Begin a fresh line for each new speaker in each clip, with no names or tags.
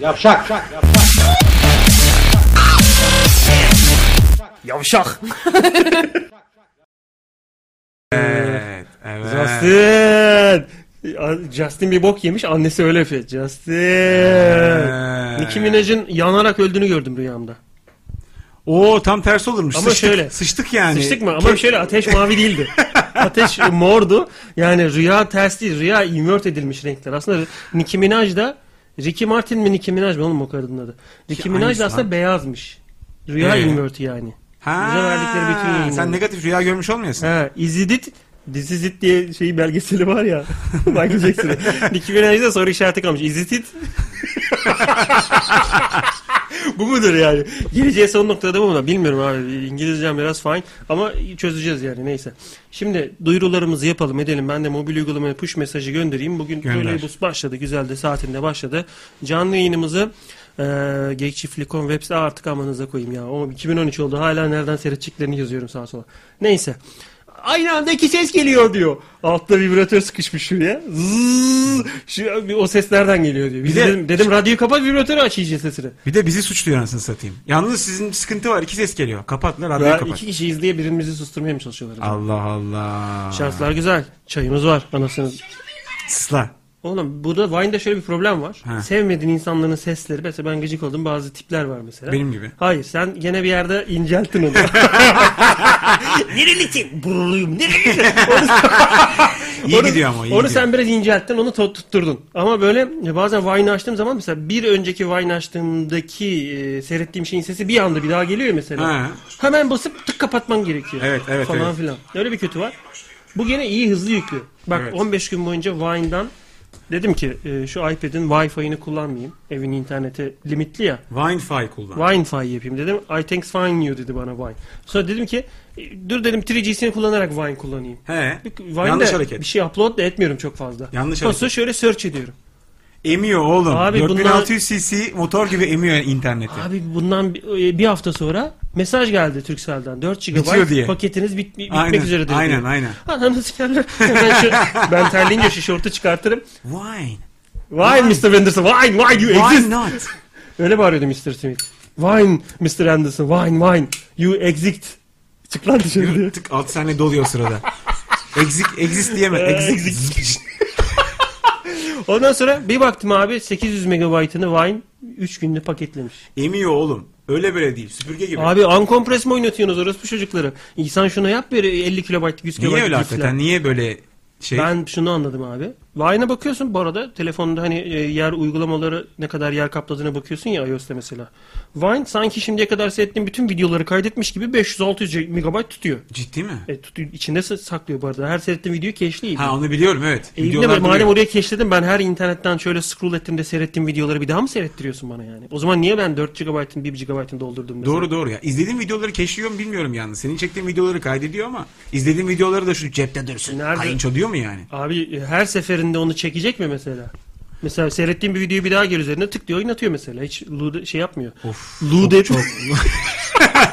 Yavşak.
Yavşak.
Evet. Evet.
Justin. Justin bir bok yemiş annesi öyle yapıyor. Justin. Nicki Minaj'ın yanarak öldüğünü gördüm rüyamda.
Oo tam tersi olurmuş.
Ama
sıçtık,
şöyle.
Sıçtık yani.
Sıçtık mı? Ama şöyle ateş mavi değildi. ateş e, mordu. Yani rüya ters değil. Rüya invert edilmiş renkler. Aslında Nicki Minaj da Ricky Martin mi Nicki Minaj mı oğlum o kadının adı. Nicki
Ki
Minaj
aynısı
da aslında
lan.
beyazmış. Rüya
Ee?
inverti yani.
Ha,
Bize verdikleri bütün yayınları.
Sen negatif rüya görmüş olmuyorsun.
Ha, İzidit Dizizit diye şeyi belgeseli var ya. Michael Jackson'ın. Nicki Minaj'da soru işareti kalmış. İzidit. bu mudur yani? Geleceğe son noktada bu mu? Bilmiyorum abi. İngilizcem biraz fine. Ama çözeceğiz yani neyse. Şimdi duyurularımızı yapalım edelim. Ben de mobil uygulamaya push mesajı göndereyim. Bugün
Gönder.
böyle bus başladı. Güzel de saatinde başladı. Canlı yayınımızı e, Gekçiftlik.com web site artık amanıza koyayım ya. O 2013 oldu. Hala nereden seyredeceklerini yazıyorum sağa sola. Neyse. Aynı anda iki ses geliyor diyor. Altta vibratör sıkışmış şuraya. Zzzz. Şu, o ses nereden geliyor diyor.
Bir de-
dedim, dedim radyoyu kapat vibratörü aç iyice sesini.
Bir de bizi suçluyor anasını satayım. Yalnız sizin sıkıntı var. İki ses geliyor. Kapat lan radyoyu
Ya
kapat.
iki kişi izleye birbirimizi susturmaya mı çalışıyorlar? acaba?
Allah Allah.
Şartlar güzel. Çayımız var. Anasını.
Sla.
Oğlum burada Vine'da şöyle bir problem var.
Ha.
Sevmediğin insanların sesleri. Mesela ben gıcık oldum bazı tipler var mesela.
Benim gibi.
Hayır sen gene bir yerde incelttin onu. Nerelisin? Buruluyum. Nerelisin?
İyi
onu,
gidiyor ama iyi
onu
gidiyor.
sen biraz incelttin onu to- tutturdun. Ama böyle bazen Vine açtığım zaman mesela bir önceki Vine açtığımdaki e, seyrettiğim şeyin sesi bir anda bir daha geliyor mesela.
Ha.
Hemen basıp tık kapatman gerekiyor.
Evet, evet,
Falan
evet.
filan. Öyle bir kötü var. Bu gene iyi hızlı yüklü. Bak
Evet.
15 gün boyunca Vine'dan dedim ki e, şu iPad'in Wi-Fi'ini kullanmayayım. Evin interneti limitli ya.
Wi-Fi kullan.
Wine-Fi yapayım dedim. I thanks fine you dedi bana Wine. Sonra dedim ki e, dur dedim 3G'sini kullanarak Wine kullanayım.
He.
Vine'de
Yanlış hareket.
bir şey upload da etmiyorum çok fazla.
Yanlış
Sonra
hareket.
şöyle search ediyorum.
Emiyor oğlum.
Abi bunlar-
4600 cc motor gibi emiyor interneti.
Abi bundan bi- e, bir hafta sonra mesaj geldi Turkcell'den. 4 GB
Bitiyor diye.
paketiniz bit- bi- bitmek
Aynen,
üzeredir.
aynen,
diyor.
aynen.
Ananı sikerler. ben, şu, ben terleyince şu şortu çıkartırım.
Wine.
Wine Mr. Anderson, wine, wine you exist.
Why not?
Öyle bağırıyordu Mr. Smith. Wine Mr. Anderson, wine, wine you exist. Çık lan dışarı diye.
Tık 6 saniye doluyor sırada. Exik, exist diyeme. Exik.
Ee, Ondan sonra bir baktım abi 800 megabaytını Vine 3 günde paketlemiş.
Emiyor oğlum. Öyle böyle değil. Süpürge gibi.
Abi unkompres mi oynatıyorsunuz orospu çocukları? İnsan şunu yap bir 50 kilobayt 100 kilobayt.
Niye öyle
gitsin.
hakikaten? Niye böyle şey?
Ben şunu anladım abi. Vine'a bakıyorsun bu arada telefonda hani e, yer uygulamaları ne kadar yer kapladığına bakıyorsun ya iOS'ta mesela. Vine sanki şimdiye kadar seyrettiğim bütün videoları kaydetmiş gibi 500-600 megabayt tutuyor.
Ciddi mi?
E, tutuyor. İçinde sa- saklıyor bu arada. Her seyrettiğim videoyu keşleyip.
Ha onu biliyorum evet.
E, yine
Videolar
ben- madem
duruyor.
oraya keşledim ben her internetten şöyle scroll ettiğimde seyrettiğim videoları bir daha mı seyrettiriyorsun bana yani? O zaman niye ben 4 GB'ın 1 GB'ını doldurdum mesela?
Doğru doğru ya. İzlediğim videoları keşfediyorum bilmiyorum yalnız. Senin çektiğin videoları kaydediyor ama izlediğim videoları da şu cepte dursun.
Nerede?
Kayınço diyor mu yani?
Abi e, her seferinde onu çekecek mi mesela? Mesela seyrettiğim bir videoyu bir daha gel üzerine tık diye oynatıyor mesela. Hiç lude, şey yapmıyor.
Of.
Lude çok.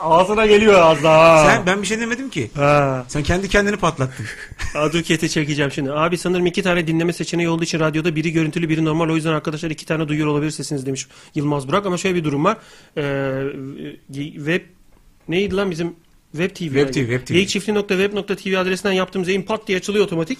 Ağzına geliyor az daha.
Sen ben bir şey demedim ki.
Ha,
Sen kendi kendini patlattın.
Aduket'e çekeceğim şimdi. Abi sanırım iki tane dinleme seçeneği olduğu için radyoda biri görüntülü biri normal. O yüzden arkadaşlar iki tane duyuyor olabilir sesiniz demiş Yılmaz Burak. Ama şöyle bir durum var. Ee, web neydi lan bizim Web TV.
Web TV, Web TV.
Geyikçiftliği.web.tv adresinden yaptığımız yayın pat diye açılıyor otomatik.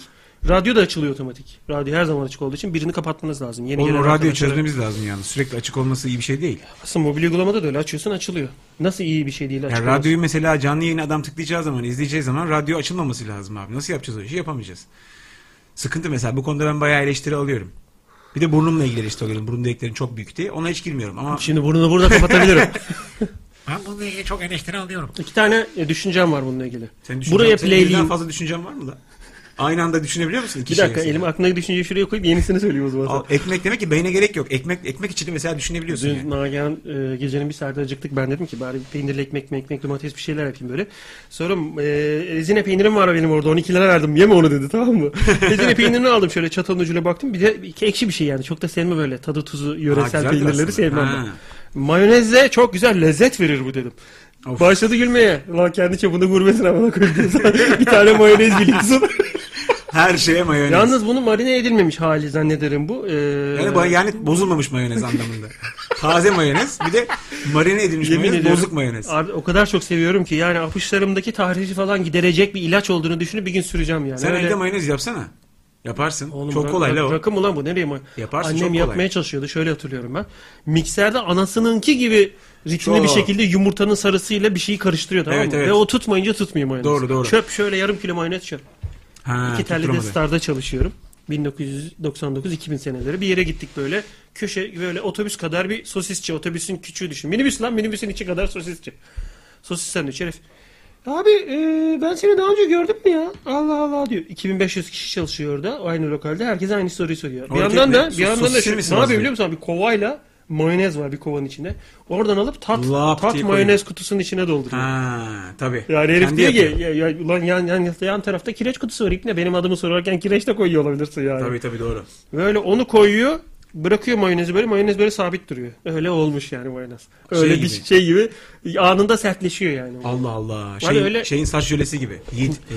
Radyo da açılıyor otomatik. Radyo her zaman açık olduğu için birini kapatmanız lazım. Yeni
Oğlum
gelen
o radyoyu
arkadaşlara-
çözmemiz lazım yalnız. Sürekli açık olması iyi bir şey değil.
Aslında mobil uygulamada da öyle açıyorsun açılıyor. Nasıl iyi bir şey değil açık
Yani
olması?
radyoyu mesela canlı yayını adam tıklayacağı zaman, izleyeceği zaman radyo açılmaması lazım abi. Nasıl yapacağız o işi? Yapamayacağız. Sıkıntı mesela. Bu konuda ben bayağı eleştiri alıyorum. Bir de burnumla ilgili eleştiri alıyorum. Burun deliklerim çok büyük diye. Ona hiç girmiyorum ama...
Şimdi burnunu burada kapatabilirim.
Ben bununla ilgili çok eleştiri alıyorum.
İki tane e, düşüncem var bununla ilgili.
Senin
Buraya
Buraya
playleyeyim.
fazla düşüncen var mı da? Aynı anda düşünebiliyor musun? İki
Bir
şeyi
dakika
mesela?
elim aklımdaki düşünceyi şuraya koyup yenisini söyleyeyim o zaman.
Al, ekmek demek ki beyne gerek yok. Ekmek ekmek içinde mesela düşünebiliyorsun
Dün
yani.
Nagihan e, gecenin bir saati acıktık. Ben dedim ki bari bir peynirli ekmek, mi, ekmek, domates bir şeyler yapayım böyle. Sonra e, ezine peynirim var benim orada 12 lira verdim yeme onu dedi tamam mı? ezine peynirini aldım şöyle çatalın ucuyla baktım. Bir de iki ekşi bir şey yani çok da sevme böyle tadı tuzu
Ha,
yöresel
güzeldir aslında.
peynirleri sevmem
Ha.
ben. Mayonezle çok güzel lezzet verir bu dedim.
Of.
Başladı gülmeye. Lan kendi çapında gurmesin amına koyayım diyorsun. bir tane mayonez biliyorsun.
Her şeye mayonez.
Yalnız bunu marine edilmemiş hali zannederim bu. Ee,
yani, bu- yani bozulmamış mayonez anlamında. Taze mayonez bir de marine edilmiş
yemin
mayonez,
ediyorum,
bozuk mayonez.
abi o kadar çok seviyorum ki yani apışlarımdaki tahrişi falan giderecek bir ilaç olduğunu düşünüp bir gün süreceğim yani.
Sen
Öyle-
evde mayonez yapsana. Yaparsın.
Oğlum
çok
rak-
kolay la
rak-
o.
Rakım ulan bu nereye may-
Yaparsın,
Annem
çok kolay.
yapmaya çalışıyordu şöyle hatırlıyorum ben. Mikserde anasınınki gibi ritimli
Çok.
bir şekilde yumurtanın sarısıyla bir şeyi karıştırıyor tamam
Evet,
mı?
evet.
Ve o tutmayınca tutmuyor mayonez.
Doğru, doğru.
Çöp şöyle yarım kilo mayonez çöp.
Ha,
İki telli de
tutturamadı.
Star'da çalışıyorum. 1999-2000 seneleri bir yere gittik böyle. Köşe böyle otobüs kadar bir sosisçi. Otobüsün küçüğü düşün. Minibüs lan minibüsün içi kadar sosisçi. Sosis sandviç herif. Abi e, ben seni daha önce gördüm mü ya? Allah Allah diyor. 2500 kişi çalışıyor orada o aynı lokalde. Herkes aynı soruyu soruyor. Bir
Orada
yandan da
ne?
bir yandan da
Sosisçi
şu, ne
misin
yapıyor
aslında?
biliyor musun abi? Bir kovayla mayonez var bir kovanın içinde. Oradan alıp tat
Lap
tat
diye
mayonez
koyuyor.
kutusunun içine dolduruyor.
Ha, tabii.
Yani herif
Kendi
diyor ki
yapıyor.
ya, ya, ulan yan, yan, yan tarafta kireç kutusu var İpne benim adımı sorarken kireç de koyuyor olabilirsin yani.
Tabii tabii doğru.
Böyle onu koyuyor bırakıyor mayonezi böyle mayonez böyle sabit duruyor. Öyle olmuş yani mayonez. Öyle
Şey
bir
gibi.
şey gibi anında sertleşiyor yani.
Allah Allah.
Var
Şeyin,
öyle-
şey, şeyin saç jölesi gibi. Yiğit. e,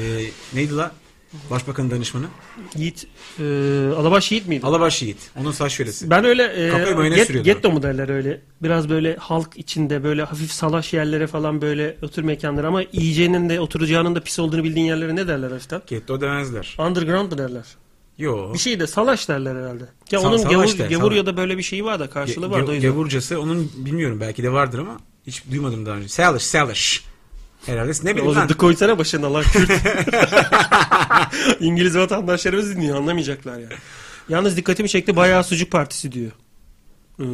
neydi la? Başbakanın danışmanı.
Yiğit e, Alabaş Yiğit miydi?
Alabaş Yiğit. Onun saç jölesi.
ben öyle
Kafaya
e,
mayonez
get,
sürüyordu.
getto mu derler öyle. Biraz böyle halk içinde böyle hafif salaş yerlere falan böyle otur mekanları ama yiyeceğinin de oturacağının da pis olduğunu bildiğin yerlere ne derler hafiften?
Getto demezler.
Underground derler.
Yo.
Bir şey de salaş derler herhalde. Ya
Sa-
onun
salaş
gavur,
der,
gavur
salaş.
ya da böyle bir şeyi var da karşılığı
Ge-
var da o
ge-
yüzden.
Gavurcası onun bilmiyorum belki de vardır ama hiç duymadım daha önce. Salish, Salish. Herhalde ne bileyim
Oğlum
lan.
dı koysana başına lan Kürt. İngiliz vatandaşlarımız dinliyor anlamayacaklar yani. Yalnız dikkatimi çekti bayağı sucuk partisi diyor. Ee,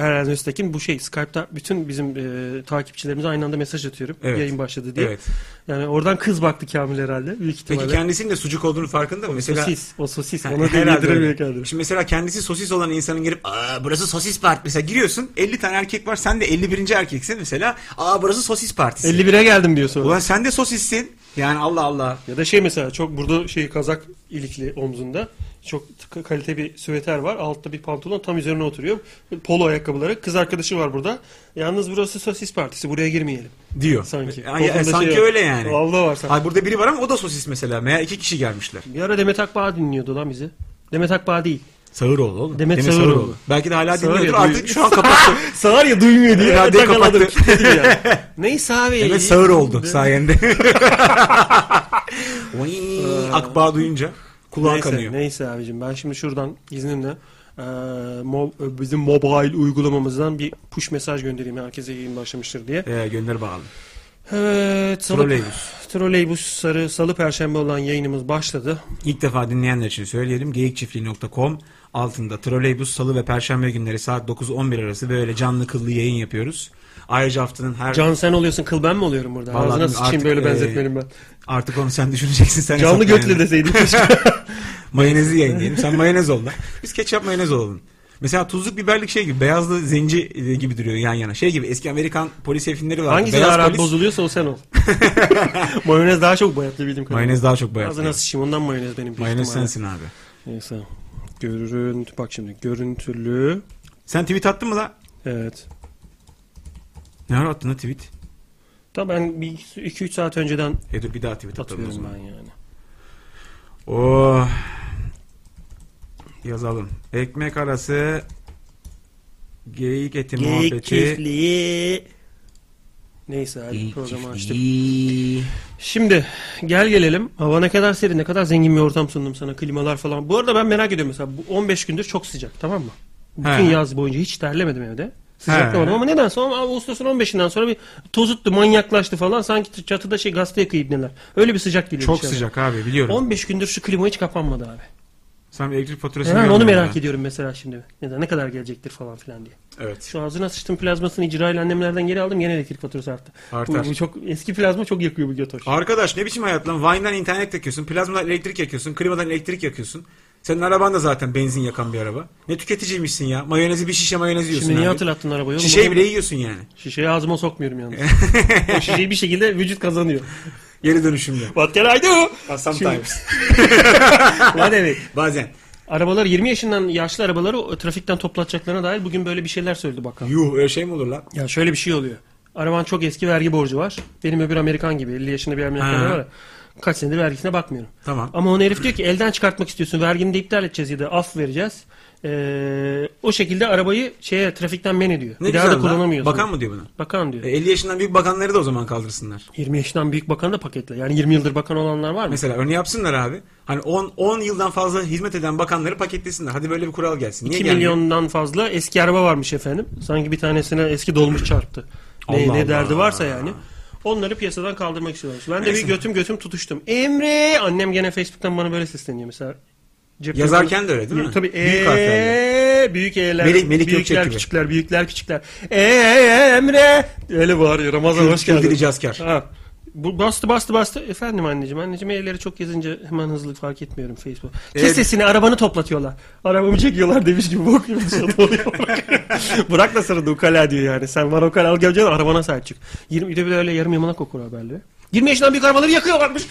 Eren Öztekin bu şey Skype'da bütün bizim e, takipçilerimize aynı anda mesaj atıyorum.
Evet.
Yayın başladı diye.
Evet.
Yani oradan kız baktı Kamil herhalde büyük
Peki
ihtimalle.
kendisinin de sucuk olduğunu farkında mı? Mesela
Sosis. O sosis.
Ha,
Ona da
herhalde
yediremiyor
öyle.
kendini.
Şimdi mesela kendisi sosis olan insanın gelip aa burası sosis parti. Mesela giriyorsun 50 tane erkek var sen de 51. erkeksin mesela. Aa burası sosis partisi.
51'e geldim diyor sonra.
Ulan sen de sosissin. Yani Allah Allah.
Ya da şey mesela çok burada şey kazak ilikli omzunda çok tık- kalite bir süveter var. Altta bir pantolon tam üzerine oturuyor. Polo ayakkabıları. Kız arkadaşı var burada. Yalnız burası sosis partisi. Buraya girmeyelim.
Diyor.
Sanki.
Ay, ay,
Ortamda şey
sanki
var.
öyle yani.
Allah var sanki.
Ay burada biri var ama o da sosis mesela. Meğer iki kişi gelmişler.
Bir ara Demet Akbağ dinliyordu lan bizi. Demet Akbağ değil.
Sağıroğlu oğlum.
Demet
Sağıroğlu.
Sağıroğlu.
Belki de hala
Sağır ya,
dinliyordur.
duyuyor.
Artık şu an kapattı.
Sağır ya duymuyor
diye.
Radyoyu
Yakaladım,
kapattı. ya. Neyse abi.
Demet Sağır oldu sayende. Oy, Akbağ Ee, duyunca kulağı
neyse,
kanıyor.
Neyse abicim ben şimdi şuradan izninle eee, mo- bizim mobile uygulamamızdan bir push mesaj göndereyim herkese yayın başlamıştır diye.
Ee, gönder bağlı.
Evet, salı,
Troleybüs.
troleybüs sarı salı perşembe olan yayınımız başladı.
İlk defa dinleyenler için söyleyelim. Geyikçiftliği.com altında troleybüs salı ve perşembe günleri saat 9-11 arası böyle canlı kıllı yayın yapıyoruz. Ayrıca haftanın her...
Can sen oluyorsun kıl ben mi oluyorum burada?
Vallahi
Ağzına
bilmiyorum,
sıçayım böyle
artık, e,
benzetmenim ben.
Artık onu sen düşüneceksin. Sen
Canlı
hesapla
götle
yani.
deseydin.
Mayonezi yayınlayalım. Sen mayonez ol lan. Biz ketçap mayonez olalım. Mesela tuzluk biberlik şey gibi beyazlı zenci e, gibi duruyor yan yana. Şey gibi eski Amerikan polisiye filmleri var.
Hangisi
Beyaz
daha rahat
polis,
bozuluyorsa o sen ol. mayonez daha çok bayatlı bildiğim kadarıyla.
Mayonez daha çok bayat.
Ağzına sıçayım ondan mayonez benim büyük
Mayonez
ihtimalle.
sensin abi.
Neyse. Görüntü bak şimdi görüntülü.
Sen tweet attın mı la?
Evet.
Ne ara attın la tweet?
Tamam ben bir 2-3 saat önceden
E dur bir daha tweet atalım o
atıyorum
zaman.
ben yani.
Oh. Yazalım. Ekmek arası geyik eti
Geyik
muhabbeti.
çiftliği. Neyse hadi
Geyik
programı açtık.
çiftliği.
Şimdi gel gelelim. Hava ne kadar serin, ne kadar zengin bir ortam sundum sana. Klimalar falan. Bu arada ben merak ediyorum mesela. Bu 15 gündür çok sıcak tamam mı? Bütün
He.
yaz boyunca hiç terlemedim evde.
He.
Sıcaklamadım ama nedense ama Ağustos'un 15'inden sonra bir tozuttu, manyaklaştı falan. Sanki çatıda şey gazete kıyıp neler. Öyle bir sıcak geliyor.
Çok
dışarıda.
sıcak abi biliyorum.
15 gündür şu klima hiç kapanmadı abi.
Sen bir elektrik faturasını
Ben onu
görmedin
merak
mi?
ediyorum mesela şimdi. Neden ne kadar gelecektir falan filan diye.
Evet.
Şu ağzına sıçtım plazmasını icra ile annemlerden geri aldım yine elektrik faturası arttı.
Artar.
Bu, bu çok eski plazma çok yakıyor bu götoş.
Arkadaş ne biçim hayat lan? Vine'dan internet yakıyorsun, plazmadan elektrik yakıyorsun, klimadan elektrik yakıyorsun. Senin araban da zaten benzin yakan bir araba. Ne tüketiciymişsin ya? Mayonezi bir şişe mayonez yiyorsun
Şimdi niye
abi.
hatırlattın arabayı? oğlum?
Şişeyi
Oğlum,
bile yiyorsun yani.
Şişeyi ağzıma sokmuyorum yalnız. o şişeyi bir şekilde vücut kazanıyor.
Geri dönüşümlü.
What can I do?
Sometimes.
What evet.
Bazen.
Arabalar 20 yaşından yaşlı arabaları o trafikten toplatacaklarına dair bugün böyle bir şeyler söyledi bakan.
Yuh öyle şey mi olur lan?
Ya şöyle bir şey oluyor. Araban çok eski vergi borcu var. Benim öbür Amerikan gibi 50 yaşında bir Amerikan
Ha.
var. ya. Kaç senedir vergisine bakmıyorum.
Tamam.
Ama onu herif diyor ki elden çıkartmak istiyorsun. Vergini de iptal edeceğiz ya da af vereceğiz. Ee, o şekilde arabayı şeye trafikten men ediyor.
Ne
bir daha da
güzel lan.
kullanamıyorsun.
Bakan mı diyor buna?
Bakan diyor.
E, 50 yaşından büyük bakanları da o zaman kaldırsınlar.
20 yaşından büyük bakanı da paketle. Yani 20 yıldır bakan olanlar var mı?
Mesela örneği yapsınlar abi. Hani 10 10 yıldan fazla hizmet eden bakanları paketlesinler. Hadi böyle bir kural gelsin. Niye
2
gelmiyor?
milyondan fazla eski araba varmış efendim. Sanki bir tanesine eski dolmuş çarptı. Ne,
Allah
ne
Allah.
derdi varsa yani. Onları piyasadan kaldırmak istiyorlar. Ben de bir
Neyse.
götüm götüm tutuştum. Emre! Annem gene Facebook'tan bana böyle sesleniyor mesela. Cep
Yazarken de öyle değil mi?
Tabii.
Büyük harflerle.
"Ee, Büyük E'ler.
Melih- Melih Gökçek
büyükler
gibi.
küçükler, büyükler küçükler. Eee Emre! Öyle bağırıyor. Ramazan
Kül-
hoş geldin.
Küldürücü asker.
Ha. Bu bastı bastı bastı. Efendim anneciğim. Anneciğim elleri çok yazınca hemen hızlı fark etmiyorum Facebook. Kes
Evet.
sesini arabanı toplatıyorlar. Arabamı çekiyorlar demiş gibi bok gibi dışarıda oluyor. Bırak da sana da ukala diyor yani. Sen var ukala al geleceksin arabana sahip çık. 20, bir de böyle yarım yamalak okur haberleri. 20 yaşından büyük arabaları yakıyorlarmış.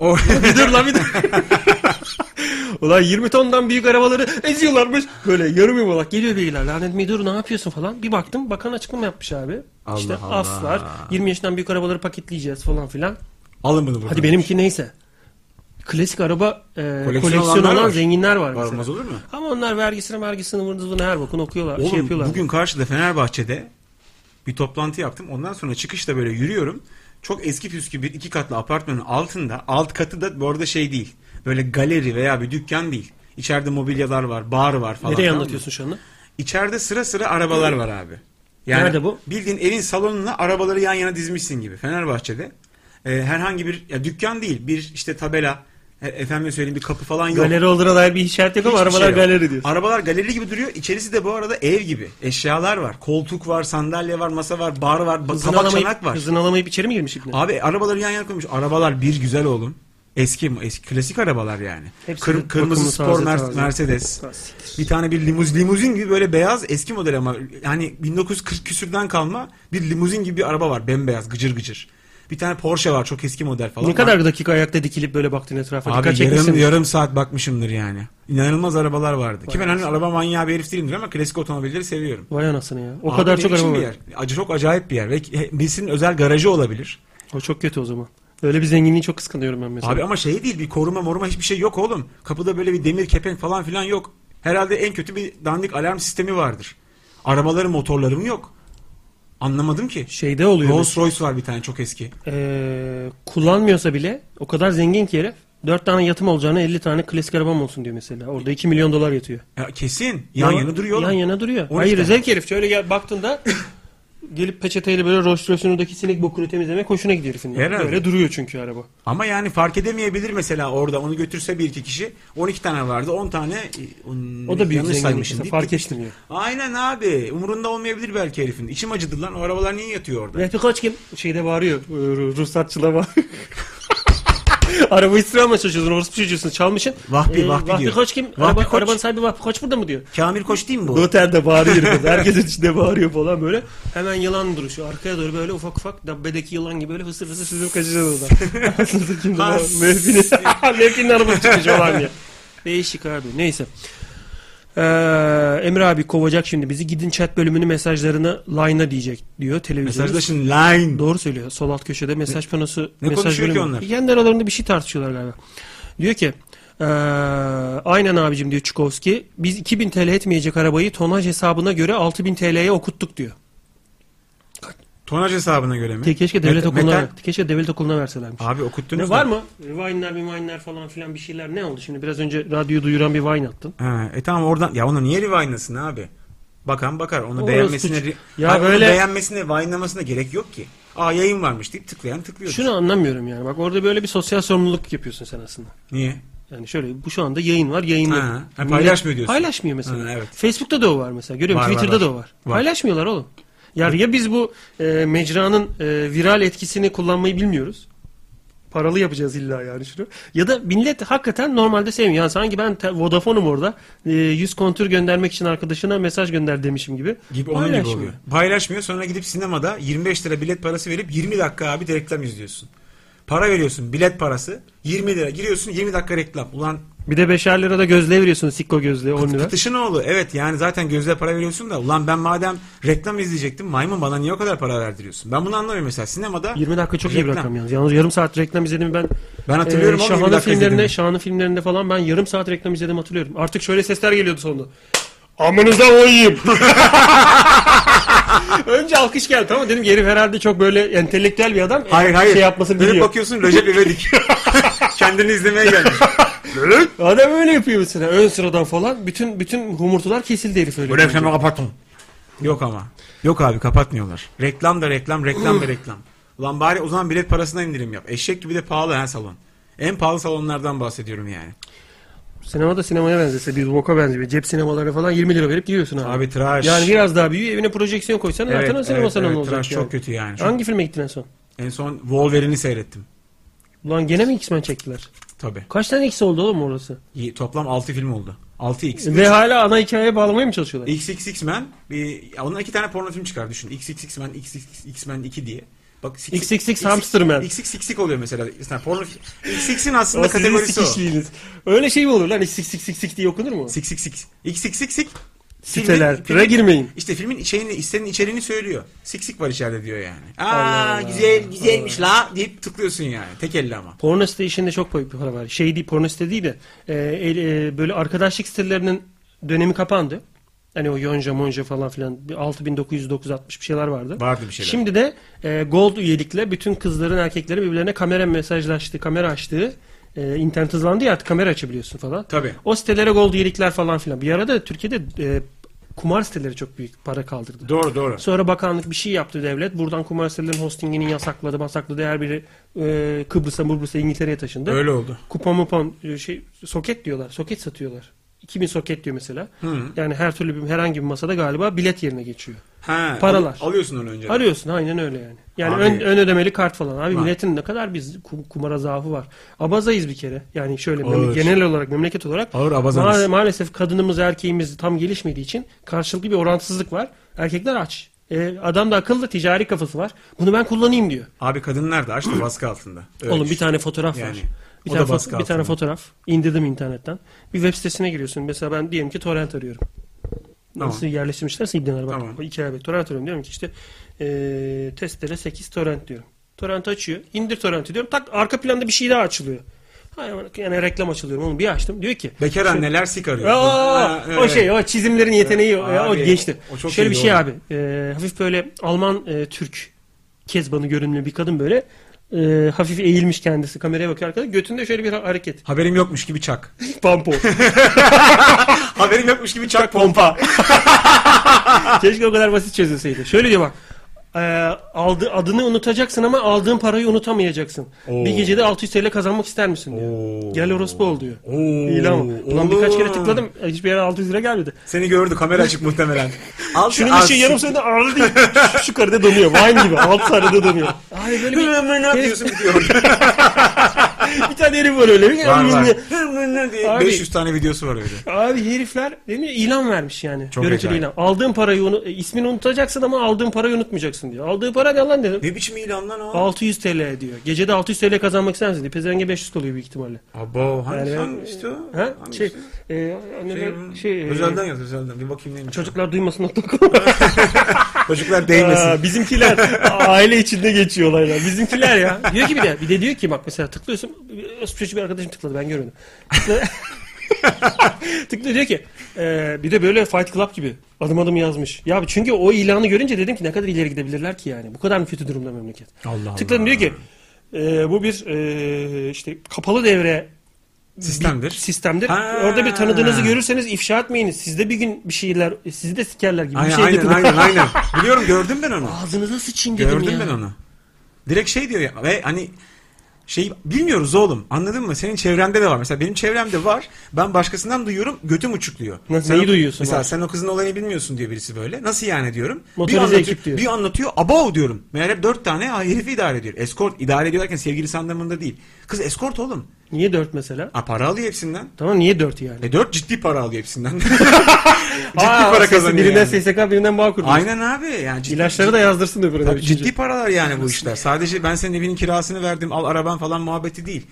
O-
bir dur lan bir dur. Ulan 20 tondan büyük arabaları eziyorlarmış. Böyle yarım yamalak geliyor beyler. Lanet mi dur ne yapıyorsun falan. Bir baktım bakan açıklama yapmış abi.
Allah
işte
Allah.
af var. 20 yaşından büyük arabaları paketleyeceğiz falan filan.
Alın bunu buradan.
Hadi benimki neyse. Klasik araba e, koleksiyon,
olanlar
olan
var.
zenginler var mesela.
Varmaz olur mu?
Ama onlar vergisini vergisini vurduzunu her bakın okuyorlar.
Oğlum
şey yapıyorlar.
bugün karşıda Fenerbahçe'de bir toplantı yaptım. Ondan sonra çıkışta böyle yürüyorum. Çok eski püskü bir iki katlı apartmanın altında. Alt katı da bu arada şey değil. Böyle galeri veya bir dükkan değil. İçeride mobilyalar var, bar var falan.
Nereye
tamam mı?
anlatıyorsun şu anda?
İçeride sıra sıra arabalar var abi.
Nerede bu?
Bildiğin evin salonuna arabaları yan yana dizmişsin gibi. Fenerbahçe'de e, herhangi bir ya dükkan değil. Bir işte tabela, e, efendim söyleyeyim bir kapı falan yok.
Galeri olduğuna dair bir işaret yok ama
Hiçbir
arabalar
şey yok.
galeri diyorsun.
Arabalar galeri gibi duruyor. İçerisi de bu arada ev gibi. Eşyalar var. Koltuk var, sandalye var, masa var, bar var, ba-
Hızını
tabak
alamayıp-
çanak var.
Hızını alamayıp içeri mi girmiş ipne?
Abi arabaları yan yana koymuş. Arabalar bir güzel oğlum. Eski eski klasik arabalar yani.
Hepsi
Kır-
de bakımlı,
kırmızı spor
taze,
Mer-
taze.
Mercedes. Bir tane bir limuz, limuzin gibi böyle beyaz eski model ama yani 1940 küsürden kalma bir limuzin gibi bir araba var. Bembeyaz gıcır gıcır. Bir tane Porsche var çok eski model falan.
Ne kadar dakika ayakta dikilip böyle baktın etrafa?
Abi
Dikkat
yarım,
çekmişsin.
yarım saat bakmışımdır yani. İnanılmaz arabalar vardı. Ki ben hani araba manyağı bir herif değilimdir ama klasik otomobilleri seviyorum.
Vay anasını ya. O
Abi
kadar
ne
çok
biçim
araba
bir
var.
yer. Acı çok acayip bir yer. Ve birisinin özel garajı olabilir.
O çok kötü o zaman. Öyle bir zenginliği çok kıskanıyorum ben mesela.
Abi ama şey değil bir koruma moruma hiçbir şey yok oğlum. Kapıda böyle bir demir kepenk falan filan yok. Herhalde en kötü bir dandik alarm sistemi vardır. Arabaları motorları mı yok? Anlamadım ki.
Şeyde oluyor.
Rolls Royce var bir tane çok eski.
Ee, kullanmıyorsa bile o kadar zengin ki herif. 4 tane yatım olacağına 50 tane klasik arabam olsun diyor mesela. Orada 2 milyon dolar yatıyor.
Ya kesin. Yan
Ya,
yana duruyor
Yan
oğlum.
yana duruyor.
12
Hayır
tane.
zevk herif. Şöyle gel, baktığında gelip peçeteyle böyle Rolls Royce'un oradaki sinek bokunu temizlemek hoşuna gidiyor herifin. Yani.
Herhalde.
Böyle duruyor çünkü araba.
Ama yani fark edemeyebilir mesela orada onu götürse bir iki kişi 12 tane vardı 10 tane e, on-
O da büyük
yanlış
zenginlik.
saymışım
mesela,
deyip
Fark
gitmiş.
etmiyor.
Aynen abi umurunda olmayabilir belki herifin. İçim acıdı lan o arabalar niye yatıyor orada?
Rehbi Koç kim? Şeyde bağırıyor. e, Ru- Ruhsatçıla bağırıyor. Arabayı sıra mı çocuğusun? Orospu çocuğusun. Çalmışsın. E,
Vahbi, Vahbi diyor.
Koç kim?
Vahbi
Araba,
Koç.
Arabanın sahibi Vahbi Koç burada mı diyor?
Kamil Koç değil mi bu?
Noter de bağırıyor. kız. Herkesin içinde bağırıyor falan böyle. Hemen yılan duruşu. Arkaya doğru böyle ufak ufak dabbedeki yılan gibi böyle fısır fısır süzüp kaçacağız oradan. Aslında kimdi lan?
Has.
Mevfinin, Mevfinin arabası çıkmış falan diye. Değişik abi. Neyse. Ee, Emre abi kovacak şimdi bizi. Gidin chat bölümünü mesajlarını line'a diyecek diyor televizyonda.
Mesajda şimdi line.
Doğru söylüyor. Sol alt köşede mesaj panosu.
ne
mesaj
konuşuyor ki
bölümü.
onlar?
Kendi aralarında bir şey tartışıyorlar galiba. Diyor ki eee, aynen abicim diyor Çukovski. Biz 2000 TL etmeyecek arabayı tonaj hesabına göre 6000 TL'ye okuttuk diyor.
Tonaj hesabına göre mi?
Ke- Keşke devlet
Meta-
okuluna
metal-
keşke devlet okuluna verselermiş.
Abi okuttunuz
Ne
da.
var mı? Vine'ler, Vine'ler falan filan bir şeyler ne oldu şimdi? Biraz önce radyoyu duyuran bir Vine attın.
Ha, e tamam oradan ya onu niye revine'lasın abi? Bakan bakar onu
Orası
beğenmesine
suç.
re-
Ya
Hayır, onu
böyle-
beğenmesine revine'lamasına gerek yok ki. Aa yayın varmış deyip tıklayan tıklıyor.
Şunu anlamıyorum yani. Bak orada böyle bir sosyal sorumluluk yapıyorsun sen aslında.
Niye?
Yani şöyle bu şu anda yayın var yayın yok.
Ha, ha,
Millet-
paylaşmıyor diyorsun.
Paylaşmıyor mesela.
Ha, evet.
Facebook'ta da o var mesela. Görüyorum
Var, var,
Twitter'da
var.
da o var.
Var.
Paylaşmıyorlar oğlum. Ya, ya biz bu e, mecranın e, viral etkisini kullanmayı bilmiyoruz. Paralı yapacağız illa yani şunu. Ya da millet hakikaten normalde sevmiyor. Yani sanki ben te- Vodafone'um orada. E, 100 kontür göndermek için arkadaşına mesaj gönder demişim gibi.
Gibi onun gibi
Paylaşmıyor.
oluyor. Paylaşmıyor sonra gidip sinemada 25 lira bilet parası verip 20 dakika abi de reklam izliyorsun. Para veriyorsun bilet parası 20 lira giriyorsun 20 dakika reklam. Ulan
Bir de beşer lira da gözlüğe veriyorsun sikko gözlüğe 10 lira.
Fıtışın oğlu. Evet yani zaten gözle para veriyorsun da ulan ben madem reklam izleyecektim maymun bana niye o kadar para verdiriyorsun? Ben bunu anlamıyorum mesela sinemada
20 dakika çok iyi bir
Reklam.
rakam yalnız. Yalnız yarım saat reklam izledim ben.
ben hatırlıyorum
Ee,
oğlum, 20
Şahan'ın
dakika
filmlerinde,
izledim.
Şahan'ın filmlerinde falan ben yarım saat reklam izledim hatırlıyorum. Artık şöyle sesler geliyordu sonunda. Amınıza koyayım. Önce alkış geldi tamam dedim ki herif herhalde çok böyle entelektüel bir adam.
Hayır hayır.
Şey yapmasını
Dönüp
biliyor.
bakıyorsun Recep İvedik. Kendini izlemeye gelmiş.
Adam öyle yapıyor mesela ön sıradan falan. Bütün bütün humurtular kesildi herif öyle. yapınca.
kapatın. Yok ama. Yok abi kapatmıyorlar. Reklam da reklam, reklam da reklam. Ulan bari o zaman bilet parasına indirim yap. Eşek gibi de pahalı ha salon. En pahalı salonlardan bahsediyorum yani.
Sinema da sinemaya benzese bir boka benziyor. Cep sinemalarına falan 20 lira verip giriyorsun abi.
Abi tıraş.
Yani biraz daha büyüğü evine projeksiyon koysan zaten o sinema salonu olacak
tıraş
yani.
çok kötü yani. Çok-
Hangi filme gittin en son?
En son Wolverine'i seyrettim.
Ulan gene mi X-Men çektiler?
Tabii.
Kaç tane X oldu oğlum orası?
İyi, Toplam 6 film oldu. 6X.
Ve hala ana hikayeye bağlamaya mı çalışıyorlar?
XXX Men. Bir, ya ondan iki tane porno film çıkar düşün. XXX Men, XXX Men 2 diye. Bak sik-
XXX Hamster Man.
XXX oluyor mesela. mesela porno film. XX'in aslında
O sizin
kategorisi o.
sikişliğiniz. Öyle şey mi olur lan? Sik sik sik sik diye okunur mu?
XXX. XXX.
Siteler. Re girmeyin.
İşte filmin şeyini, istenin içeriğini söylüyor. Sik sik var içeride diyor yani. Aa
Allah Allah.
güzel güzelmiş la deyip tıklıyorsun yani. Tek elle ama.
Porno site işinde çok büyük bir para var. Şey değil, porno site değil de e, el- e, böyle arkadaşlık sitelerinin dönemi kapandı. Hani o yonca monca falan filan bir 6960 bir şeyler vardı.
Vardı bir şeyler.
Şimdi de e, gold üyelikle bütün kızların erkeklerin birbirlerine kamera mesajlaştığı, kamera açtığı e, internet hızlandı ya artık kamera açabiliyorsun falan.
Tabii.
O sitelere gold üyelikler falan filan. Bir arada Türkiye'de e, kumar siteleri çok büyük para kaldırdı.
Doğru doğru.
Sonra bakanlık bir şey yaptı devlet. Buradan kumar sitelerinin hostingini yasakladı, masakladı. Her biri e, Kıbrıs'a, Mıbrıs'a, İngiltere'ye taşındı.
Öyle oldu.
Kupon mupon e, şey, soket diyorlar. Soket satıyorlar. 2000 soket diyor mesela. Yani her türlü bir, herhangi bir masada galiba bilet yerine geçiyor.
Ha,
Paralar.
al- alıyorsun onu önce.
Arıyorsun aynen öyle yani. Yani
Abi-
ön, ön ödemeli kart falan. Abi
Var.
milletin ne kadar biz kum- kumara zaafı var. Abazayız bir kere. Yani şöyle mem-
Ağır.
genel olarak memleket olarak
Ağır abazanız.
ma- maalesef kadınımız erkeğimiz tam gelişmediği için karşılıklı bir orantısızlık var. Erkekler aç. E, adam da akıllı ticari kafası var. Bunu ben kullanayım diyor.
Abi kadınlar da açtı baskı altında. Öyle
Oğlum
düşün.
bir tane fotoğraf var.
Yani,
Bir
o da
tane,
baskı
foto- bir tane
altında.
fotoğraf indirdim internetten. Bir web sitesine giriyorsun. Mesela ben diyelim ki torrent arıyorum.
Tamam.
Nasıl yerleştirmişlerse ibneler bak.
Tamam.
Tamam. İki ay bek torrent arıyorum diyorum ki işte eee testere 8 torrent diyorum. Torrent açıyor. İndir torrenti diyorum. Tak arka planda bir şey daha açılıyor. Hay aman, yani reklam açılıyorum oğlum bir açtım. Diyor ki
Bekar anneler sik arıyor.
Aa,
Ha,
o
evet.
şey o çizimlerin yeteneği o-
Abi,
o geçti.
o çok
Şöyle bir
iyiydi
şey
o.
abi. e, hafif böyle Alman e, Türk kezbanı görünümlü bir kadın böyle e, hafif eğilmiş kendisi kameraya bakıyor arkada. Götünde şöyle bir ha- hareket.
Haberim yokmuş gibi çak.
Pampo.
Haberim yokmuş gibi çak pompa.
Keşke o kadar basit çözülseydi. Şöyle diyor bak. e, aldı, adını unutacaksın ama aldığın parayı unutamayacaksın.
Oo.
Bir gecede 600 TL kazanmak ister misin diyor.
Oo.
Gel orospu ol diyor.
Oo.
İlan. Ulan birkaç kere tıkladım. e, Hiçbir yere 600 lira gelmedi.
Seni gördü kamera açık muhtemelen. Al
Şunun işi yarım senede ağır değil. Şu, şu karıda donuyor. Vine gibi. Alt sarıda donuyor. Abi böyle bir,
ne yapıyorsun diyor.
bir tane herif var öyle.
var var.
Abi-
500 tane videosu var öyle.
Abi herifler değil mi? ilan vermiş yani.
Çok
Görüntülü
acayip.
ilan. Aldığın parayı unu- e, ismini unutacaksın ama aldığın parayı unutmayacaksın diyor. Aldığı para ne lan dedim.
Ne biçim ilan lan o?
600 TL diyor. Gecede 600 TL kazanmak ister misin diyor. Pezevenge 500 kalıyor büyük ihtimalle.
Abo hangi
Yani ben-
hangi işte o?
Ha?
Hangi
Şey,
işte?
e, anne ben- şey, e,
özelden yaz özelden bir bakayım neymiş.
Çocuklar duymasın.com
Çocuklar değmesin.
Aa, bizimkiler aile içinde geçiyor olaylar. Bizimkiler ya. Diyor ki bir de bir de diyor ki bak mesela tıklıyorsun. Çocuk bir arkadaşım tıkladı ben görmedim. Tıkla- Tıklıyor diyor ki e, bir de böyle Fight Club gibi adım adım yazmış. Ya çünkü o ilanı görünce dedim ki ne kadar ileri gidebilirler ki yani. Bu kadar mı kötü durumda memleket?
Allah
Tıkladım diyor ki e, bu bir e, işte kapalı devre
Sistemdir.
sistemdir.
Ha.
Orada bir tanıdığınızı görürseniz ifşa etmeyiniz. Sizde bir gün bir şeyler e, sizi de sikerler gibi bir
Aynen
şey
aynen
getirdim.
aynen aynen. Biliyorum gördüm ben onu.
Ağzınıza sıçayım dedim
Gördüm
ya.
ben onu. Direkt şey diyor ya ve hani şey bilmiyoruz oğlum anladın mı? Senin çevrende de var. Mesela benim çevremde var. Ben başkasından duyuyorum götüm uçukluyor.
Nasıl,
Sen
neyi
o-
duyuyorsun
Mesela
abi?
sen o kızın olayını bilmiyorsun diyor birisi böyle. Nasıl yani diyorum.
Motorize
bir anlatıyor,
ekip diyor.
Bir anlatıyor abo diyorum. Meğer hep dört tane herifi idare ediyor. Eskort idare ediyor derken sevgilisi anlamında değil. Kız eskort oğlum.
Niye 4 mesela?
Ha para alıyor hepsinden.
Tamam niye 4 yani?
E dört ciddi para alıyor hepsinden. ciddi para kazanıyor
Birinden
yani.
SSK birinden bağ kurdu.
Aynen abi. Yani ciddi,
İlaçları da yazdırsın öbürüne.
Tabii
üçüncü.
ciddi paralar yani bu işler. Sadece ben senin evinin kirasını verdim, al araban falan muhabbeti değil.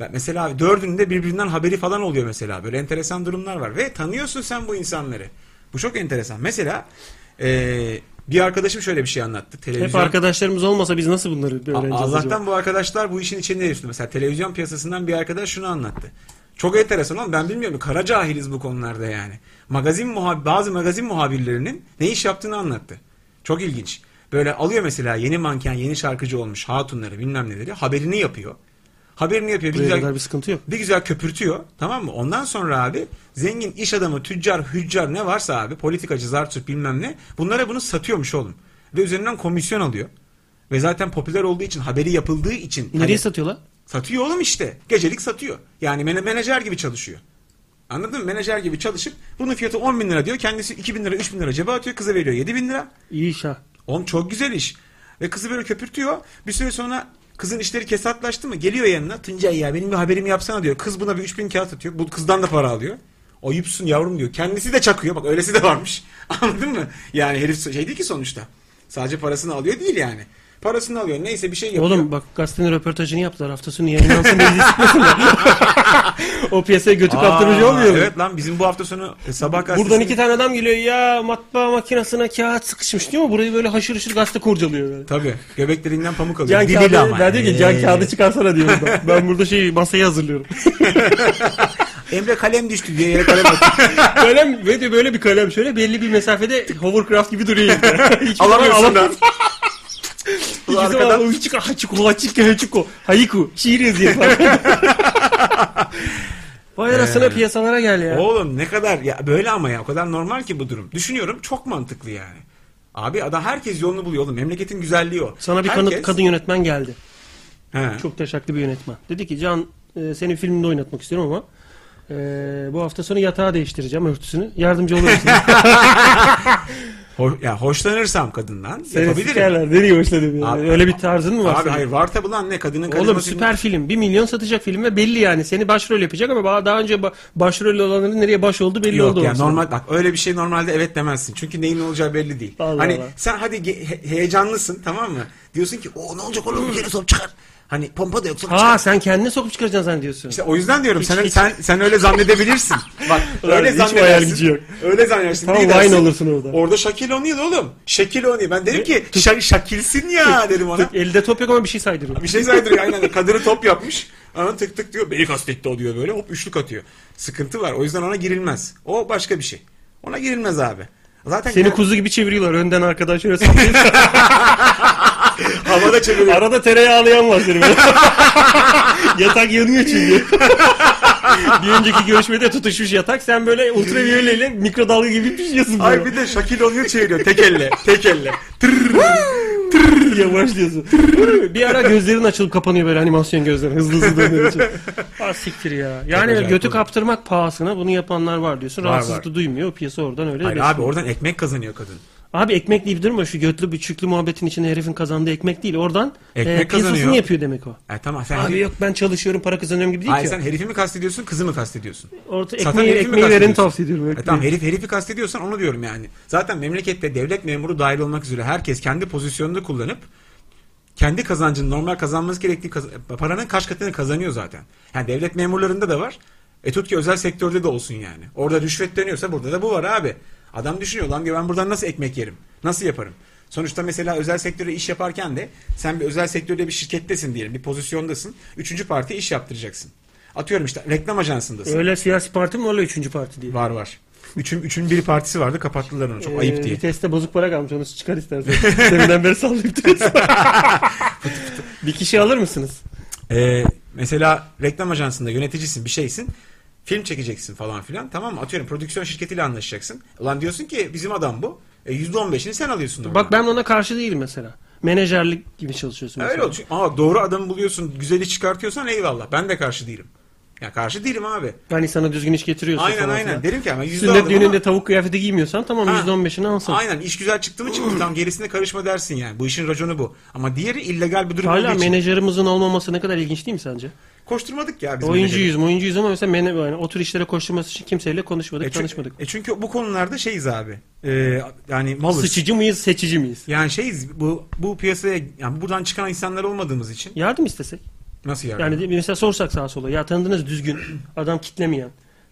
Ben- Mesela abi dördünün de birbirinden haberi falan oluyor mesela. Böyle enteresan durumlar var. Ve tanıyorsun sen bu insanları. Bu çok enteresan. Mesela eee, bir arkadaşım şöyle bir şey anlattı. Televizyon...
Hep arkadaşlarımız olmasa biz nasıl bunları öğreneceğiz
A- Allah'tan
acaba?
bu arkadaşlar bu işin içinde üstü. Mesela televizyon piyasasından bir arkadaş şunu anlattı. Çok enteresan oğlum ben bilmiyorum. Kara cahiliz bu konularda yani. Magazin muha- bazı magazin muhabirlerinin ne iş yaptığını anlattı. Çok ilginç. Böyle alıyor mesela yeni manken, yeni şarkıcı olmuş hatunları bilmem neleri haberini yapıyor. Haberini yapıyor. Bir
Buraya
güzel-
kadar bir sıkıntı yok.
bir güzel köpürtüyor tamam mı? Ondan sonra abi zengin iş adamı, tüccar, hüccar ne varsa abi politikacı, zartürk bilmem ne bunlara bunu satıyormuş oğlum. Ve üzerinden komisyon alıyor. Ve zaten popüler olduğu için haberi yapıldığı için
Nereye
hani-
satıyorlar?
satıyor oğlum işte. Gecelik satıyor. Yani mene- menajer gibi çalışıyor. Anladın mı? Menajer gibi çalışıp bunun fiyatı 10 bin lira diyor. Kendisi 2 bin lira 3 bin lira cebe atıyor. Kıza veriyor 7 bin lira.
İyi iş ha.
Oğlum çok güzel iş. Ve kızı böyle köpürtüyor. Bir süre sonra kızın işleri kesatlaştı mı? Geliyor yanına. Tuncay ya benim bir haberimi yapsana diyor. Kız buna bir 3000 kağıt atıyor. Bu kızdan da para alıyor. Ayıpsın yavrum diyor. Kendisi de çakıyor. Bak öylesi de varmış. Anladın mı? Yani herif şey değil ki sonuçta. Sadece parasını alıyor değil yani. Parasını alıyor. Neyse bir şey yapıyor.
Oğlum bak gazetenin röportajını yaptılar. Hafta sonu yayınlansın diye istemesinler. o piyasaya götü kaptırıcı
Aa,
olmuyor. mu?
Evet lan bizim bu hafta sonu e, sabah gazetesi.
Buradan iki tane adam geliyor ya matbaa makinesine kağıt sıkışmış değil mi? Burayı böyle haşır haşır gazete kurcalıyor böyle.
Tabii. Göbeklerinden pamuk alıyor.
Can
Diliyle
kağıdı,
ama.
ben diyor ki can
Ee,
kağıdı çıkarsana diyor buradan. ben burada şey masayı hazırlıyorum.
Emre kalem düştü diye yere kalem atıyor.
kalem ve de böyle bir kalem şöyle belli bir mesafede hovercraft gibi duruyor. Hiçbir
Alamıyorsun da.
İkisi
Arkadan-
arkadan... Hachiko, hachiko, hachiko, hachiko, hayiku. Şiir yazıyor falan. Vay
Ee.
arasına piyasalara gel ya.
Oğlum ne kadar ya böyle ama ya o kadar normal ki bu durum. Düşünüyorum çok mantıklı yani. Abi adam herkes yolunu buluyor oğlum. Memleketin güzelliği o.
Sana bir
herkes,
kanıt, kadın yönetmen geldi.
He.
Çok taşaklı bir yönetmen. Dedi ki Can e, senin filminde oynatmak istiyorum ama e, bu hafta sonu yatağı değiştireceğim örtüsünü. Yardımcı olur musun?
Ho- ya hoşlanırsam kadınlan
Seni
yapabilirim.
sikerler. Nereye hoşladın ya?
Abi-
Öyle bir tarzın mı var?
Abi
senin?
hayır var tabi lan ne kadının
Oğlum
karizmasını-
süper film. Bir milyon satacak film ve belli yani. Seni başrol yapacak ama ba- daha önce ba- başrol olanların nereye baş oldu belli
Yok
oldu.
ya
orası.
normal bak öyle bir şey normalde evet demezsin. Çünkü neyin olacağı belli değil.
Allah
hani
Allah.
sen hadi ge- he- heyecanlısın tamam mı? Diyorsun ki o ne olacak oğlum bir kere sop çıkar. Hani pompa da yok sop çıkar.
Ha sen kendine sokup çıkaracaksın zannediyorsun.
İşte o yüzden diyorum sen
hiç-
sen sen öyle zannedebilirsin. Bak
Ulan
öyle
hiç hayal gücü
zannedersin.
yok.
Öyle zannedersin.
Tam
Bir
wine
dersin,
olursun orada.
Orada Şakil oynuyor oğlum. Şekil oynuyor. Ben dedim ki Şa- Şakilsin ya dedim ona.
Elde top yok ama bir şey saydırıyor.
Bir şey saydırıyor aynen. Kadını top yapmış. Ana tık tık diyor. Beni kastetti o diyor böyle. Hop üçlük atıyor. Sıkıntı var. O yüzden ona girilmez. O başka bir şey. Ona girilmez abi. Zaten
Seni
ya-
kuzu gibi çeviriyorlar. Önden arkadan şöyle saplayıp
havada çeviriyor.
arada tereyağlayan var seni böyle. yatak yanıyor çünkü. bir önceki görüşmede tutuşmuş yatak. Sen böyle ultraviyoleyle mikrodalga gibi pişiyorsun.
Ay
Ay
bir de Şakil oynuyor çeviriyor. Tek elle. Tek elle.
yavaşlıyorsun. bir ara gözlerin açılıp kapanıyor böyle animasyon gözlerin. Hızlı hızlı döndüğün için. Ah siktir ya. Yani
acayip
götü
oldu.
kaptırmak pahasına bunu yapanlar var diyorsun.
Var,
Rahatsızlık
var.
duymuyor. O piyasa oradan öyle.
Hayır
besliyor.
abi oradan ekmek kazanıyor kadın.
Abi ekmek deyip durma şu götlü büçüklü muhabbetin içinde herifin kazandığı ekmek değil. Oradan
Ekmek
e, piyasasını
kazanıyor.
yapıyor demek o.
E tamam sen
Abi yok ben çalışıyorum para kazanıyorum gibi değil
Hayır
ki.
sen herifi mi kastediyorsun, kızı mı kastediyorsun?
Orta
Zaten
ekmeği,
herifi mi
ekmeği vereni
kastediyorsun?
tavsiye ediyorum.
E
ekmeği.
tamam herif herifi kastediyorsan onu diyorum yani. Zaten memlekette devlet memuru dahil olmak üzere herkes kendi pozisyonunu kullanıp kendi kazancının normal kazanması gerektiği kaz- paranın kaç katını kazanıyor zaten. Yani devlet memurlarında da var. E tut ki özel sektörde de olsun yani. Orada rüşvet dönüyorsa burada da bu var abi. Adam düşünüyor lan diyor ben buradan nasıl ekmek yerim? Nasıl yaparım? Sonuçta mesela özel sektöre iş yaparken de sen bir özel sektörde bir şirkettesin diyelim bir pozisyondasın. Üçüncü partiye iş yaptıracaksın. Atıyorum işte reklam ajansındasın.
Öyle siyasi parti mi öyle üçüncü parti diye. Ee,
Var var. Üçün, üçün bir partisi vardı kapattılar onu çok ayıp diye.
Viteste bozuk para kalmış onu çıkar istersen. Deminden beri sallayıp duruyorsun. bir kişi alır mısınız?
Ee, mesela reklam ajansında yöneticisin bir şeysin. Film çekeceksin falan filan tamam mı? Atıyorum prodüksiyon şirketiyle anlaşacaksın. Ulan diyorsun ki bizim adam bu. E, %15'ini sen alıyorsun. oradan.
Bak ben ona karşı değilim mesela. Menajerlik gibi çalışıyorsun mesela.
Öyle oldu. Çünkü- Aa, doğru adamı buluyorsun güzeli çıkartıyorsan eyvallah ben de karşı değilim. Ya karşı değilim abi.
Yani sana düzgün iş getiriyorsun
Aynen
falan
aynen
filan.
derim ki ama yüzde
Sünnet
aldım ama-
düğününde tavuk kıyafeti giymiyorsan tamam
Ha.
%15'ini alsın.
Aynen iş güzel çıktı mı çıktı tam gerisine karışma dersin yani. Bu işin raconu bu. Ama diğeri illegal bir durum
Hala
olduğu için.
menajerimizin olmaması ne kadar ilginç değil mi sence?
Koşturmadık ya biz. menajeri.
Oyuncuyuz, oyuncuyuz ama mesela mene, yani o tür işlere koşturması için kimseyle konuşmadık,
çünkü-
tanışmadık.
e çünkü bu konularda şeyiz abi. Ee, yani malız. şey,
Sıçıcı mıyız, seçici miyiz?
Yani şeyiz bu bu piyasaya yani buradan çıkan insanlar olmadığımız için
Yardım istesek.
Nasıl yardım?
Yani de- mesela sorsak sağa sola ya tanıdığınız düzgün adam kitlemeyen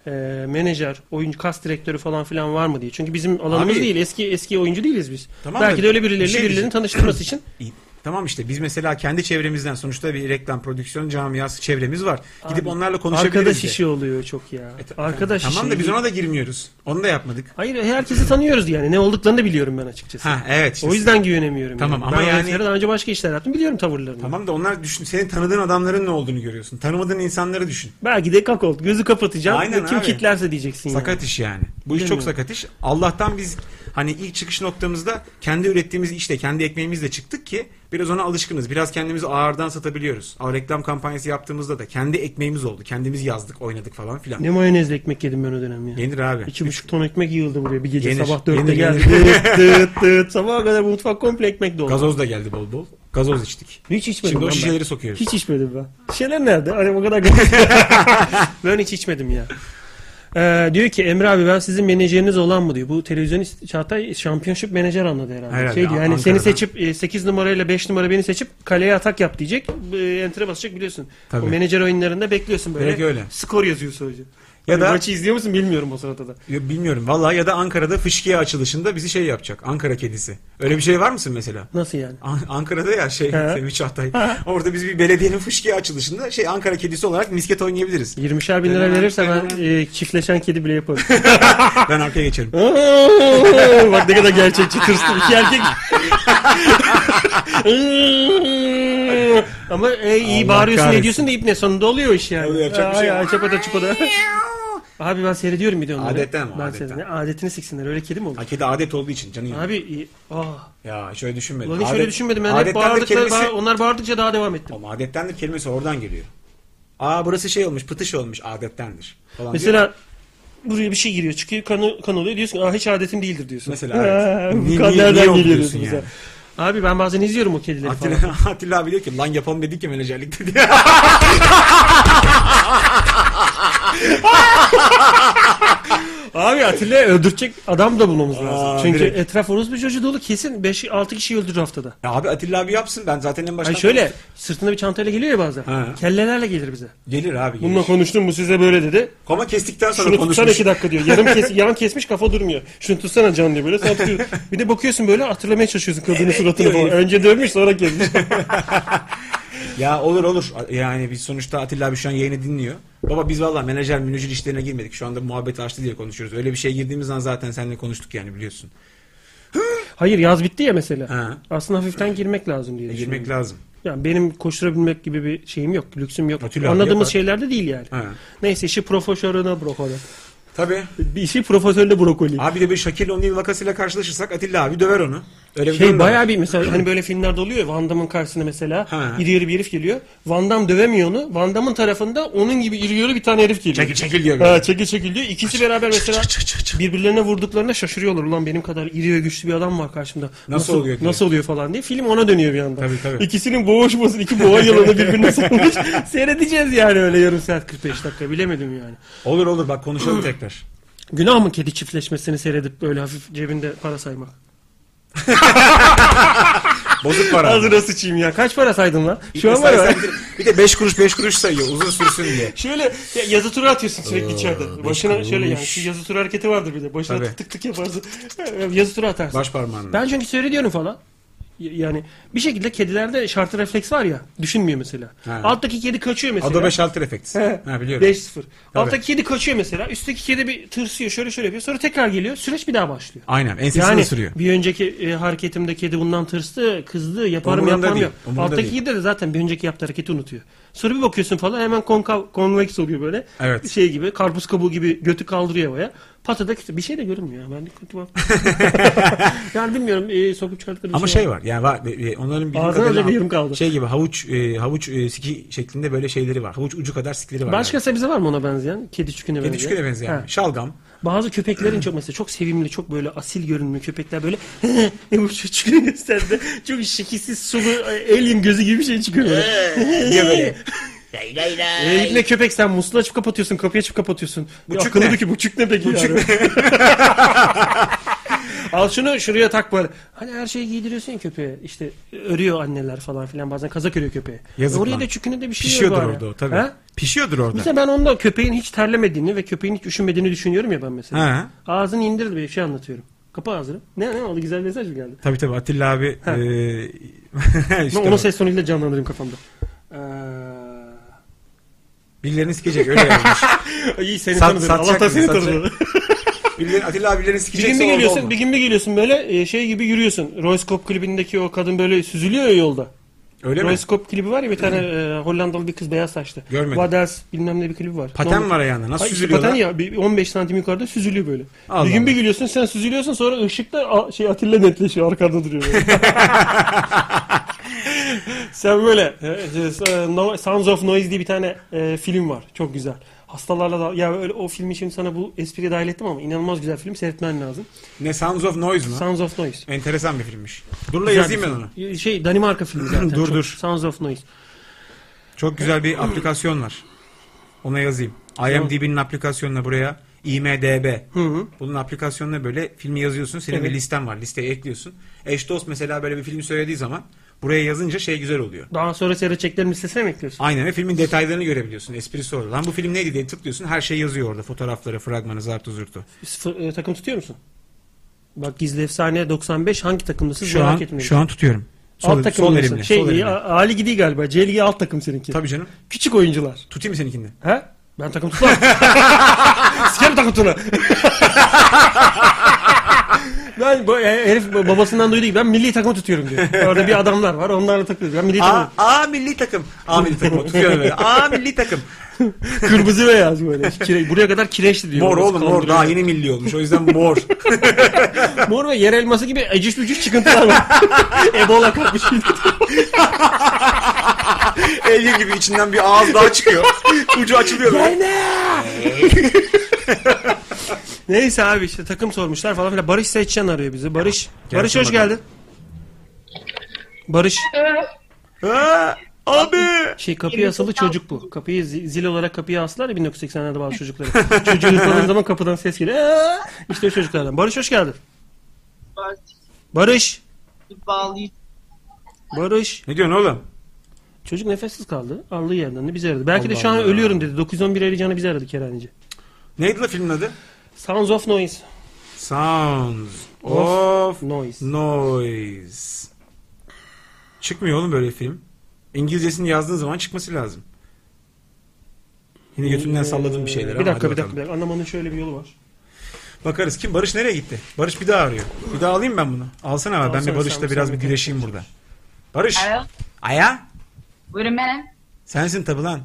e, menajer, oyuncu, kas direktörü falan filan var mı diye. Çünkü bizim alanımız
Abi-
değil. Eski eski oyuncu değiliz biz.
Tamam
Belki
da
de öyle
bir
birileriyle
şey
birilerini
diyeceğim.
tanıştırması için.
İyi. Tamam işte biz mesela kendi çevremizden sonuçta bir reklam prodüksiyon camiası çevremiz var. Gidip onlarla konuşabiliriz.
Arkadaş
de.
işi oluyor çok ya.
E, ta-
Arkadaş işi.
Tamam da biz ona da girmiyoruz. Onu da yapmadık.
Hayır herkesi tanıyoruz yani. Ne olduklarını da biliyorum ben açıkçası.
Ha evet. işte
o yüzden güvenemiyorum.
Tamam,
yani.
ama
ben
yani-
yönetmenlere daha önce başka işler yaptım. Biliyorum tavırlarını.
Tamam da onlar düşün. Senin tanıdığın adamların ne olduğunu görüyorsun. Tanımadığın insanları düşün.
Belki de kakol. Gözü kapatacağım.
Aynen
ve kim
abi.
kitlerse diyeceksin yani.
Sakat iş yani. Bu iş çok
Bilmiyorum.
sakat iş. Allah'tan biz hani ilk çıkış noktamızda kendi ürettiğimiz işte kendi ekmeğimizle çıktık ki biraz ona alışkınız. Biraz kendimizi ağırdan satabiliyoruz. Ama reklam kampanyası yaptığımızda da kendi ekmeğimiz oldu. Kendimiz yazdık, oynadık falan filan.
Ne mayonezli ekmek yedim ben o dönem ya.
Yenir abi.
İki buçuk ton ekmek yığıldı buraya bir gece
Yenir,
sabah
yenir,
dörtte geldi. Dıt dıt dıt. Sabaha kadar bu mutfak komple ekmek doldu.
Gazoz da geldi bol bol. Gazoz içtik.
hiç içmedim
Şimdi o
lan ben.
şişeleri sokuyoruz.
Hiç içmedim ben. Şişeler nerede? Hani o kadar gazoz. ben hiç içmedim ya. Ee, diyor ki Emre abi ben sizin menajeriniz olan mı diyor. Bu televizyon ist- Çağatay şampiyonşup menajer anladı herhalde.
Herhalde,
şey diyor,
An-
yani
Ankara'dan.
seni seçip 8 numarayla 5 numara beni seçip kaleye atak yap diyecek. E, enter'e basacak biliyorsun.
Tabii.
O menajer oyunlarında bekliyorsun böyle.
Direkt öyle.
Skor yazıyorsun hoca.
Ya
Ya
da-
maçı izliyor musun bilmiyorum o sırada da.
Ya Bilmiyorum vallahi ya da Ankara'da fışkiye açılışında bizi şey yapacak. Ankara kedisi. Öyle bir şey var mısın mesela?
Nasıl yani?
An- Ankara'da ya şey
He.
Sevgi Çağatay. Orada biz bir belediyenin fışkiye açılışında şey Ankara kedisi olarak misket oynayabiliriz. Ee,
20'şer bin lira verirse ben e, çiftleşen kedi bile yaparım.
Ben arkaya geçerim.
Bak ne kadar gerçekçi tırstım. İki erkek. Ama e, iyi
Allah
bağırıyorsun
kahretsin.
ediyorsun da ip ne sonunda oluyor iş yani.
Öyle yapacak bir şey yok.
Ay, ay, çapata çupada. Abi ben seyrediyorum bir de onları.
Adetten mi?
Ben
Adetten.
seyrediyorum. Ne, Adetini siksinler öyle kedi mi olur?
Ha, kedi adet olduğu için canım.
Abi iyi. ah.
Ya şöyle düşünmedim.
Ulan hiç öyle düşünmedim. Ben hep
adettendir
bağırdıkça,
kelimesi-
bağır- onlar bağırdıkça daha devam ettim.
Ama adettendir kelimesi oradan geliyor. Aa burası şey olmuş pıtış olmuş adettendir. Falan diyor.
Mesela buraya bir şey giriyor çıkıyor kan, kan oluyor diyorsun ki, "Aa, hiç adetim değildir diyorsun.
Mesela
Aa,
evet.
bu
Niye-
kan
niye- niye
nereden
oldu
geliyor
diyorsun
diyorsun
yani?
mesela. Abi ben bazen izliyorum o kedileri falan.
Atilla, Atilla abi diyor ki lan yapalım dedik ki menajerlikte diye.
Abi Atilla öldürecek adam da bulmamız lazım.
Aa,
Çünkü
direkt.
etraf orospu çocuğu dolu kesin 5-6 kişi öldürür haftada.
Ya abi Atilla abi yapsın ben zaten en baştan.
Ay şöyle sırtında bir çantayla geliyor ya bazen.
Ha.
Kellelerle gelir bize.
Gelir abi gelir.
Bununla konuştum bu size böyle dedi.
Koma kestikten sonra
Şunu tutsana
konuşmuş.
2 dakika diyor. Yarım kes, yan kesmiş kafa durmuyor. Şunu tutsana can diyor böyle. Sonra tutuyor. bir de bakıyorsun böyle hatırlamaya çalışıyorsun kadının suratını
diyor
falan.
herif.
Önce dövmüş sonra kesmiş.
Ya olur olur. Yani biz sonuçta Atilla abi şu an yayını dinliyor. Baba biz valla menajer münecil işlerine girmedik. Şu anda muhabbet açtı diye konuşuyoruz. Öyle bir şeye girdiğimiz an zaten seninle konuştuk yani biliyorsun.
Hayır yaz bitti ya mesela.
Ha.
Aslında hafiften girmek lazım diye
E,
düşünüyorum.
girmek lazım.
Yani benim koşturabilmek gibi bir şeyim yok. Lüksüm yok.
Atilla abi
Anladığımız
yapar.
şeylerde değil yani.
Ha.
Neyse işi profesörüne brokoli.
Tabii.
Bir işi profesörle brokoli.
Abi de bir Şakir O'Neal vakasıyla karşılaşırsak Atilla abi döver onu. Öyle bir
Şey
durum da var.
bayağı bir mesela hani böyle filmlerde oluyor ya Van Damme'ın karşısına mesela
Ha.
iri iri bir herif geliyor. Van Damme dövemiyor onu. Van Damme'ın tarafında onun gibi iri iri bir tane herif geliyor.
Çekil çekil diyor. böyle.
Ha, çekil çekil diyor. İkisi beraber mesela
Çık, çık, çık, çık.
birbirlerine vurduklarında şaşırıyorlar. Ulan benim kadar iri ve güçlü bir adam var karşımda.
oluyor diye.
Nasıl oluyor falan diye. Film ona dönüyor bir yandan.
Tabii, tabii.
İkisinin boğuşması, iki boğa yılanı birbirine sarılmış. Seyredeceğiz yani öyle yarım saat 45 dakika bilemedim yani.
Olur olur bak konuşalım tekrar.
Günah mı kedi çiftleşmesini seyredip böyle hafif cebinde para saymak?
Bozuk para.
Ağzına sıçayım ya. Kaç para saydın lan? Şu an var
Mesela
ya.
sen bir- Bir de 5 kuruş 5 kuruş sayıyor uzun sürsün diye.
Şöyle ya- yazı turu atıyorsun sürekli içeride.
beş
Başına şöyle yani
kuruş.
şu yazı turu hareketi vardır bir de. Başına
Tabii.
tık tık tık yaparsın. yazı turu atarsın.
Baş parmağınla.
Ben çünkü seyrediyorum falan. Y- Yani bir şekilde kedilerde şartı refleks var ya. Düşünmüyor mesela.
Ha.
Alttaki kedi kaçıyor mesela.
Adobe Shelter Effects.
He.
ha biliyorum.
5-0. Alttaki kedi kaçıyor mesela. Üstteki kedi bir tırsıyor. Şöyle şöyle yapıyor. Sonra tekrar geliyor. Süreç bir daha başlıyor.
Aynen ensesini
Yani
sürüyor.
bir önceki e, hareketimde kedi bundan tırstı, kızdı, yaparım
Umurunda
yapmam
değil,
yok.
umurunda
Alttaki
değil.
kedi de zaten bir önceki yaptığı hareketi unutuyor. Sonra bir bakıyorsun falan hemen konkav, konveks oluyor böyle.
Evet.
Şey gibi karpuz kabuğu gibi götü kaldırıyor havaya. Patada bir şey de görünmüyor. Ben de kötü bak. yani bilmiyorum e, sokup çıkarttıkları bir
Ama
var.
şey var yani var, e, e, onların bildiğim
Ağzına
kadarıyla
da bir yarım kaldı.
şey gibi havuç e, havuç e, siki şeklinde böyle şeyleri var. Havuç ucu kadar sikleri var.
Başka
yani.
sebze var mı ona benzeyen? Kedi çüküne benzeyen.
Kedi çüküne benzeyen.
Ha.
Şalgam.
Bazı köpeklerin çok mesela çok sevimli, çok böyle asil görünümlü köpekler böyle ne bu çocukluğu gösterdi. Çok şekilsiz sulu alien gözü gibi bir şey çıkıyor. böyle.
Niye böyle?
Lay lay
Ee,
lay.
ilk ne köpek sen musluğu açıp kapatıyorsun, kapıyı açıp kapatıyorsun.
Buçuk
Buçuk ne?
ne?
ki buçuk ne peki yani? Al şunu şuraya tak böyle. Hani her şeyi giydiriyorsun ya köpeğe. İşte örüyor anneler falan filan bazen kazak örüyor köpeğe.
Yazık
Oraya
lan.
da çüküne de bir şey
Pişiyordur
yok. abi.
orada o tabii.
Ha?
Pişiyordur orada.
Mesela ben onda köpeğin hiç terlemediğini ve köpeğin hiç üşümediğini düşünüyorum ya ben mesela.
Ha.
Ağzını indir bir şey anlatıyorum. Kapa ağzını. Ne ne oldu güzel mesaj mı geldi?
Tabii tabii Atilla abi
Ha.
e, işte
Ben onu
o.
ses tonuyla canlandırayım kafamda.
Ee, birilerini sikecek öyle yazmış.
Ee, iyi seni
Sat-
tanıdım.
satacak
Allah'tan
mı?
seni
Satacak.
tanıdım.
Birileri, Atilla abi birilerini
Bir gün
sikecekse
bir
orada
geliyorsun,
olma.
bir gün bir geliyorsun böyle e, şey gibi yürüyorsun. Royce Cop klibindeki o kadın böyle süzülüyor ya yolda.
Öyle mi?
Royce Cop klibi var ya bir tane e, Hollandalı bir kız beyaz saçlı.
Görmedim.
What else bilmem ne bir klibi var.
Paten var ayağında. Nasıl
Ay, işte
süzülüyorlar?
paten ya bir 15 santim yukarıda süzülüyor böyle.
Allah
bir gün bir
Allah.
gülüyorsun sen süzülüyorsun sonra ışıkta a- şey Atilla netleşiyor arkanda duruyor. böyle. sen böyle e, e, No- Sounds of Noise diye bir tane e, film var. Çok güzel. Hastalarla da ya öyle o filmi şimdi sana bu espriye dahil ettim ama inanılmaz güzel film seyretmen lazım.
Ne Sounds of Noise mu?
Sounds of Noise.
Enteresan bir filmmiş. Dur la
Güzel
yazayım
bir
ben
film.
onu.
Şey Danimarka filmi zaten.
Dur,
Çok-
dur.
Sounds of Noise.
Çok güzel bir aplikasyon var. Ona yazayım. IMDb'nin aplikasyonuna buraya IMDB.
Hı hı.
Bunun aplikasyonuna böyle filmi yazıyorsun. Senin
Evet.
bir listen var. Listeye ekliyorsun. Eş dost mesela böyle bir film söylediği zaman buraya yazınca şey güzel oluyor.
Daha sonra seyredeceklerin listesine mi ekliyorsun?
Aynen ve filmin detaylarını görebiliyorsun. Esprisi orada. Lan bu film neydi diye tıklıyorsun. Her şey yazıyor orada. Fotoğrafları, fragmanı, zartı zurtu.
Sıfır- e, takım tutuyor musun? Bak Gizli Efsane 95 hangi takımdasın
Şu
merak
an,
etmeyin.
şu an tutuyorum. Sol,
alt takım
sol
mısın?
elimle.
Şey,
sol elimle.
A- Ali Gidi galiba. Celgi alt takım seninki.
Tabii canım.
Küçük oyuncular.
Tutayım mı seninkinde?
He? Ben takım tutmam. Sikerim takım tutunu. ben bu, e, herif babasından duydu ki ben milli takım tutuyorum diyor. Orada bir adamlar var onlarla takılıyoruz. Ben milli
Aa,
takım.
aa milli takım. Aa milli takım. Tutuyorum böyle. Aa milli takım.
Kırmızı beyaz böyle. Kire- buraya kadar kireçti diyor.
Mor
Orası
oğlum mor.
kaldırıyor.
Daha yeni milli olmuş. O yüzden mor.
Mor ve yer elması gibi ecüş bücüş çıkıntılar var. Ebola şey kapmış.
Elgin gibi içinden bir ağız daha çıkıyor. Ucu açılıyor böyle.
Neyse abi işte takım sormuşlar falan filan. Barış Seçen arıyor bizi. Barış.
Gelsin
Barış hoş
bakalım.
geldin. Barış.
Ha, abi.
Şey kapıya asılı çocuk bu. Kapıyı zi- zil olarak kapıya aslar ya 1980'lerde bazı çocukları. Çocuğu ısladığın zaman kapıdan ses geliyor. Aa! İşte o çocuklardan. Barış hoş geldin. Barış.
bağlayıp
Barış.
Ne diyorsun oğlum?
Çocuk nefessiz kaldı. Aldığı yerden de bizi aradı. Belki de
Allah
şu an
Allah.
ölüyorum dedi. 911 arayacağını bizi aradı Kerhaneci.
Neydi la filmin adı?
Sounds of noise.
Sounds
Of
of
noise.
Noise. Çıkmıyor oğlum böyle film. İngilizcesini yazdığın zaman çıkması lazım. Yine götümden
Ee,
salladım bir şeyler.
Bir dakika bir dakika. bir dakika. Anlamanın şöyle bir yolu var.
Bakarız kim? Barış nereye gitti? Barış bir daha arıyor. Bir daha alayım ben bunu. Alsana abi. ben
Alsana
bir Barış'la
sen-
biraz
sen
bir
bir-
güreşeyim burada. Barış.
Alo.
Aya.
Wait a minute.
Sensin tabi lan.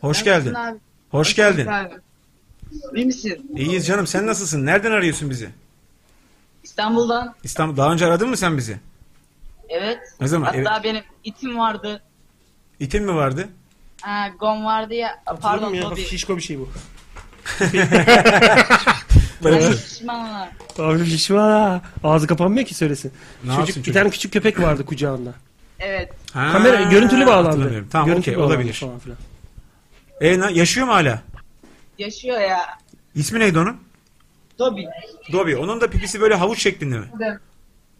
Hoş
Nasılsın
geldin.
abi?
Hoş geldin.
Abi. İyi misin?
İyiyiz canım. Sen nasılsın? Nereden arıyorsun bizi?
İstanbul'dan.
İstanbul. Daha önce aradın mı sen bizi?
Evet.
Ne zaman?
Hatta
Evet.
benim itim vardı.
İtin mi vardı?
Ha, gom vardı ya.
Pardon
Pardon
ya
Bobby.
hafif şişko bir şey bu.
şey.
Ay, şişmanlar.
Abi şişman ha. Ağzı kapanmıyor ki söylesin.
Ne
çocuk,
yapsın
bir
çocuk?
tane küçük köpek vardı kucağında.
Evet.
Ha,
Kamera görüntülü bağlandı.
hatırlamıyorum. Tamam
Görüntülü
okey
bağlandı
olabilir.
falan filan.
E, na- yaşıyor mu hala?
Yaşıyor ya.
İsmi neydi onun?
Bobby.
Dobby. Onun da pipisi böyle havuç şeklinde mi?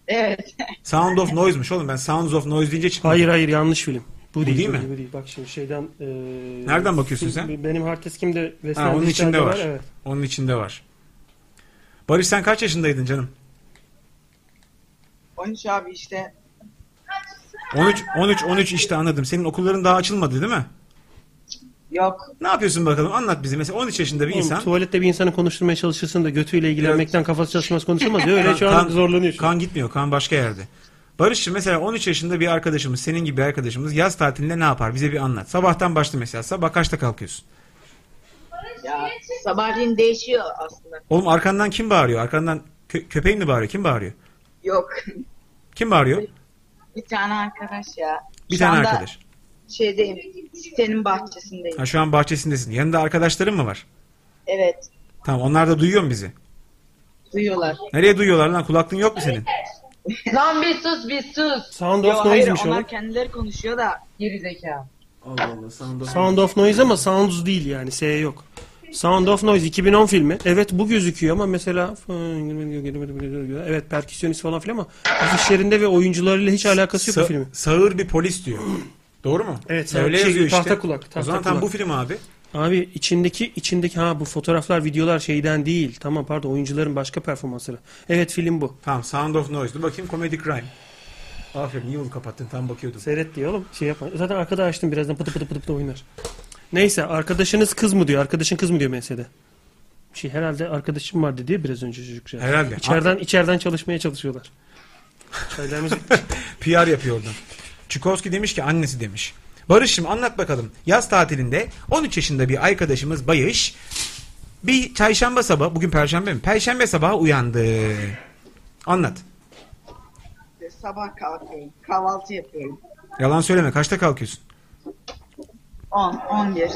Evet.
Sound of Noise'muş oğlum. Ben Sounds of Noise deyince çıktım.
Hayır hayır yanlış film. Bu, değil,
değil
bu
mi?
değil, Bu değil. Bak şimdi şeyden. e,
Nereden bakıyorsun
film-
sen?
Benim hard diskimde Western
Ha, onun
Dijital'de
içinde var.
Evet.
Onun içinde var. Barış sen kaç yaşındaydın canım?
13 abi işte.
13, 13, 13 işte anladım. Senin okulların daha açılmadı değil mi?
Yok.
Ne yapıyorsun bakalım? Anlat bize. Mesela 13 yaşında bir
Oğlum,
insan.
tuvalette bir insanı konuşturmaya çalışırsın da götüyle ilgilenmekten kafası çalışmaz konuşamaz ya öyle şu an zorlanıyor. şu an.
Kan gitmiyor. Kan başka yerde. Barış'cığım mesela 13 yaşında bir arkadaşımız, senin gibi bir arkadaşımız yaz tatilinde ne yapar? Bize bir anlat. Sabahtan başla mesela. Sabah kaçta kalkıyorsun?
Ya sabahleyin değişiyor aslında.
Oğlum arkandan kim bağırıyor? Arkandan kö- köpeğin mi bağırıyor? Kim bağırıyor?
Yok.
Kim bağırıyor?
Bir tane arkadaş ya.
Bir
Şu
tane
anda
arkadaş.
Şeydeyim. Sitenin bahçesindeyim.
Ha, şu an bahçesindesin. Yanında arkadaşların mı var?
Evet.
Tamam onlar da duyuyor mu bizi?
Duyuyorlar.
Nereye duyuyorlar lan? Kulaklığın yok mu senin?
Lan bir sus bir sus.
Sound
Yo,
of
hayır
Noise'miş
onlar
o.
kendileri konuşuyor da.
Geri zekalı.
Allah Allah. Sound of
Sound of Noise ama Sounds değil yani S yok. Sound of Noise 2010 filmi. Evet bu gözüküyor ama mesela evet perküsyonist falan filan ama afişlerinde ve oyuncularıyla hiç alakası yok bu
Sa-
filmin.
Sağır bir polis diyor. Doğru mu?
Evet, sağır bir şey diyor, tahta kulak, tahta
o zaman tam bu
kulak.
film abi.
Abi içindeki içindeki ha bu fotoğraflar videolar şeyden değil. Tamam pardon oyuncuların başka performansları. Evet film bu.
Tamam Sound of Noise. Dur bakayım Comedy Crime. Aferin iyi oldu kapattın tam bakıyordum.
Seyret diyor oğlum şey yapma. Zaten arkada açtım birazdan pıtı pıtı pıtı pıtı oynar. Neyse arkadaşınız kız mı diyor. Arkadaşın kız mı diyor MS'de. Bir şey herhalde arkadaşım vardı diye biraz önce çocukça.
Herhalde.
İçeriden, içeriden çalışmaya çalışıyorlar. Çaylarımız
PR yapıyor oradan. Çukovski demiş ki annesi demiş. Barış'ım anlat bakalım. Yaz tatilinde 13 yaşında bir arkadaşımız Bayış bir çarşamba sabahı, bugün perşembe mi? Perşembe sabahı uyandı. Anlat.
Sabah kalkıyorum. Kahvaltı yapıyorum.
Yalan söyleme. Kaçta kalkıyorsun?
10, 11.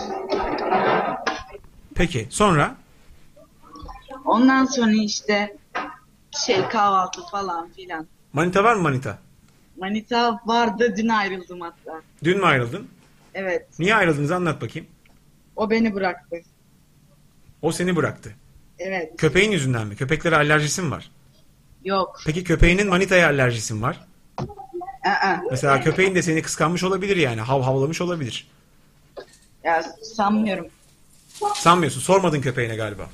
Peki. Sonra?
Ondan sonra işte şey kahvaltı falan filan.
Manita var mı manita?
Manita vardı dün ayrıldım hatta.
Dün mü ayrıldın?
Evet.
Niye ayrıldığınızı anlat bakayım.
O beni bıraktı.
O seni bıraktı.
Evet.
Köpeğin yüzünden mi? Köpeklere alerjisi mi var?
Yok.
Peki köpeğinin manitaya alerjisi mi var?
Aa.
Mesela köpeğin de seni kıskanmış olabilir yani. Hav havlamış olabilir.
Ya sanmıyorum.
Sanmıyorsun. Sormadın köpeğine galiba.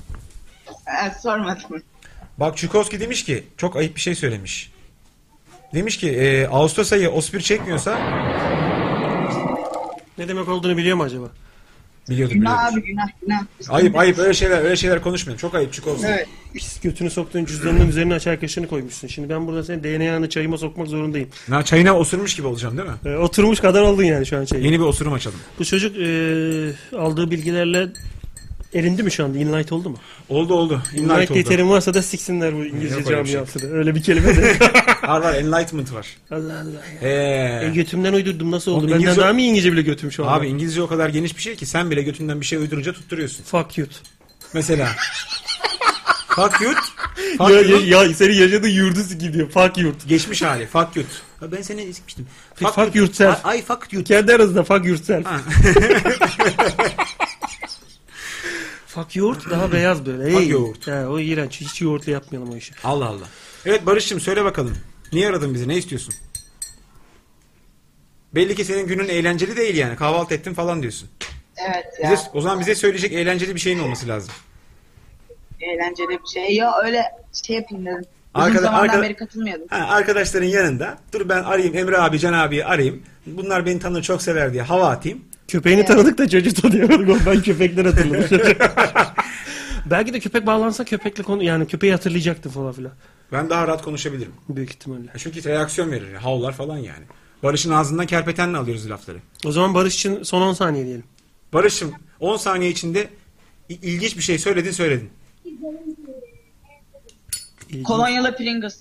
Aa, sormadım.
Bak Çukovski demiş ki çok ayıp bir şey söylemiş. Demiş ki e, Ağustos ayı ospir çekmiyorsa
ne demek olduğunu biliyor mu acaba?
biliyordum
Günah
biliyordum.
abi günah günah.
Ayıp ayıp öyle şeyler öyle şeyler konuşmayın. Çok ayıp Çukovski.
Evet.
Pis götünü soktuğun cüzdanının üzerine açar kaşını koymuşsun. Şimdi ben burada senin DNA'nı çayıma sokmak zorundayım.
Na, çayına osurmuş gibi olacağım değil mi?
Ee, oturmuş kadar oldun yani şu an şey. çayı.
Yeni bir osurum açalım.
Bu çocuk e, aldığı bilgilerle erindi mi şu anda? Inlight oldu mu?
Oldu oldu. Enlight
Inlight diye
oldu.
terim varsa da siksinler bu
Yok
İngilizce
öyle bir şey.
camiasını. Öyle bir kelime de.
Var var enlightenment var.
Allah Allah. E,
Ee,
götümden uydurdum nasıl oldu?
Oğlum
Benden
İngilizce-
daha mı İngilizce bile götüm şu anda?
abi İngilizce o kadar geniş bir şey ki sen bile götünden bir şey uydurunca tutturuyorsun.
Fuck you.
Mesela. fuck you. Fuck
Ya,
you'nun
ya, ya senin yaşadığın yurdu gidiyor. Fuck you.
Geçmiş hali. Fuck you. Ha, Ben seni sikmiştim.
Fuck yourself.
Ay fuck you.
Kendi arasında fuck yourself.
Ha.
fuck yoğurt daha beyaz böyle.
Fuck
Ey.
yoğurt.
He, o iğrenç. Hiç yoğurtlu yapmayalım o işi.
Allah Allah. Evet Barış'cığım söyle bakalım. Niye aradın bizi? Ne istiyorsun? Belli ki senin günün eğlenceli değil yani. Kahvaltı ettin falan diyorsun.
Evet ya.
Bize, o zaman bize söyleyecek eğlenceli bir şeyin olması lazım.
Eğlenceli bir şey. Ya öyle şey yapayım dedim. Uzun
Arkada-
zamandan
arkada-
beri katılmıyordum.
Ha, arkadaşların yanında dur ben arayayım Emre abi Can abi arayayım. Bunlar beni tanır çok sever diye hava atayım.
Köpeğini tanıdık da çocuğu tanıyamadık. Oğlum Ben köpekten hatırladım. Belki de köpek bağlansa köpekle konu yani köpeği hatırlayacaktı falan filan.
Ben daha rahat konuşabilirim.
Büyük ihtimalle.
Ya Çünkü reaksiyon verir. Havlar falan yani. Barış'ın ağzından kerpetenle alıyoruz lafları.
O zaman Barış için son 10 saniye diyelim.
Barış'ım 10 saniye içinde il- ilginç bir şey söyledin söyledin.
İlginç.
Kolonyalı Pringles.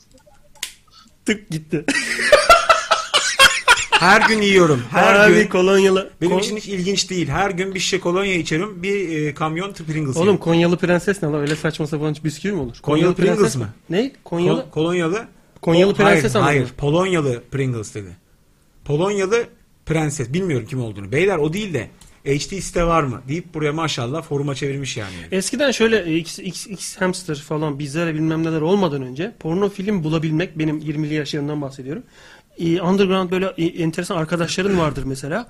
Tık gitti.
Her gün yiyorum. Her
Her
gün.
Abi kolonyalı.
Benim
Kon-
için hiç ilginç değil. Her gün bir şişe kolonya içerim. Bir e, kamyon t- Pringles
Oğlum
yerim.
Konyalı prenses ne lan? Öyle saçma sapan bisküvi mi olur?
Konyalı Pringles
prenses
mi?
Ne? Konyalı?
Kol- Kolonyalı.
Konyalı prenses
hayır,
anladın
hayır.
mı?
Polonyalı Pringles dedi. Polonyalı prenses. Bilmiyorum kim olduğunu. Beyler o değil de HD site var mı? Deyip buraya maşallah foruma çevirmiş yani.
Eskiden şöyle e, X, X, X hamster falan bizlere bilmem neler olmadan önce porno film bulabilmek benim 20'li yaşlarımdan bahsediyorum. E, underground böyle e, enteresan arkadaşların vardır mesela.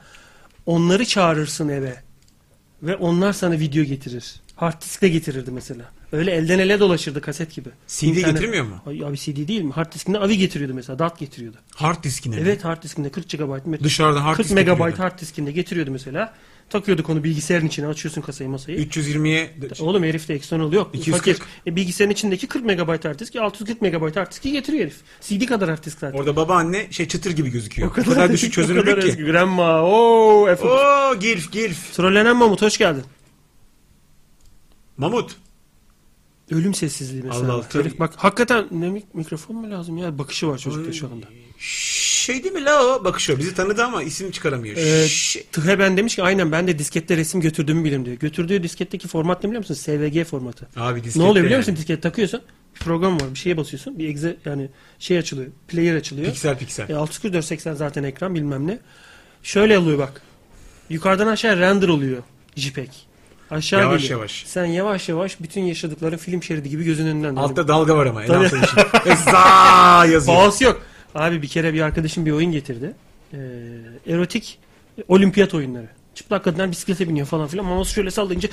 Onları çağırırsın eve ve onlar sana video getirir. Hard disk de getirirdi mesela. Öyle elden ele dolaşırdı kaset gibi.
CD getirmiyor mu?
Ay, abi CD değil mi? Hard diskinde avi getiriyordu mesela. DAT getiriyordu.
Hard diskine. mi?
Evet hard diskinde 40 GB. met-
Dışarıda hard
40
disk
MB
getiriyordu.
hard diskinde getiriyordu mesela. Takıyorduk onu bilgisayarın içine açıyorsun kasayı masayı.
320'ye
Oğlum herifte external yok.
240.
Fakir. E, bilgisayarın içindeki 40 MB hard disk, 640 MB hard diski getiriyor herif. CD kadar hard disk zaten.
orada babaanne şey çıtır gibi gözüküyor. O kadar, düşük
o kadar
çözünürlük
eski.
ki.
Grandma, ooo efendim.
Oo gilf gilf.
Trollenen Mamut hoş geldin.
Mamut.
Ölüm sessizliği mesela.
Allah Allah,
Herif
tabii.
bak hakikaten ne mik- mikrofon mu lazım ya? Bakışı var çocukta şu anda.
Şey değil mi la o? Bakışıyor. Bizi tanıdı ama isim çıkaramıyor.
Ee,
Şey-
Tıhe ben demiş ki aynen ben de diskette resim götürdüğümü bilirim diyor. Götürdüğü disketteki format ne biliyor musun? SVG formatı.
Abi
Ne
diskette
oluyor biliyor
yani.
musun? Disket takıyorsun. Program var. Bir şeye basıyorsun. Bir exe yani şey açılıyor. Player açılıyor.
Piksel piksel.
E, 644-80 zaten ekran bilmem ne. Şöyle oluyor bak. Yukarıdan aşağı render oluyor JPEG. Aşağı
Yavaş
geliyor.
yavaş.
Sen yavaş yavaş bütün yaşadıkların film şeridi gibi gözünün önünden.
Altta dalga var ama en
Tabii.
altta bir şey. Ve za yazıyor.
Bağısı yok. Abi bir kere bir arkadaşım bir oyun getirdi. Ee, erotik olimpiyat oyunları. Çıplak kadınlar bisiklete biniyor falan filan. Mouse şöyle sallayınca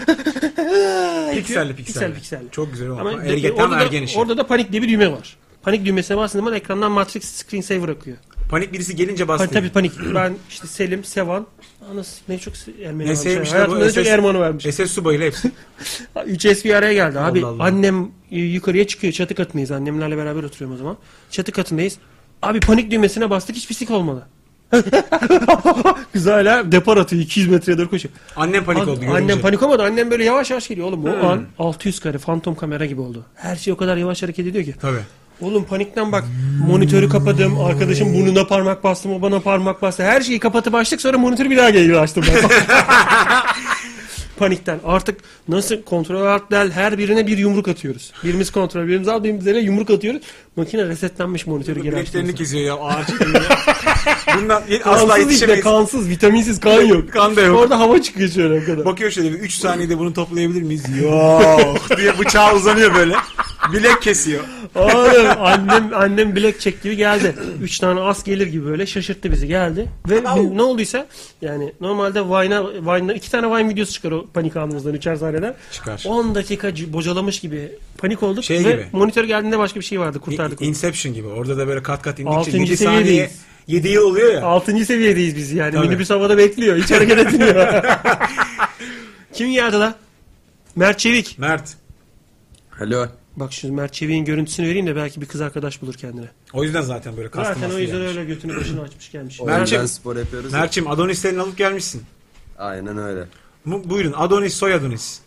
pikselli pikselli.
Piksel, pikselli.
Çok güzel
Ama
ama
de-
ergen, tam
orada, da,
ergen işi.
orada da panik diye bir düğme var. Panik düğmesine bastığın zaman ekrandan Matrix screensaver akıyor.
Panik birisi gelince bastı.
Hani tabii panik. Ben işte Selim, Sevan. Anası ne çok Ermeni
Ne
varmış.
sevmişler bu
Hayatımda ne çok
SS
Erman'ı vermiş.
SS subayıyla hepsi.
3S bir araya geldi abi.
Allah Allah.
Annem e, yukarıya çıkıyor. Çatı katındayız. Annemlerle beraber oturuyorum o zaman. Çatı katındayız. Abi panik düğmesine bastık hiç pislik olmadı. Kız hala depar atıyor. 200 metreye doğru koşuyor.
Annem panik
An-
oldu görünce. Hmm.
annem panik olmadı. Annem böyle yavaş yavaş geliyor. Oğlum o an 600 kare fantom kamera gibi oldu. Her şey o kadar yavaş hareket ediyor ki.
Tabii.
Oğlum panikten bak. Monitörü kapadım. Arkadaşım burnuna parmak bastım. O bana parmak bastı. Her şeyi kapatıp açtık. Sonra monitörü bir daha geri açtım. ben. Panikten. Artık nasıl kontrol alt del her birine bir yumruk atıyoruz. Birimiz kontrol, birimiz alt, birimiz ele yumruk atıyoruz. Makine resetlenmiş monitörü geri açtı.
Biletlerini
mesela.
kesiyor ya ağaç gibi ya. Bundan asla
Kansız işte
yetişemeyiz.
kansız, vitaminsiz kan yok.
Kan da yok.
Orada hava çıkıyor şöyle o kadar.
Bakıyor şöyle 3 saniyede bunu toplayabilir miyiz? Yok diye bıçağı uzanıyor böyle. Bilek kesiyor.
Oğlum annem annem bilek çek gibi geldi. Üç tane as gelir gibi böyle şaşırttı bizi geldi. Ve bi- ne olduysa yani normalde Vine'a Vine'a iki tane Vine videosu çıkar o panik anımızdan üçer saniyeden.
Çıkar.
10 dakika c- bocalamış gibi panik olduk
Şey
ve
gibi.
monitör geldiğinde başka bir şey vardı kurtardık onu.
Inception gibi. Orada da böyle kat kat indikçe
Altıncı
7 saniye
seviyedeyiz.
7 yıl oluyor ya.
Altıncı seviyedeyiz biz yani.
Tabii.
Hani Minibüs havada bekliyor. Hiç hareket etmiyor. Kim geldi la? Mert Çevik.
Mert.
Alo.
Bak şimdi Mert Çevik'in görüntüsünü vereyim de belki bir kız arkadaş bulur kendine.
O yüzden zaten böyle kastım
Zaten o yüzden
gelmiş.
öyle götünü başını açmış gelmiş.
O
Mert'cim.
yüzden spor yapıyoruz. ya.
Mert'cim Adonis'lerini alıp gelmişsin.
Aynen öyle.
Bu- Buyurun Adonis soy Adonis.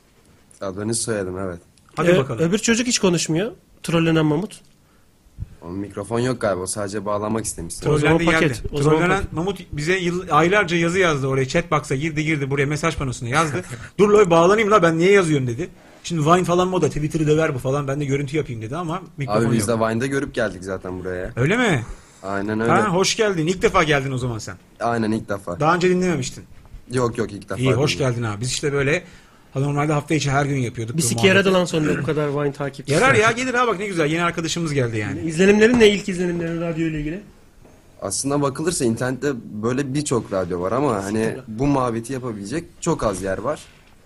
Adını soyadım evet.
Hadi
Ö-
bakalım.
Öbür çocuk hiç konuşmuyor. Trollenen Mamut.
Onun mikrofon yok galiba. o Sadece bağlamak istemiş.
o zaman
Trollendiği
paket,
yerde.
o zaman
Trollenen
paket.
Mamut bize yıl, aylarca yazı yazdı oraya. Chatbox'a girdi girdi buraya mesaj panosuna yazdı. Dur loy bağlanayım la ben niye yazıyorum dedi. Şimdi Vine falan moda Twitter'ı döver bu falan ben de görüntü yapayım dedi ama mikrofon
Abi biz de
yok.
Vine'da görüp geldik zaten buraya.
Öyle mi?
Aynen öyle.
Ha, hoş geldin. İlk defa geldin o zaman sen.
Aynen ilk defa.
Daha önce dinlememiştin.
Yok yok ilk defa.
İyi hoş
dinliyorum.
geldin abi. Biz işte böyle ha, normalde hafta içi her gün yapıyorduk. bu
Bir siki
muhabbeti.
yaradı lan sonunda bu kadar Vine takipçisi.
Yarar ya gelir ha bak ne güzel yeni arkadaşımız geldi yani.
İzlenimlerin ne ilk izlenimlerin radyo ile ilgili?
Aslında bakılırsa internette böyle birçok radyo var ama hani bu muhabbeti yapabilecek çok az yer var.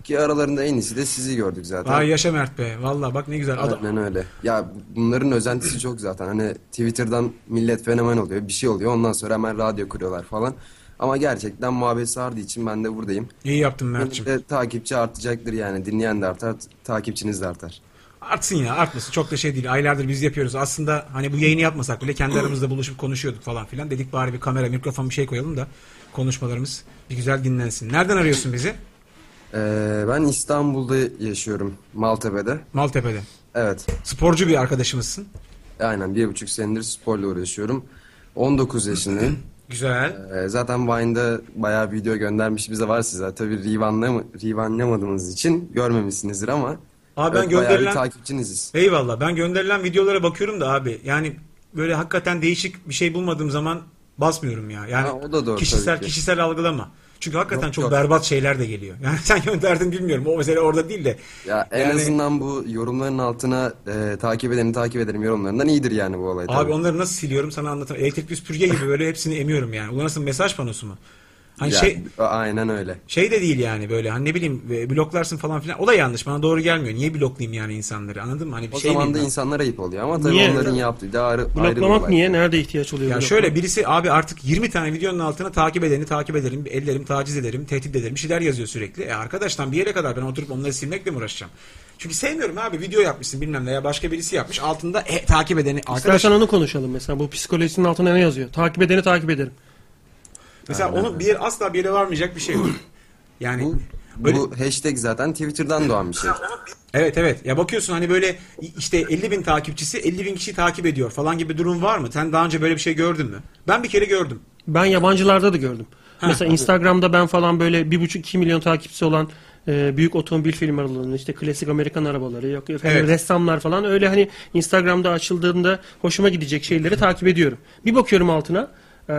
Ki aralarında en iyisi de sizi gördük zaten.
Vay yaşa Mert be. Valla bak ne güzel. Ad-
Aynen öyle. Ya bunların özentisi çok zaten. Hani Twitter'dan millet fenomen oluyor, bir şey oluyor. Ondan sonra hemen radyo kuruyorlar falan. Ama gerçekten muhabbet sardığı için ben de buradayım.
İyi yaptın Mert'ciğim.
Ve takipçi artacaktır yani. Dinleyen de artar, takipçiniz de artar.
Artsın ya artmasın çok da şey değil aylardır biz yapıyoruz aslında hani bu yayını yapmasak bile kendi aramızda buluşup konuşuyorduk falan filan dedik bari bir kamera mikrofon bir şey koyalım da konuşmalarımız bir güzel dinlensin. Nereden arıyorsun bizi?
Ee, ben İstanbul'da yaşıyorum. Maltepe'de.
Maltepe'de.
Evet.
Sporcu bir arkadaşımızsın.
Aynen bir buçuk senedir sporla uğraşıyorum. 19 yaşındayım.
Güzel.
Ee, zaten Vine'da bayağı video göndermiş bize var size. Tabii revanlama, revanlamadığınız için görmemişsinizdir ama.
Abi ben
evet, bayağı bir
gönderilen-
takipçiniziz.
Eyvallah ben gönderilen videolara bakıyorum da abi yani böyle hakikaten değişik bir şey bulmadığım zaman basmıyorum ya. Yani
Ha, o da doğru
kişisel
tabii ki.
kişisel algılama. Çünkü hakikaten
Yok,
çok
yok.
berbat şeyler de geliyor. Yani sen gönderdin bilmiyorum. O mesele orada değil de.
Ya en
Yani-
azından bu yorumların altına e, takip edeni takip ederim yorumlarından iyidir yani bu olay.
Abi
tabii.
onları nasıl siliyorum sana anlatamam. Elektrik süpürge gibi böyle hepsini emiyorum yani. Ulan nasıl mesaj panosu mu? Hani
Ya,
şey
Aynen öyle.
şey de değil yani böyle hani ne bileyim e, bloklarsın falan filan. O da yanlış bana doğru gelmiyor. Niye bloklayayım yani insanları anladın mı? Hani bir
O
şey
zaman da
miyim ben?
insanlar ayıp oluyor ama tabii
Niye?
onların yaptığı bir de ayrı, ayrı bir
Bloklamak
olay.
niye? Nerede ihtiyaç oluyor?
Ya
bloklamak?
şöyle birisi abi artık 20 tane videonun altına takip edeni takip ederim, ellerim taciz ederim, tehdit ederim, bir şeyler yazıyor sürekli. E arkadaştan bir yere kadar ben oturup onları silmekle mi uğraşacağım? Çünkü sevmiyorum abi video yapmışsın bilmem ne ya başka birisi yapmış altında e, takip edeni arkadaş
İstersen onu konuşalım mesela. Bu psikolojisinin altına ne yazıyor? Takip edeni takip ederim.
mesela onun bir yere- asla bir yere varmayacak bir şey yok. Yani
Bu,
böyle-
bu hashtag zaten Twitter'dan doğan bir şey.
Evet evet. Ya bakıyorsun hani böyle işte 50 bin takipçisi 50 bin kişi takip ediyor falan gibi durum var mı? Sen daha önce böyle bir şey gördün mü? Ben bir kere gördüm.
Ben yabancılarda da gördüm. Mesela Instagram'da ben falan böyle 1,5-2 milyon takipçisi olan e, büyük otomobil firmalarının işte klasik Amerikan arabaları yok efendim,
Evet.
ressamlar falan hani öyle hani Instagram'da açıldığında hoşuma gidecek şeyleri takip ediyorum. Bir bakıyorum altına Ee,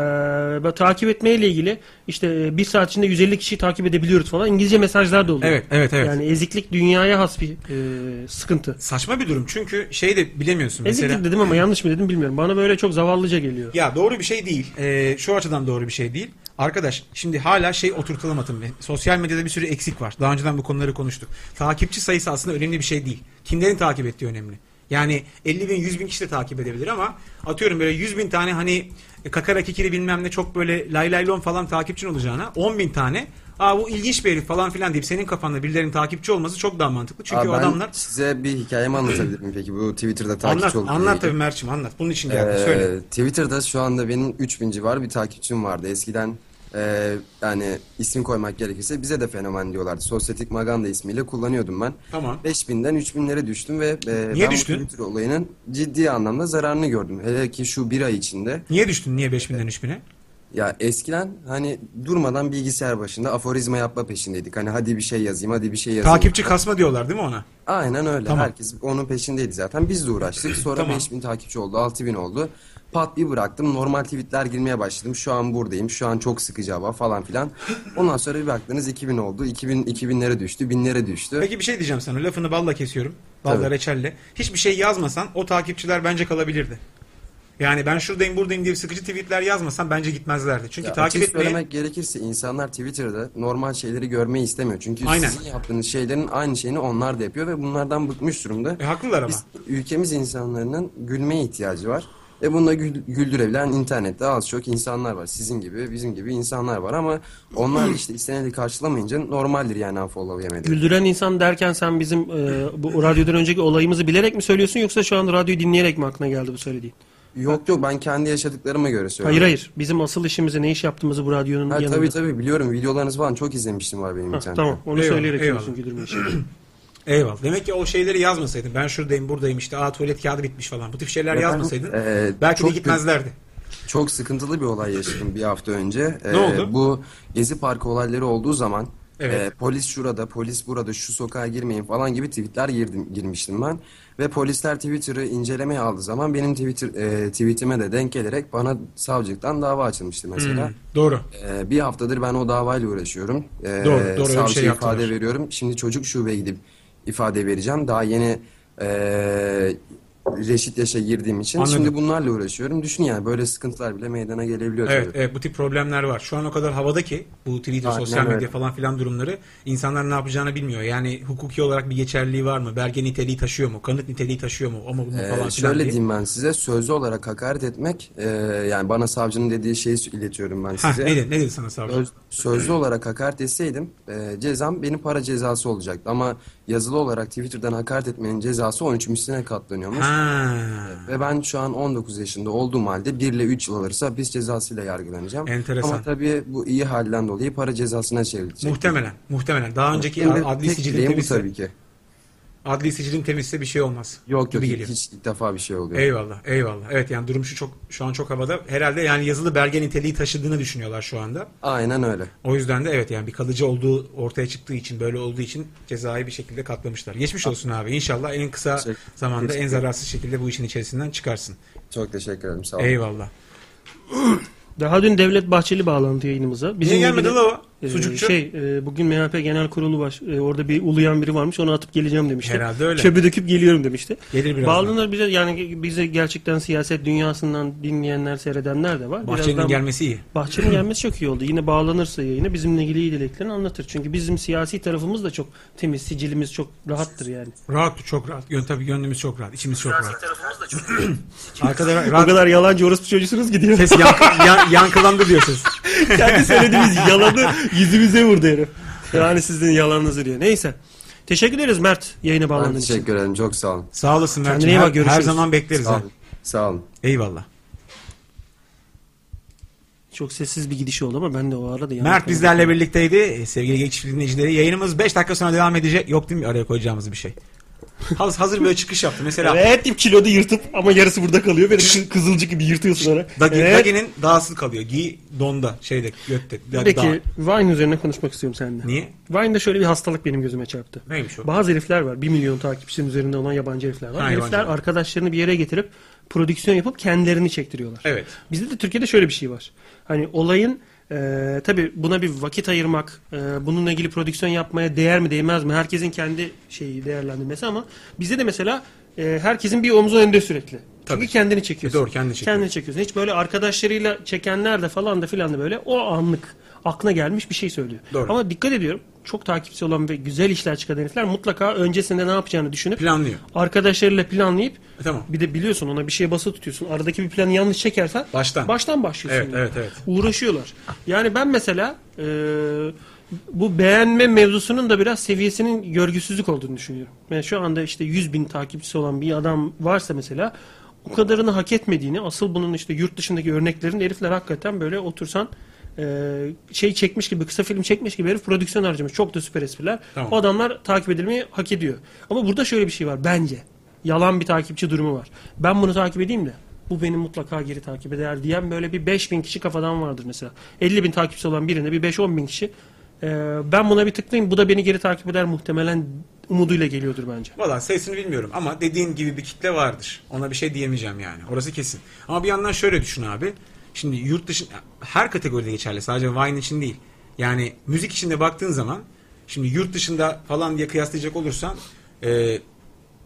ve takip etmeyle ilgili işte e, bir saat içinde 150 kişiyi takip edebiliyoruz falan. İngilizce mesajlar da oluyor.
Evet evet evet.
Yani eziklik dünyaya has bir e, sıkıntı.
Saçma bir durum çünkü şey de bilemiyorsun mesela.
Eziklik dedim ama yanlış mı dedim bilmiyorum. Bana böyle çok zavallıca geliyor.
Ya doğru bir şey değil. Ee, şu açıdan doğru bir şey değil. Arkadaş şimdi hala şey oturtulamadı. Sosyal medyada bir sürü eksik var. Daha önceden bu konuları konuştuk. Takipçi sayısı aslında önemli bir şey değil. Kimlerin takip ettiği önemli. Yani 50 bin 100 bin kişi de takip edebilir ama atıyorum böyle 100 bin tane hani kakara kikiri bilmem ne çok böyle lay lay lon falan takipçin olacağına 10 bin tane Aa bu ilginç bir herif falan filan deyip senin kafanda birilerinin takipçi olması çok daha mantıklı. Çünkü
Abi
o
ben
adamlar...
size bir hikayemi anlatabilirim peki bu Twitter'da takipçi
Anlat,
olduğum
anlat
ilgili.
tabii Mert'cim anlat. Bunun için geldim.
Ee,
Söyle.
Twitter'da şu anda benim 3000 civarı bir takipçim vardı. Eskiden e, yani isim koymak gerekirse bize de fenomen diyorlardı. Sosyetik Maganda ismiyle kullanıyordum ben.
Tamam.
5000'den 3000'lere düştüm ve e,
Niye
ben
düştün?
bu Twitter olayının ciddi anlamda zararını gördüm. Hele ki şu bir ay içinde.
Niye düştün? Niye 5000'den 3000'e?
Ya eskiden hani durmadan bilgisayar başında aforizma yapma peşindeydik. Hani hadi bir şey yazayım, hadi bir şey yazayım.
Takipçi kasma diyorlar değil mi ona?
Aynen öyle.
Tamam.
Herkes onun peşindeydi zaten. Biz de uğraştık. Sonra
Tamam.
5000 takipçi oldu, 6000 oldu. Pat bir bıraktım. Normal tweetler girmeye başladım. Şu an buradayım. Şu an çok sıkıcı hava falan filan. Ondan sonra bir baktınız 2000 oldu. 2000 2000'lere düştü, 1000'lere düştü.
Peki bir şey diyeceğim sana. Lafını balla kesiyorum. Balla
Tabii.
reçelle. Hiçbir şey yazmasan o takipçiler bence kalabilirdi. Yani ben şuradayım buradayım diye sıkıcı tweetler yazmasan bence gitmezlerdi. Çünkü
Ya
takip
açık
etmeye...
söylemek gerekirse insanlar Twitter'da normal şeyleri görmeyi istemiyor. Çünkü
Aynen.
sizin yaptığınız şeylerin aynı şeyini onlar da yapıyor ve bunlardan bıkmış durumda.
E, haklılar ama.
Ülkemiz insanların gülmeye ihtiyacı var. Ve bununla gül- güldürebilen internette az çok insanlar var. Sizin gibi, bizim gibi insanlar var ama onlar işte isteneni karşılamayınca normaldir yani unfollow yemeleri.
Güldüren insan derken sen bizim e, bu radyodan önceki olayımızı bilerek mi söylüyorsun yoksa şu an radyoyu dinleyerek mi aklına geldi bu söylediğin?
Yok yok ben kendi yaşadıklarıma göre söylüyorum.
Hayır hayır. Bizim asıl işimizi ne iş yaptığımızı bu radyonun
Ha,
yanında.
tabii tabii biliyorum videolarınızı falan çok izlemiştim var benim
Ha,
internette.
tamam. Onu
Eyvallah,
söyleyerek
eyvallah.
söylüyorsun güldürme işi.
Eyvallah. Demek ki o şeyleri yazmasaydın. Ben şuradayım buradayım işte. Aa tuvalet kağıdı bitmiş falan. Bu tip şeyler
Ya ben,
yazmasaydın.
e,
belki de
çok
gitmezlerdi.
Çok sıkıntılı bir olay yaşadım bir hafta önce. E,
Ne oldu?
Bu Gezi Parkı olayları olduğu zaman
Evet.
e, polis şurada, polis burada, şu sokağa girmeyin falan gibi tweetler girdim, girmiştim ben. Ve polisler Twitter'ı incelemeye aldığı zaman benim Twitter e, tweetime de denk gelerek bana savcılıktan dava açılmıştı mesela.
Hmm, Doğru.
E, bir haftadır ben o davayla uğraşıyorum. E,
Doğru, doğru, öyle bir şey
savcıya
yaptılar.
ifade veriyorum. Şimdi çocuk şubeye gidip ifade vereceğim. Daha yeni e, reşit yaşa girdiğim için.
Anladım.
Şimdi bunlarla uğraşıyorum. Düşün yani böyle sıkıntılar bile meydana gelebiliyor.
Evet,
tabii.
evet bu tip problemler var. Şu an o kadar havada ki bu Twitter,
Aynen
sosyal medya
öyle.
falan filan durumları insanlar ne yapacağını bilmiyor. Yani hukuki olarak bir geçerliliği var mı? Belge niteliği taşıyor mu? Kanıt niteliği taşıyor mu? Ama bu
E,
falan filan
şöyle
diye.
diyeyim ben size sözlü olarak hakaret etmek e, yani bana savcının dediği şeyi iletiyorum ben
Ha,
size.
ne, dedi, ne dedi sana savcı?
Söz- sözlü olarak hakaret etseydim e, cezam benim para cezası olacaktı ama yazılı olarak Twitter'dan hakaret etmenin cezası 13 misline katlanıyormuş.
Ha.
Ve ben şu an 19 yaşında olduğum halde 1 ile 3 yıl arası hapis cezasıyla yargılanacağım.
Enteresan.
Ama tabii bu iyi halden dolayı para cezasına çevrilecek.
Muhtemelen, muhtemelen. Daha önceki
Benim de
adli
tek
sicilin
dileğim bu
temizse,
tabii ki.
adli sicilin temizse bir şey olmaz.
Yok yok
gibi geliyor.
hiç ilk defa bir şey oluyor.
Eyvallah, eyvallah. Evet yani durum şu çok şu an çok havada. Herhalde yani yazılı belge niteliği taşıdığını düşünüyorlar şu anda.
Aynen öyle.
O yüzden de evet yani bir kalıcı olduğu ortaya çıktığı için böyle olduğu için cezayı bir şekilde katlamışlar. Geçmiş olsun abi. İnşallah en kısa
Teşekkür-
zamanda en
teşekkür.
zararsız şekilde bu işin içerisinden çıkarsın.
Çok teşekkür ederim sağ olun.
Eyvallah.
Daha dün Devlet Bahçeli bağlandı yayınımıza.
Niye gelmedi
ilgili-
la o?
Ee,
Sucukçu.
Şey e, bugün MHP Genel Kurulu var. E, orada bir uluyan biri varmış. Onu atıp geleceğim demişti.
Herhalde öyle.
Çöpü döküp geliyorum demişti.
Gelir birazdan.
Bağlanır bize yani bizi gerçekten siyaset dünyasından dinleyenler, seyredenler de var.
Bahçenin
Birazdan-
gelmesi iyi.
Bahçenin gelmesi çok iyi oldu. Yine bağlanırsa yayına bizimle ilgili iyi dileklerini anlatır. Çünkü bizim siyasi tarafımız da çok temiz, sicilimiz çok rahattır yani.
Rahat çok rahat. Yön, tabii gönlümüz çok rahat. içimiz çok rahat. Arkada ra-
O
rahat.
kadar yalancı orospu çocuğusunuz gidiyor.
Ses yankı- yan- yankılandı diyor ses.
Kendi söylediğimiz yalanı yüzümüze vurdu herif. Yani sizin yalanınızı diyor. Neyse. Teşekkür ederiz Mert yayına
Ben
bağlandığın için.
teşekkür ederim çok sağ olun.
Sağ olasın Mert'ciğim.
Kendine iyi bak,
Her- Her
görüşürüz.
zaman bekleriz.
Sağ
ha.
olun. Sağ olun.
Eyvallah.
Çok sessiz bir gidiş oldu ama ben de o arada
Mert bizlerle birlikteydi. Ee, Sevgili genç dinleyicileri yayınımız 5 dakika sonra devam edecek. Yok değil mi araya koyacağımız bir şey? Haz- hazır böyle çıkış yaptı. Mesela
Evet deyip kiloda yırtıp ama yarısı burada kalıyor. Böyle kı- kızılcık gibi yırtıyorsun Ee? ara.
Dagi,
Evet.
Dagi'nin dağsız kalıyor. Gi donda şeyde götte. Da,
Peki
dağ.
Vine üzerine konuşmak istiyorum seninle.
Niye?
Vine'da şöyle bir hastalık benim gözüme çarptı.
Neymiş o?
Bazı herifler var. 1 milyon takipçinin üzerinde olan yabancı herifler var.
Ha,
herifler
yabancı.
arkadaşlarını bir yere getirip prodüksiyon yapıp kendilerini çektiriyorlar.
Evet.
Bizde de Türkiye'de şöyle bir şey var. Hani olayın e, tabii buna bir vakit ayırmak, e, bununla ilgili prodüksiyon yapmaya değer mi değmez mi? Herkesin kendi şeyi değerlendirmesi ama bizde de mesela e, herkesin bir omuzu önde sürekli.
Tabii.
Çünkü kendini çekiyorsun.
E doğru, kendini çekiyor.
Kendini çekiyorsun. Hiç böyle arkadaşlarıyla çekenler de falan da filan da böyle o anlık aklına gelmiş bir şey söylüyor.
Doğru.
Ama dikkat ediyorum. Çok takipçi olan ve güzel işler çıkaran herifler mutlaka öncesinde ne yapacağını düşünüp
Planlıyor.
arkadaşlarıyla planlayıp
E, tamam.
bir de biliyorsun ona bir şeye basılı tutuyorsun. Aradaki bir planı yanlış çekersen
Baştan.
baştan başlıyorsun.
Evet,
yani.
evet, evet.
Uğraşıyorlar. Yani ben mesela e, bu beğenme mevzusunun da biraz seviyesinin görgüsüzlük olduğunu düşünüyorum. Yani şu anda işte 100 bin takipçisi olan bir adam varsa mesela o kadarını hak etmediğini asıl bunun işte yurt dışındaki örneklerin herifler hakikaten böyle otursan e, şey çekmiş gibi kısa film çekmiş gibi herif prodüksiyon harcamış. Çok da süper espriler.
Tamam.
O adamlar takip edilmeyi hak ediyor. Ama burada şöyle bir şey var bence. Yalan bir takipçi durumu var. Ben bunu takip edeyim de bu beni mutlaka geri takip eder diyen böyle bir 5000 kişi kafadan vardır mesela. 50 bin takipçisi olan birine bir 5-10 bin kişi e, ben buna bir tıklayayım bu da beni geri takip eder muhtemelen umuduyla geliyordur bence.
Valla sayısını bilmiyorum ama dediğin gibi bir kitle vardır. Ona bir şey diyemeyeceğim yani. Orası kesin. Ama bir yandan şöyle düşün abi. Şimdi yurt dışı her kategoride geçerli. Sadece Vine için değil. Yani müzik için de baktığın zaman şimdi yurt dışında falan diye kıyaslayacak olursan e,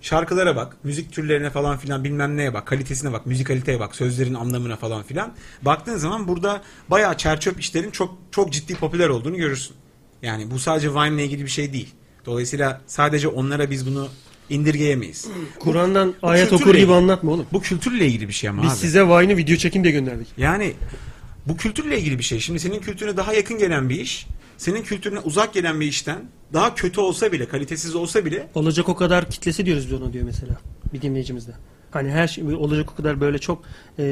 şarkılara bak, müzik türlerine falan filan bilmem neye bak, kalitesine bak, müzikaliteye bak, sözlerin anlamına falan filan. Baktığın zaman burada bayağı çerçöp işlerin çok çok ciddi popüler olduğunu görürsün. Yani bu sadece Vine'le ilgili bir şey değil. Dolayısıyla sadece onlara biz bunu indirgeyemeyiz.
Kur'an'dan ayet
kültürle
okur gibi
ilgili.
anlatma oğlum.
Bu kültürle ilgili bir şey ama
Biz
abi.
size Vine'ı video çekin diye gönderdik.
Yani bu kültürle ilgili bir şey. Şimdi senin kültürüne daha yakın gelen bir iş, senin kültürüne uzak gelen bir işten daha kötü olsa bile, kalitesiz olsa bile
Olacak o kadar kitlesi diyoruz biz ona diyor mesela bir dinleyicimizde. Hani her şey olacak o kadar böyle çok eee,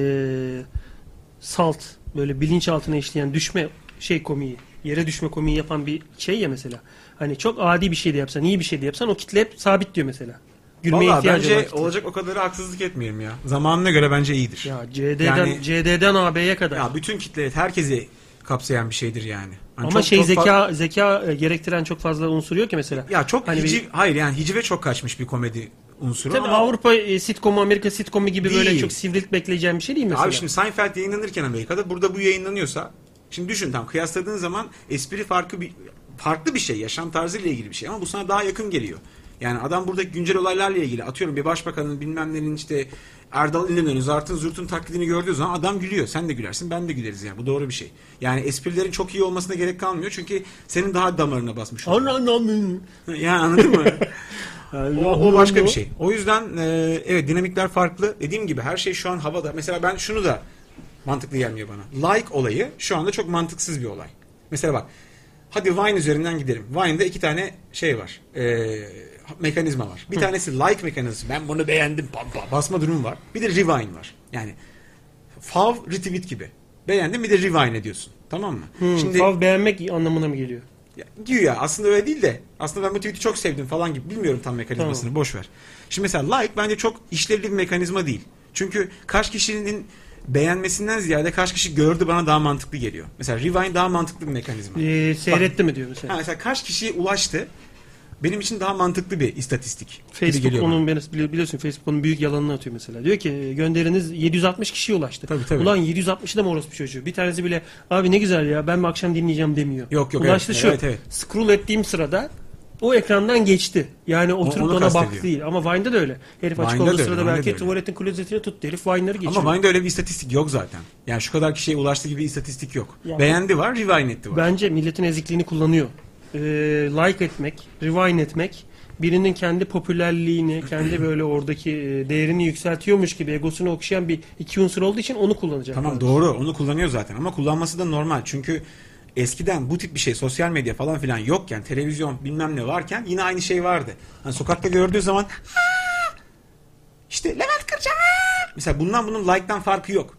salt böyle bilinç altına işleyen düşme şey komiği yere düşme komiği yapan bir şey ya mesela. Hani çok adi bir şey de yapsan iyi bir şey de yapsan o kitle hep sabit diyor mesela. Gülmeye
Valla
ihtiyacı
bence
olan kitle.
olacak o kadar haksızlık etmeyelim ya. Zamanına göre bence iyidir. Ya,
Ya CD'den
Yani- hani
CD'den AB'ye kadar.
bütün kitle herkesi kapsayan bir şeydir yani. Hani
Ama
çok-
şey
çok fa-
zeka zeka e, gerektiren çok fazla unsur yok ki mesela.
Ya çok
Hani bir-
hiciv, hayır yani hicive çok kaçmış bir komedi unsuru
Tabii
ama
Avrupa e, sitcomu, Amerika sitcomu gibi böyle
Değil.
çok sivrilik bekleyeceğim bir şey değil mesela.
abi şimdi Seinfeld yayınlanırken Amerika'da burada bu yayınlanıyorsa şimdi düşün tam kıyasladığın zaman espri farkı bir farklı bir şey yaşam tarzıyla ilgili bir şey ama bu sana daha yakın geliyor. Yani adam buradaki güncel olaylarla ilgili atıyorum bir başbakanın bilmem nenin işte Erdal İnönü'nün zartın zurtun taklidini gördüğü zaman adam gülüyor. Sen de gülersin ben de güleriz yani bu doğru bir şey. Yani esprilerin çok iyi olmasına gerek kalmıyor çünkü senin daha damarına basmış oluyor.
Ananamın.
Yani anladın mı? o, o başka bir şey. O yüzden e, evet dinamikler farklı. Dediğim gibi her şey şu an havada. Mesela ben şunu da mantıklı gelmiyor bana. Like olayı şu anda çok mantıksız bir olay. Mesela bak hadi Vine üzerinden gidelim. Vine'da iki tane şey var. E, mekanizma var. Bir tanesi like mekanizması. Ben bunu beğendim. Pam pam. Basma durumu var. Bir de rewind var. Yani fav retweet gibi. Beğendim bir de rewind ediyorsun. Tamam mı?
Şimdi fav beğenmek anlamına mı geliyor?
Ya, güya aslında öyle değil de aslında ben bu tweet'i çok sevdim falan gibi bilmiyorum tam mekanizmasını
Tamam.
boş ver. Şimdi mesela like bence çok işlevli bir mekanizma değil. Çünkü kaç kişinin beğenmesinden ziyade kaç kişi gördü bana daha mantıklı geliyor. Mesela rewind daha mantıklı bir mekanizma.
Ee, seyretti mi diyor mesela?
Ha, mesela kaç kişiye ulaştı benim için daha mantıklı bir istatistik. gibi
Facebook
geliyor bana.
onun beni- bili- biliyorsun Facebook onun büyük yalanını atıyor mesela. Diyor ki "E, gönderiniz 760 kişiye ulaştı.
Tabii, tabii.
Ulan 760 da mı orospu çocuğu? Bir tanesi bile abi ne güzel ya ben bu akşam dinleyeceğim demiyor.
Yok, yok,
Ulaştı
evet,
şu.
evet, evet.
Scroll ettiğim sırada o ekrandan geçti. Yani oturup
onu
ona
kastediyor.
baktı değil. Ama Vine'da da öyle. Herif açık
Vine'da
olduğu
da öyle,
sırada
Vine'da da
belki
öyle.
tuvaletin klozetini tuttu. Herif Vine'ları geçiyor.
Ama Vine'da öyle bir istatistik yok zaten. Yani şu kadar kişiye ulaştı gibi bir istatistik yok.
Yani-
Beğendi var, rewind etti var.
Bence milletin ezikliğini kullanıyor. Ee, like etmek, rewind etmek birinin kendi popülerliğini, kendi böyle oradaki e, değerini yükseltiyormuş gibi egosunu okşayan bir iki unsur olduğu için onu kullanacak.
Tamam doğru onu kullanıyor zaten ama kullanması da normal. Çünkü eskiden bu tip bir şey sosyal medya falan filan yokken televizyon bilmem ne varken yine aynı şey vardı. Hani sokakta gördüğü zaman "Aa! işte Levent Kırca aa!" mesela bundan bunun like'tan farkı yok.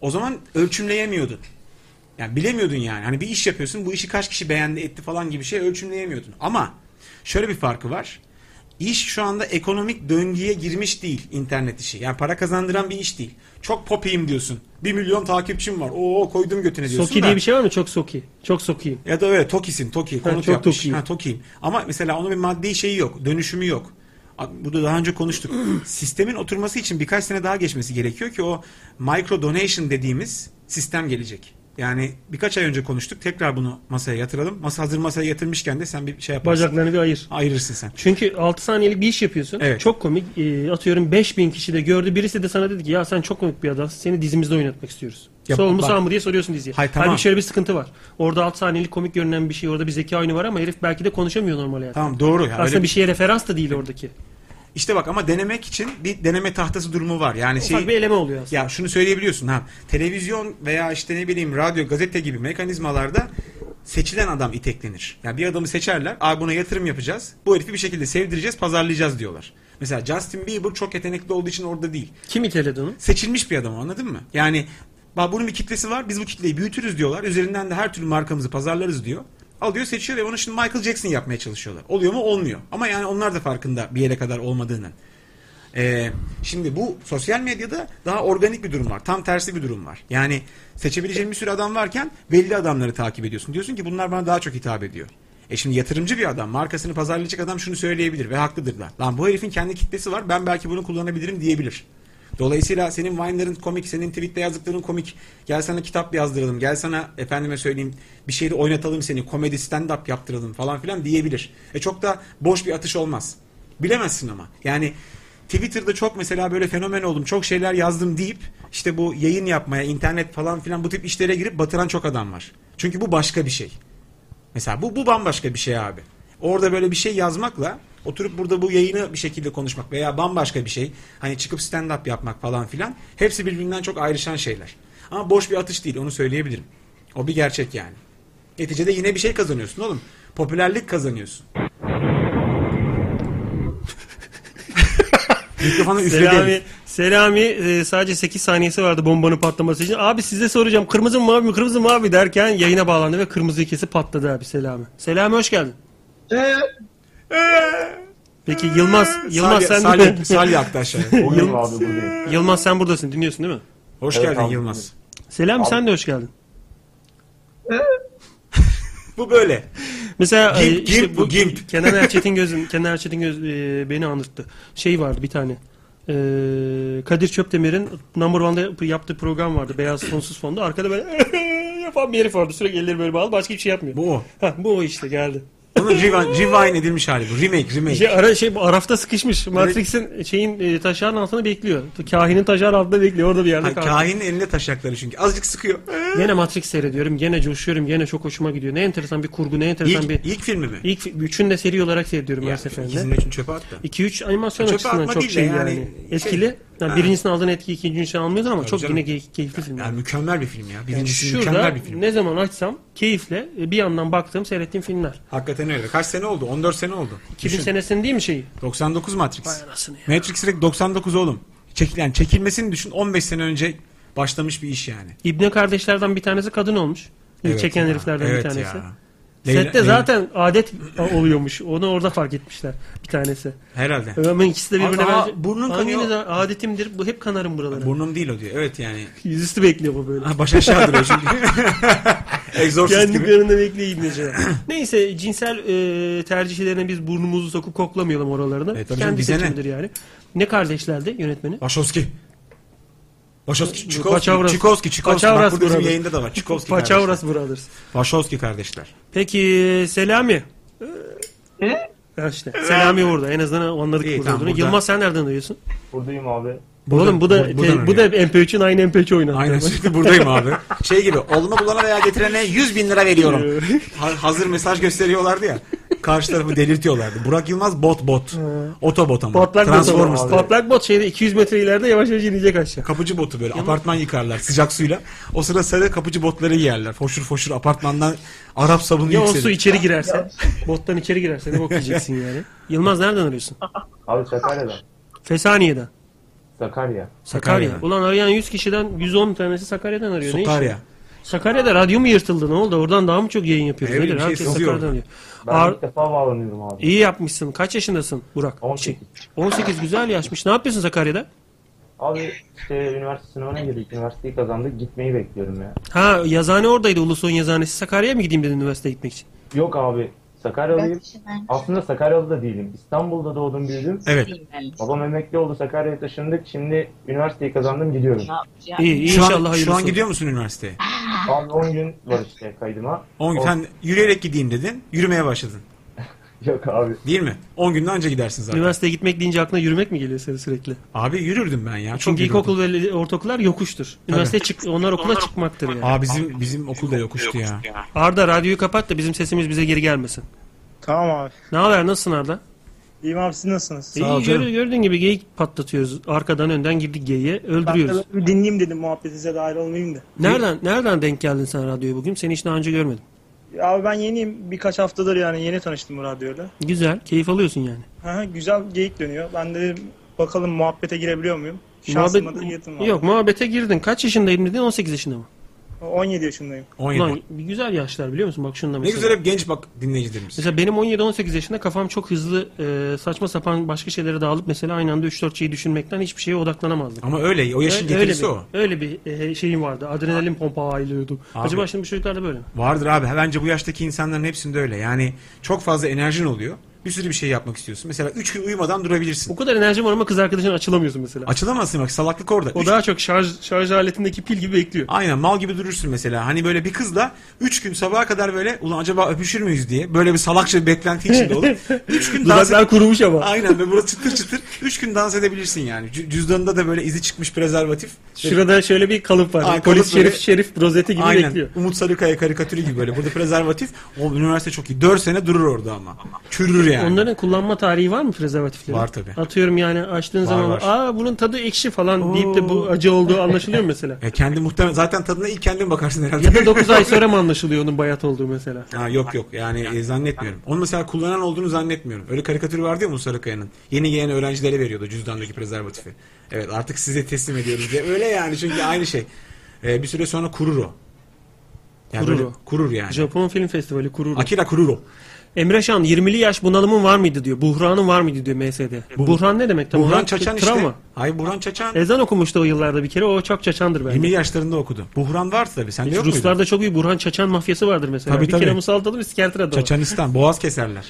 O zaman ölçümleyemiyordun. Yani bilemiyordun yani. Hani bir iş yapıyorsun bu işi kaç kişi beğendi etti falan gibi şey ölçümleyemiyordun. Ama şöyle bir farkı var. İş şu anda ekonomik döngüye girmiş değil internet işi. Yani para kazandıran bir iş değil. Çok popiyim diyorsun. 1 milyon takipçim var. Oo koydum götüne diyorsun
Soki
da.
diye bir şey var mı? Çok soki. Çok sokiyim.
Ya da öyle Tokisin Toki konut
çok
yapmış.
Tokiyim.
Ha, Tokiyim. Ama mesela onun bir maddi şeyi yok. Dönüşümü yok. burada daha önce konuştuk. Sistemin oturması için birkaç sene daha geçmesi gerekiyor ki o micro donation dediğimiz sistem gelecek. Yani birkaç ay önce konuştuk. Tekrar bunu masaya yatıralım. Masa hazır masaya yatırmışken de sen bir şey yaparsın.
Bacaklarını bir ayır.
Ayırırsın sen.
Çünkü 6 saniyelik bir iş yapıyorsun.
Evet.
Çok komik. Ee, atıyorum 5000 kişi de gördü. Birisi de sana dedi ki ya sen çok komik bir adamsın. Seni dizimizde oynatmak istiyoruz.
Ya
Sol mu
bak-
sağ mı diye soruyorsun diziye.
Hayır, tamam.
Halbuki şöyle bir sıkıntı var. Orada 6 saniyelik komik görünen bir şey. Orada bir zeka oyunu var ama herif belki de konuşamıyor normal hayatta.
Tamam doğru. Ya.
Aslında
Öyle-
bir şeye referans da değil oradaki.
İşte bak ama denemek için bir deneme tahtası durumu var. Yani şey
Ufak bir eleme oluyor aslında.
Ya şunu söyleyebiliyorsun ha. Televizyon veya işte ne bileyim radyo, gazete gibi mekanizmalarda seçilen adam iteklenir. Yani bir adamı seçerler. Abi buna yatırım yapacağız. Bu herifi bir şekilde sevdireceğiz, pazarlayacağız diyorlar. Mesela Justin Bieber çok yetenekli olduğu için orada değil.
Kim iteledi onu?
Seçilmiş bir adam o, anladın mı? Yani bak bunun bir kitlesi var. Biz bu kitleyi büyütürüz diyorlar. Üzerinden de her türlü markamızı pazarlarız diyor. Alıyor seçiyor ve onu şimdi Michael Jackson yapmaya çalışıyorlar. Oluyor mu? Olmuyor. Ama yani onlar da farkında bir yere kadar olmadığının. Ee, şimdi bu sosyal medyada daha organik bir durum var. Tam tersi bir durum var. Yani seçebileceğin bir sürü adam varken belli adamları takip ediyorsun. Diyorsun ki bunlar bana daha çok hitap ediyor. E şimdi yatırımcı bir adam, markasını pazarlayacak adam şunu söyleyebilir ve haklıdırlar. Lan bu herifin kendi kitlesi var ben belki bunu kullanabilirim diyebilir. Dolayısıyla senin Vine'ların komik, senin tweet'te yazdıkların komik. Gel sana kitap yazdıralım, gel sana efendime söyleyeyim bir şeyle oynatalım seni, komedi stand-up yaptıralım falan filan diyebilir. E çok da boş bir atış olmaz. Bilemezsin ama. Yani Twitter'da çok mesela böyle fenomen oldum, çok şeyler yazdım deyip işte bu yayın yapmaya, internet falan filan bu tip işlere girip batıran çok adam var. Çünkü bu başka bir şey. Mesela bu, bu bambaşka bir şey abi. Orada böyle bir şey yazmakla oturup burada bu yayını bir şekilde konuşmak veya bambaşka bir şey. Hani çıkıp stand-up yapmak falan filan. Hepsi birbirinden çok ayrışan şeyler. Ama boş bir atış değil onu söyleyebilirim. O bir gerçek yani. Neticede yine bir şey kazanıyorsun oğlum. Popülerlik kazanıyorsun. Mikrofonu üfledim.
Selami, Selami e, sadece 8 saniyesi vardı bombanın patlaması için. Abi size soracağım kırmızı mı mavi mi kırmızı mı mavi mi?" derken yayına bağlandı ve kırmızı kesip patladı abi Selami. Selami hoş geldin.
Ee?
Ee? Peki Yılmaz, Yılmaz sen
Salih, Salih Aktaş.
Buradayım abi buradayım.
Yılmaz sen buradasın dinliyorsun değil mi?
Hoş
Evet,
geldin
abi.
Yılmaz.
Selami sen de hoş geldin.
Bu böyle.
Mesela
Gimp,
e, işte
gimp bu, gimp.
Kenan Erçetin gözün Kenan Erçetin göz e, beni anırttı. Şey vardı bir tane. E, Kadir Çöpdemir'in Number One'da yap- yaptığı program vardı. Beyaz Sonsuz Fonda. Arkada böyle yapan bir herif vardı. Sürekli elleri böyle bağlı. Başka hiçbir şey yapmıyor.
Bu o.
Heh, bu o işte geldi.
Bunun rewind, rewind edilmiş hali bu. Remake, remake.
Şey, ara, şey, bu arafta sıkışmış. Matrix'in şeyin e, taşağının altında bekliyor. Kahinin taşağının altında bekliyor. Orada bir yerde
Hayır,
kaldı.
kahinin elinde taşakları çünkü. Azıcık sıkıyor.
Gene Matrix seyrediyorum. Gene coşuyorum. Gene çok hoşuma gidiyor. Ne enteresan bir kurgu. Ne enteresan
İlk,
bir...
ilk filmi mi?
İlk üçünü de seri olarak seyrediyorum her seferinde.
İkisinin için çöpe attı.
2-3 animasyon
Çöpe
açısından
atma
çok
değil de
şey yani.
yani
Etkili.
şey-
Yani
Ha.
birincisinin aldığın etki ikincisini almıyordur ama çok
canım.
yine key- keyifli film.
Yani mükemmel bir film ya.
Yani
Birincisi
şurada
mükemmel bir film.
ne zaman açsam keyifle e, bir yandan baktığım seyrettiğim filmler.
Hakikaten öyle. Kaç sene oldu? 14 sene oldu.
2000
Düşün.
senesinin değil mi şeyi?
99 Matrix.
Anasını ya.
Matrix direkt 99 oğlum. Çekil, yani çekilmesini düşün 15 sene önce başlamış bir iş yani.
İbne kardeşlerden bir tanesi kadın olmuş. İlk
Evet
çeken
ya,
heriflerden
evet
bir tanesi.
ya. Leyla-
Sette
Leyla-
zaten adet oluyormuş. Onu orada fark etmişler bir tanesi.
Herhalde.
Ama ikisi de birbirine
Aa,
benziyor.
burnun
Ama
kanıyor.
yine de adetimdir. Bu hep kanarım buralara.
Burnum değil o diyor. Evet yani.
Yüzüstü bekliyor bu böyle.
Ha, baş aşağı duruyor çünkü. Exorcist
Kendi
gibi.
karnına bekleyin mesela. Neyse cinsel e, tercihlerine biz burnumuzu sokup koklamayalım oralarını.
Evet, E, tabii canım,
Kendi
bize ne?
seçimidir yani. Ne kardeşlerdi yönetmeni?
Wachowski. Wachowski, Çikovski,
Paçavras.
Çikovski, Çikovski. Bak
Paçavras
bu bizim
Brothers.
yayında da var. Çikovski kardeşler.
Paçavras Brothers.
Wachowski kardeşler.
Peki Selami.
Ne?
Ha işte. Selami burada. En azından anladık
İyi,
burada
tamam,
olduğunu.
burada.
Yılmaz sen nereden duyuyorsun?
Buradayım abi.
Oğlum bu da
bur- buradan
te- bu da MP3'ün aynı MP3 oynattı.
Aynen sürekli buradayım abi. Şey gibi olma bulana veya getirene 100 bin lira veriyorum. Ha- hazır mesaj gösteriyorlardı ya. Karşı tarafı delirtiyorlardı. Burak Yılmaz bot bot. Otobot ama.
Patlak bot.
Transformers.
ama. Patlak bot şeyde 200 metre ileride yavaş yavaş inecek aşağı.
Kapıcı botu böyle apartman yıkarlar sıcak suyla. O sıra sarı kapıcı botları yerler. Foşur foşur apartmandan Arap sabunu
Ya o su
yükselir.
içeri girerse, bottan içeri girerse ne bok yiyeceksin yani. Yılmaz nereden arıyorsun?
Abi Sakarya'dan.
Fesaniye'den.
Sakarya.
Sakarya.
Sakarya.
Ulan arayan 100 kişiden 110 tanesi Sakarya'dan arıyor. Ne işin?
Sokarya.
Sakarya'da radyo mu yırtıldı ne oldu? Oradan daha mı çok yayın yapıyoruz?
Ne
Nedir?
bileyim, şey
Herkes
sızıyor
Sakarya'dan arıyor.
Ben
Ar-
ilk defa bağlanıyorum abi.
İyi yapmışsın. Kaç yaşındasın Burak?
18.
18 güzel yaşmış. Ne yapıyorsun Sakarya'da?
Abi işte üniversite sınavına girdik. Üniversiteyi kazandık. Gitmeyi bekliyorum ya.
Ha yazhane oradaydı. Ulusoy'un yazhanesi. Sakarya'ya mı gideyim dedin üniversiteye gitmek için?
Yok abi. Sakaryalıyım.
Şimdi
Aslında Sakaryalı da değilim. İstanbul'da doğdum büyüdüm.
Evet.
ben-
Babam emekli oldu Sakarya'ya taşındık. Şimdi üniversiteyi kazandım gidiyorum.
Ne yapacağım?
İyi, iyi
Şu
inşallah
an,
hayırlısı
şu an
olur.
gidiyor musun üniversiteye?
Şu an 10 gün var işte kaydıma.
10 gün.
On-
Sen yürüyerek gideyim dedin. Yürümeye başladın.
Yok abi.
Değil mi? 10 günde anca gidersin zaten.
Üniversiteye gitmek deyince aklına yürümek mi geliyor senin sürekli?
Abi yürürdüm ben ya. Çok
Çünkü
yürürdüm.
ilkokul ve ortaokullar yokuştur. Üniversite çık onlar okula çıkmaktır yani.
Aa bizim bizim okul da yokuştu ya.
Arda radyoyu kapat da bizim sesimiz bize geri gelmesin.
Tamam abi.
Ne haber nasılsın Arda?
İyiyim abi siz nasılsınız?
Sağ ol
İyi,
canım.
gör- gördüğün gibi geyik patlatıyoruz. Arkadan önden girdik geyiğe
Ben de
öldürüyoruz.
böyle bir dinleyeyim dedim muhabbetinize dahil olmayayım da.
Nereden nereden denk geldin sen radyoya bugün? Seni hiç daha önce görmedim.
Abi ben yeniyim. Birkaç haftadır yani yeni tanıştım bu radyoyla.
Güzel, keyif alıyorsun yani.
Aha, güzel geyik dönüyor. Ben de dedim bakalım muhabbete girebiliyor muyum? Şansıma da yetim var.
Yok, muhabbete girdin. Kaç yaşındayım dedin? 18 yaşında mı?
17 yaşındayım.
17.
Ulan güzel yaşlar biliyor musun? Bak şunda
ne
mesela.
güzel hep genç bak dinleyicilerimiz.
Mesela benim 17-18 yaşında kafam çok hızlı e, saçma sapan başka şeylere dağılıp mesela aynı anda 3-4 şeyi düşünmekten hiçbir şeye odaklanamazdım.
Ama öyle o yaşın
Ö- öyle bir,
getirisi o.
öyle bir e, şeyim vardı. Adrenalin pompa ailiyordum.
Abi.
Acaba şimdi bu çocuklarda böyle mi?
Vardır abi. Bence bu yaştaki insanların hepsinde öyle. Yani çok fazla enerjin oluyor. Bir sürü bir şey yapmak istiyorsun. Mesela 3 gün uyumadan durabilirsin.
O kadar enerjim var ama kız arkadaşına açılamıyorsun mesela.
Açılamazsın bak salaklık orada.
o
Üç-
daha çok şarj şarj aletindeki pil gibi bekliyor.
Aynen mal gibi durursun mesela. Hani böyle bir kızla 3 gün sabaha kadar böyle ulan acaba öpüşür müyüz diye böyle bir salakça bir beklenti içinde olup 3 gün dans
Dudaklar kurumuş ama.
Aynen ve burası çıtır çıtır 3 gün dans edebilirsin yani. Cü- Cüzdanında da böyle izi çıkmış prezervatif.
Şurada şöyle bir kalıp var.
Aa,
Polis
kalıp böyle-
şerif şerif rozeti gibi
Aynen.
bekliyor.
Umut Sarıkaya karikatürü gibi böyle. Burada prezervatif. O üniversite çok iyi. 4 sene durur orada ama. Çürür yani.
Onların kullanma tarihi var mı prezervatiflerin?
Var tabii.
Atıyorum yani açtığın zaman
var.
aa bunun tadı ekşi falan deyip de bu acı olduğu anlaşılıyor mu mesela.
Ya E, kendi muhtemelen zaten tadına ilk kendin bakarsın herhalde.
ya da 9 ay sonra mı anlaşılıyor onun bayat olduğu mesela?
Ha, yok yok yani e, zannetmiyorum. Onu mesela kullanan olduğunu zannetmiyorum. Öyle karikatürü vardı ya Musa Sarıkaya'nın. Yeni gelen öğrencilere veriyordu cüzdandaki prezervatifi. Evet artık size teslim ediyoruz diye. Öyle yani çünkü aynı şey. E, bir süre sonra kurur o. Yani
Kurur
böyle-
o.
Kurur yani.
Japon Film Festivali kuruldu.
Akira kurur o.
Emre Şan 20'li yaş bunalımın var mıydı diyor. Buhranın var mıydı diyor MSD. Buhran ne demek? Tabii
Buhran
Buhran
Çaçan
tra-
işte.
Travma.
Hayır Burhan Çaçan
Ezan okumuştu o yıllarda bir kere. O çok çaçandır bence.
20 yaşlarında okudu. Buhran vardı tabii. Sende yok muydu?
Ruslarda çok iyi Burhan Çaçan mafyası vardır mesela.
Tabii,
bir
tabii.
kere musaldalı bir sikertire doğru.
Çaçanistan. Boğaz keserler.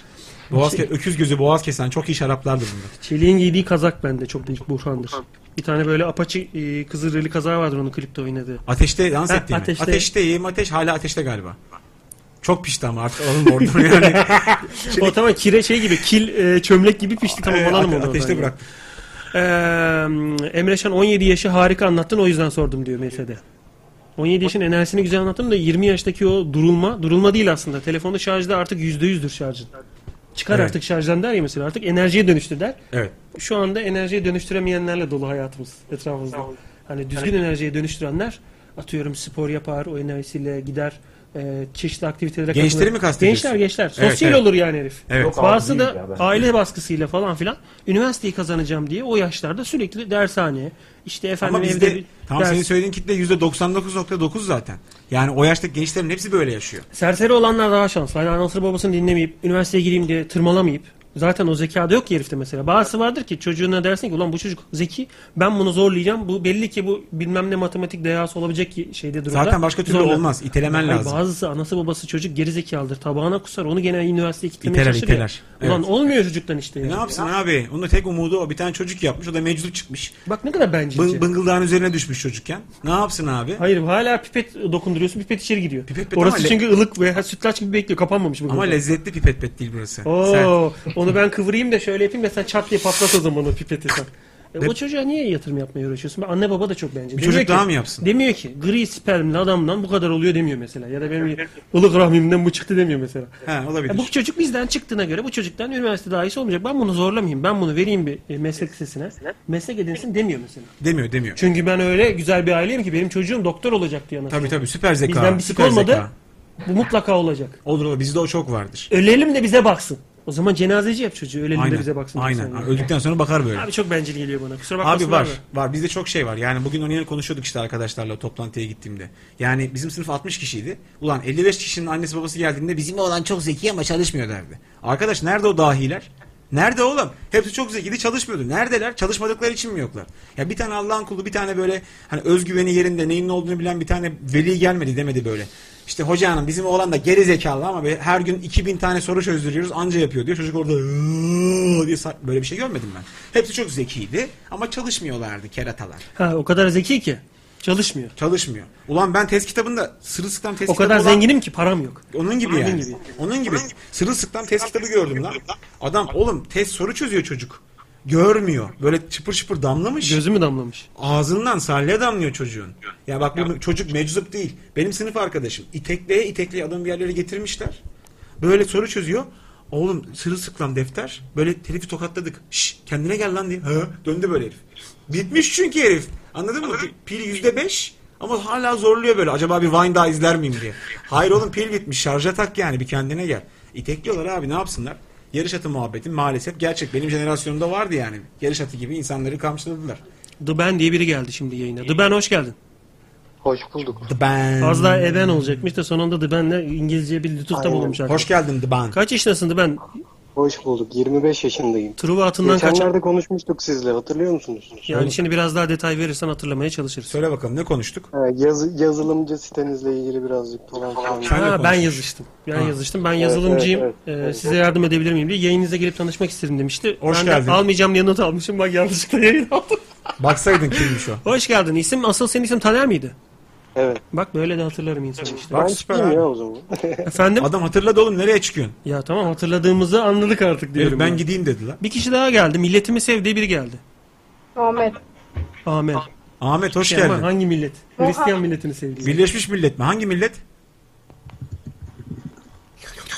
Boğaz ke- öküz gözü boğaz kesen çok iyi şaraplardı bunlar.
Şey- Çelik'in giydiği kazak bende çok büyük Burhan'dır. Bir tane böyle apaçı e, kızılırlı kazağı vardır onun klipte oynadığı.
Ateşte dans
Ha,
ettiğimi.
ateşte.
Ateşteyim ateş hala ateşte galiba. Çok pişti ama artık alın oradan yani.
O tamam kire şey gibi kil e, çömlek gibi pişti tamam
Ee,
alalım
ate-
onu. oradan
ateşte
ya.
bırak.
Ee, Emre Şan 17 yaşı harika anlattın o yüzden sordum diyor MS'de. 17 yaşın enerjisini güzel anlattın da 20 yaştaki o durulma, durulma değil aslında. Telefonu şarjda artık %100'dür şarjın. Çıkar
Evet.
artık şarjdan der ya mesela artık enerjiye dönüştür der.
Evet.
Şu anda enerjiye dönüştüremeyenlerle dolu hayatımız etrafımızda. Hani düzgün enerjiye dönüştürenler atıyorum spor yapar, o enerjisiyle gider e, çeşitli aktivitelere
Gençleri
katılır.
mi kastediyorsun?
Gençler gençler.
Evet,
Sosyal
evet.
olur yani herif.
Evet.
Yok abi,
Bazısı
değil
da
ya ben-
aile baskısıyla falan filan üniversiteyi kazanacağım diye o yaşlarda sürekli dershane işte efendim
Ama
evde
bizde
bir
tam
ders-
senin söylediğin kitle %99.9 zaten. Yani o yaştaki gençlerin hepsi böyle yaşıyor.
serseri olanlar daha şanslı. Hani anasını babasını dinlemeyip üniversiteye gireyim diye tırmalamayıp zaten o zekada yok ki herifte mesela. Bazısı vardır ki çocuğuna dersin ki ulan bu çocuk zeki ben bunu zorlayacağım. Bu belli ki bu bilmem ne matematik dehası olabilecek ki şeyde durumda.
Zaten başka türlü
Zorla.
olmaz. İtelemen
Hayır,
lazım.
Bazısı anası babası çocuk geri zekalıdır. Tabağına kusar. Onu gene üniversiteye kitlemeye
İteler,
çalışır ya.
iteler.
Ulan
Evet.
olmuyor çocuktan işte.
E, Ne
yani.
yapsın abi? Onun da tek umudu o. Bir tane çocuk yapmış. O da meczup çıkmış.
Bak ne kadar bencilce.
Bın, bıngıldağın üzerine düşmüş çocukken. Ne yapsın abi?
Hayır hala pipet dokunduruyorsun pipet içeri giriyor.
Pipet- pipet
Orası
ama le-
çünkü ılık ve ha, sütlaç gibi bekliyor kapanmamış bu.
Ama
kadar.
lezzetli pipet pet değil burası. Sen-
Oo, onu ben kıvırayım da şöyle yapayım da sen çat diye patlat o zaman o pipeti sen. E, o çocuğa niye yatırım yapmaya uğraşıyorsun? Ben- Anne baba da çok bence.
Bir çocuk daha mı yapsın?
Demiyor ki gri spermli adamdan bu kadar oluyor demiyor mesela. Ya da benim ılık rahmimden bu çıktı demiyor mesela.
He, olabilir.
E, bu çocuk bizden çıktığına göre bu çocuktan üniversite dahisi olmayacak. Ben bunu zorlamayayım. Ben bunu vereyim bir e, meslek lisesine. Meslek edinsin demiyor mesela.
Demiyor demiyor.
Çünkü ben öyle güzel bir aileyim ki benim çocuğum doktor olacak diye anasını.
Tabii tabii süper zeka.
Bizden bir sik
süper
olmadı.
zeka.
Bu mutlaka olacak.
Olur olur bizde o çok vardır.
Ölelim de bize baksın. O zaman cenazeci yap çocuğu. Ölelim
Aynen.
de bize baksın.
Aynen.
Sen yani.
Öldükten sonra bakar böyle.
Abi çok bencil geliyor bana. Kusura bakmasın
Abi var. Var. Bizde çok şey var. Yani bugün onu yine konuşuyorduk işte arkadaşlarla toplantıya gittiğimde. Yani bizim sınıf 60 kişiydi. Ulan 55 kişinin annesi babası geldiğinde bizim oğlan çok zeki ama çalışmıyor derdi. Arkadaş nerede o dahiler? Nerede oğlum? Hepsi çok zekiydi çalışmıyordu. Neredeler? Çalışmadıkları için mi yoklar? Ya bir tane Allah'ın kulu bir tane böyle hani özgüveni yerinde neyin ne olduğunu bilen bir tane veli gelmedi demedi böyle. İşte hoca hanım bizim oğlan da geri zekalı ama böyle her gün 2000 tane soru çözdürüyoruz anca yapıyor diyor. Çocuk orada "Iıı" diye sa- böyle bir şey görmedim ben. Hepsi çok zekiydi ama çalışmıyorlardı keratalar.
Ha, o kadar zeki ki çalışmıyor.
Çalışmıyor. Ulan ben test kitabında sırılsıklam test
O kadar
kitabı olan-
zenginim ki param yok.
onun gibi yani.
gibi.
Onun gibi. Sırılsıklam test kitabı gördüm lan. Adam oğlum test soru çözüyor çocuk. Görmüyor. Böyle çıpır çıpır damlamış.
Gözü mü damlamış?
Ağzından salya damlıyor çocuğun. Ya bak bu çocuk meczup değil. Benim sınıf arkadaşım. İtekleye itekleye adamı bir yerlere getirmişler. Böyle soru çözüyor. Oğlum sırılsıklam defter. Böyle herifi tokatladık. Şş, kendine gel lan diye. Ha, döndü böyle herif. Bitmiş çünkü herif. Anladın mı? Pil yüzde beş ama hala zorluyor böyle. Acaba bir Vine daha izler miyim diye. Hayır oğlum pil bitmiş. Şarja tak yani bir kendine gel. İtekliyorlar abi ne yapsınlar? Yarış atı muhabbeti maalesef gerçek. Benim jenerasyonumda vardı yani. Yarış atı gibi insanları kamçıladılar.
The Ben diye biri geldi şimdi yayına. The Ben hoş geldin.
Hoş bulduk.
The Band.
Az daha Eben olacakmış da sonunda The Ben'le İngilizce bir lütufta
Aynen.
bulunmuş arkadaş.
Hoş geldin The Band.
Kaç yaşındasın The Ben?
Hoş bulduk. 25 yaşındayım.
Truva atından kaçar.
Geçenlerde konuşmuştuk sizle hatırlıyor musunuz?
Yani şimdi biraz daha detay verirsen hatırlamaya çalışırız.
Söyle bakalım ne konuştuk?
Ha, Yaz, yazılımcı sitenizle ilgili birazcık falan filan.
Sen de
Ha, ben
konuş.
yazıştım. Ben yazıştım. Ben yazılımcıyım.
evet,
Ee,
evet, evet.
size yardım edebilir miyim diye yayınınıza gelip tanışmak istedim demişti.
Hoş
ben
geldin.
de almayacağım diye not almışım. Bak yanlışlıkla yayın aldım.
Baksaydın kimmiş o.
Hoş geldin. İsim asıl senin isim Taner miydi?
Evet.
Bak böyle de hatırlarım insanı işte.
Bak
Ben
süper
çıkayım
abi.
ya o zaman.
Efendim?
Adam hatırladı oğlum nereye çıkıyorsun?
Ya tamam hatırladığımızı anladık artık diyorum.
Herif ben
ya.
gideyim dedi lan.
Bir kişi daha geldi. Milletimi sevdiği biri geldi.
Ahmet.
Ahmet.
Ahmet hoş
Şey ama
geldin.
hangi millet? Hristiyan milletini sevdiği.
Birleşmiş Millet mi? Hangi millet?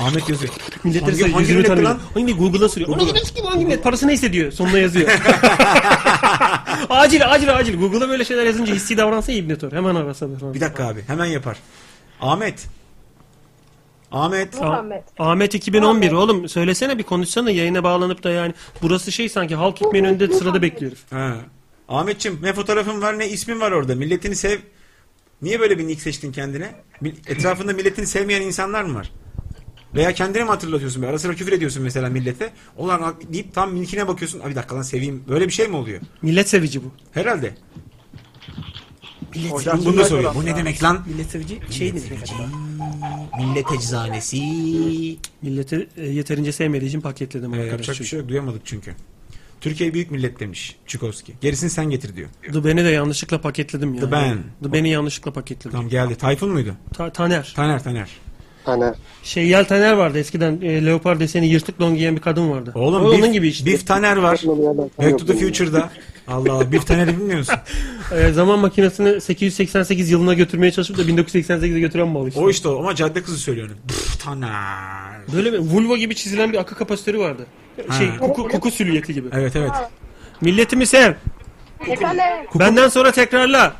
Ahmet yazıyor.
Milletleri
Hangi-
sayıyor.
hangi
yüzünü
millet
tanıyor.
lan?
Hangi Google'a soruyor. Ona gidelim ki bu hangi millet? Parası neyse diyor. Sonuna yazıyor. acil acil acil. Google'a böyle şeyler yazınca hissi davransa iyi İbnet Hemen arasa. da.
Bir dakika abi hemen yapar. Ahmet. Ahmet.
Muhammed.
Ahmet 2011 oğlum söylesene bir konuşsana yayına bağlanıp da yani burası şey sanki halk ekmeğin önünde sırada bekliyoruz.
Ha. Ahmetçim ne fotoğrafın var ne ismin var orada. Milletini sev. Niye böyle bir nick seçtin kendine? Mil- Etrafında milletini sevmeyen insanlar mı var? Veya kendine mi hatırlatıyorsun? be? Ara sıra küfür ediyorsun mesela millete. Olan ak- deyip tam milkine bakıyorsun. Abi bir dakika lan seveyim. Böyle bir şey mi oluyor?
Millet sevici bu.
Herhalde.
Millet
Bunu, bunu da soruyor. Bu ne demek lan?
Millet sevici şey ne demek acaba?
Millet eczanesi.
Milleti e, yeterince sevmediği için paketledim
Ee,
arkadaş.
yapacak bir
çünkü.
şey yok. Duyamadık çünkü. Türkiye büyük millet demiş Çukovski. Gerisini sen getir diyor.
The Ben'i de yanlışlıkla paketledim ya.
The Ben.
The Ben'i yanlışlıkla paketledim.
Tamam geldi. Tayfun muydu?
Ta- Taner.
Taner Taner.
Hani
Şeyyel Taner vardı eskiden e, leopar deseni yırtık don giyen bir kadın vardı.
Oğlum
O
Biff,
onun gibi işte.
Biff Taner var.
Saçma bir yerden sen
Back to the
yok
Future'da. Allah Allah. Biff Taner'i bilmiyor musun?
E, zaman makinesini 888 yılına götürmeye çalışıp da 1988'e götüren mal işte.
O işte o ama cadde kızı söylüyorum. Biff Taner.
Böyle bir vulva gibi çizilen bir akı kapasitörü vardı. Şey kuku, kuku silüeti gibi.
Evet evet.
Milletimi sev.
Efendim.
Benden sonra tekrarla.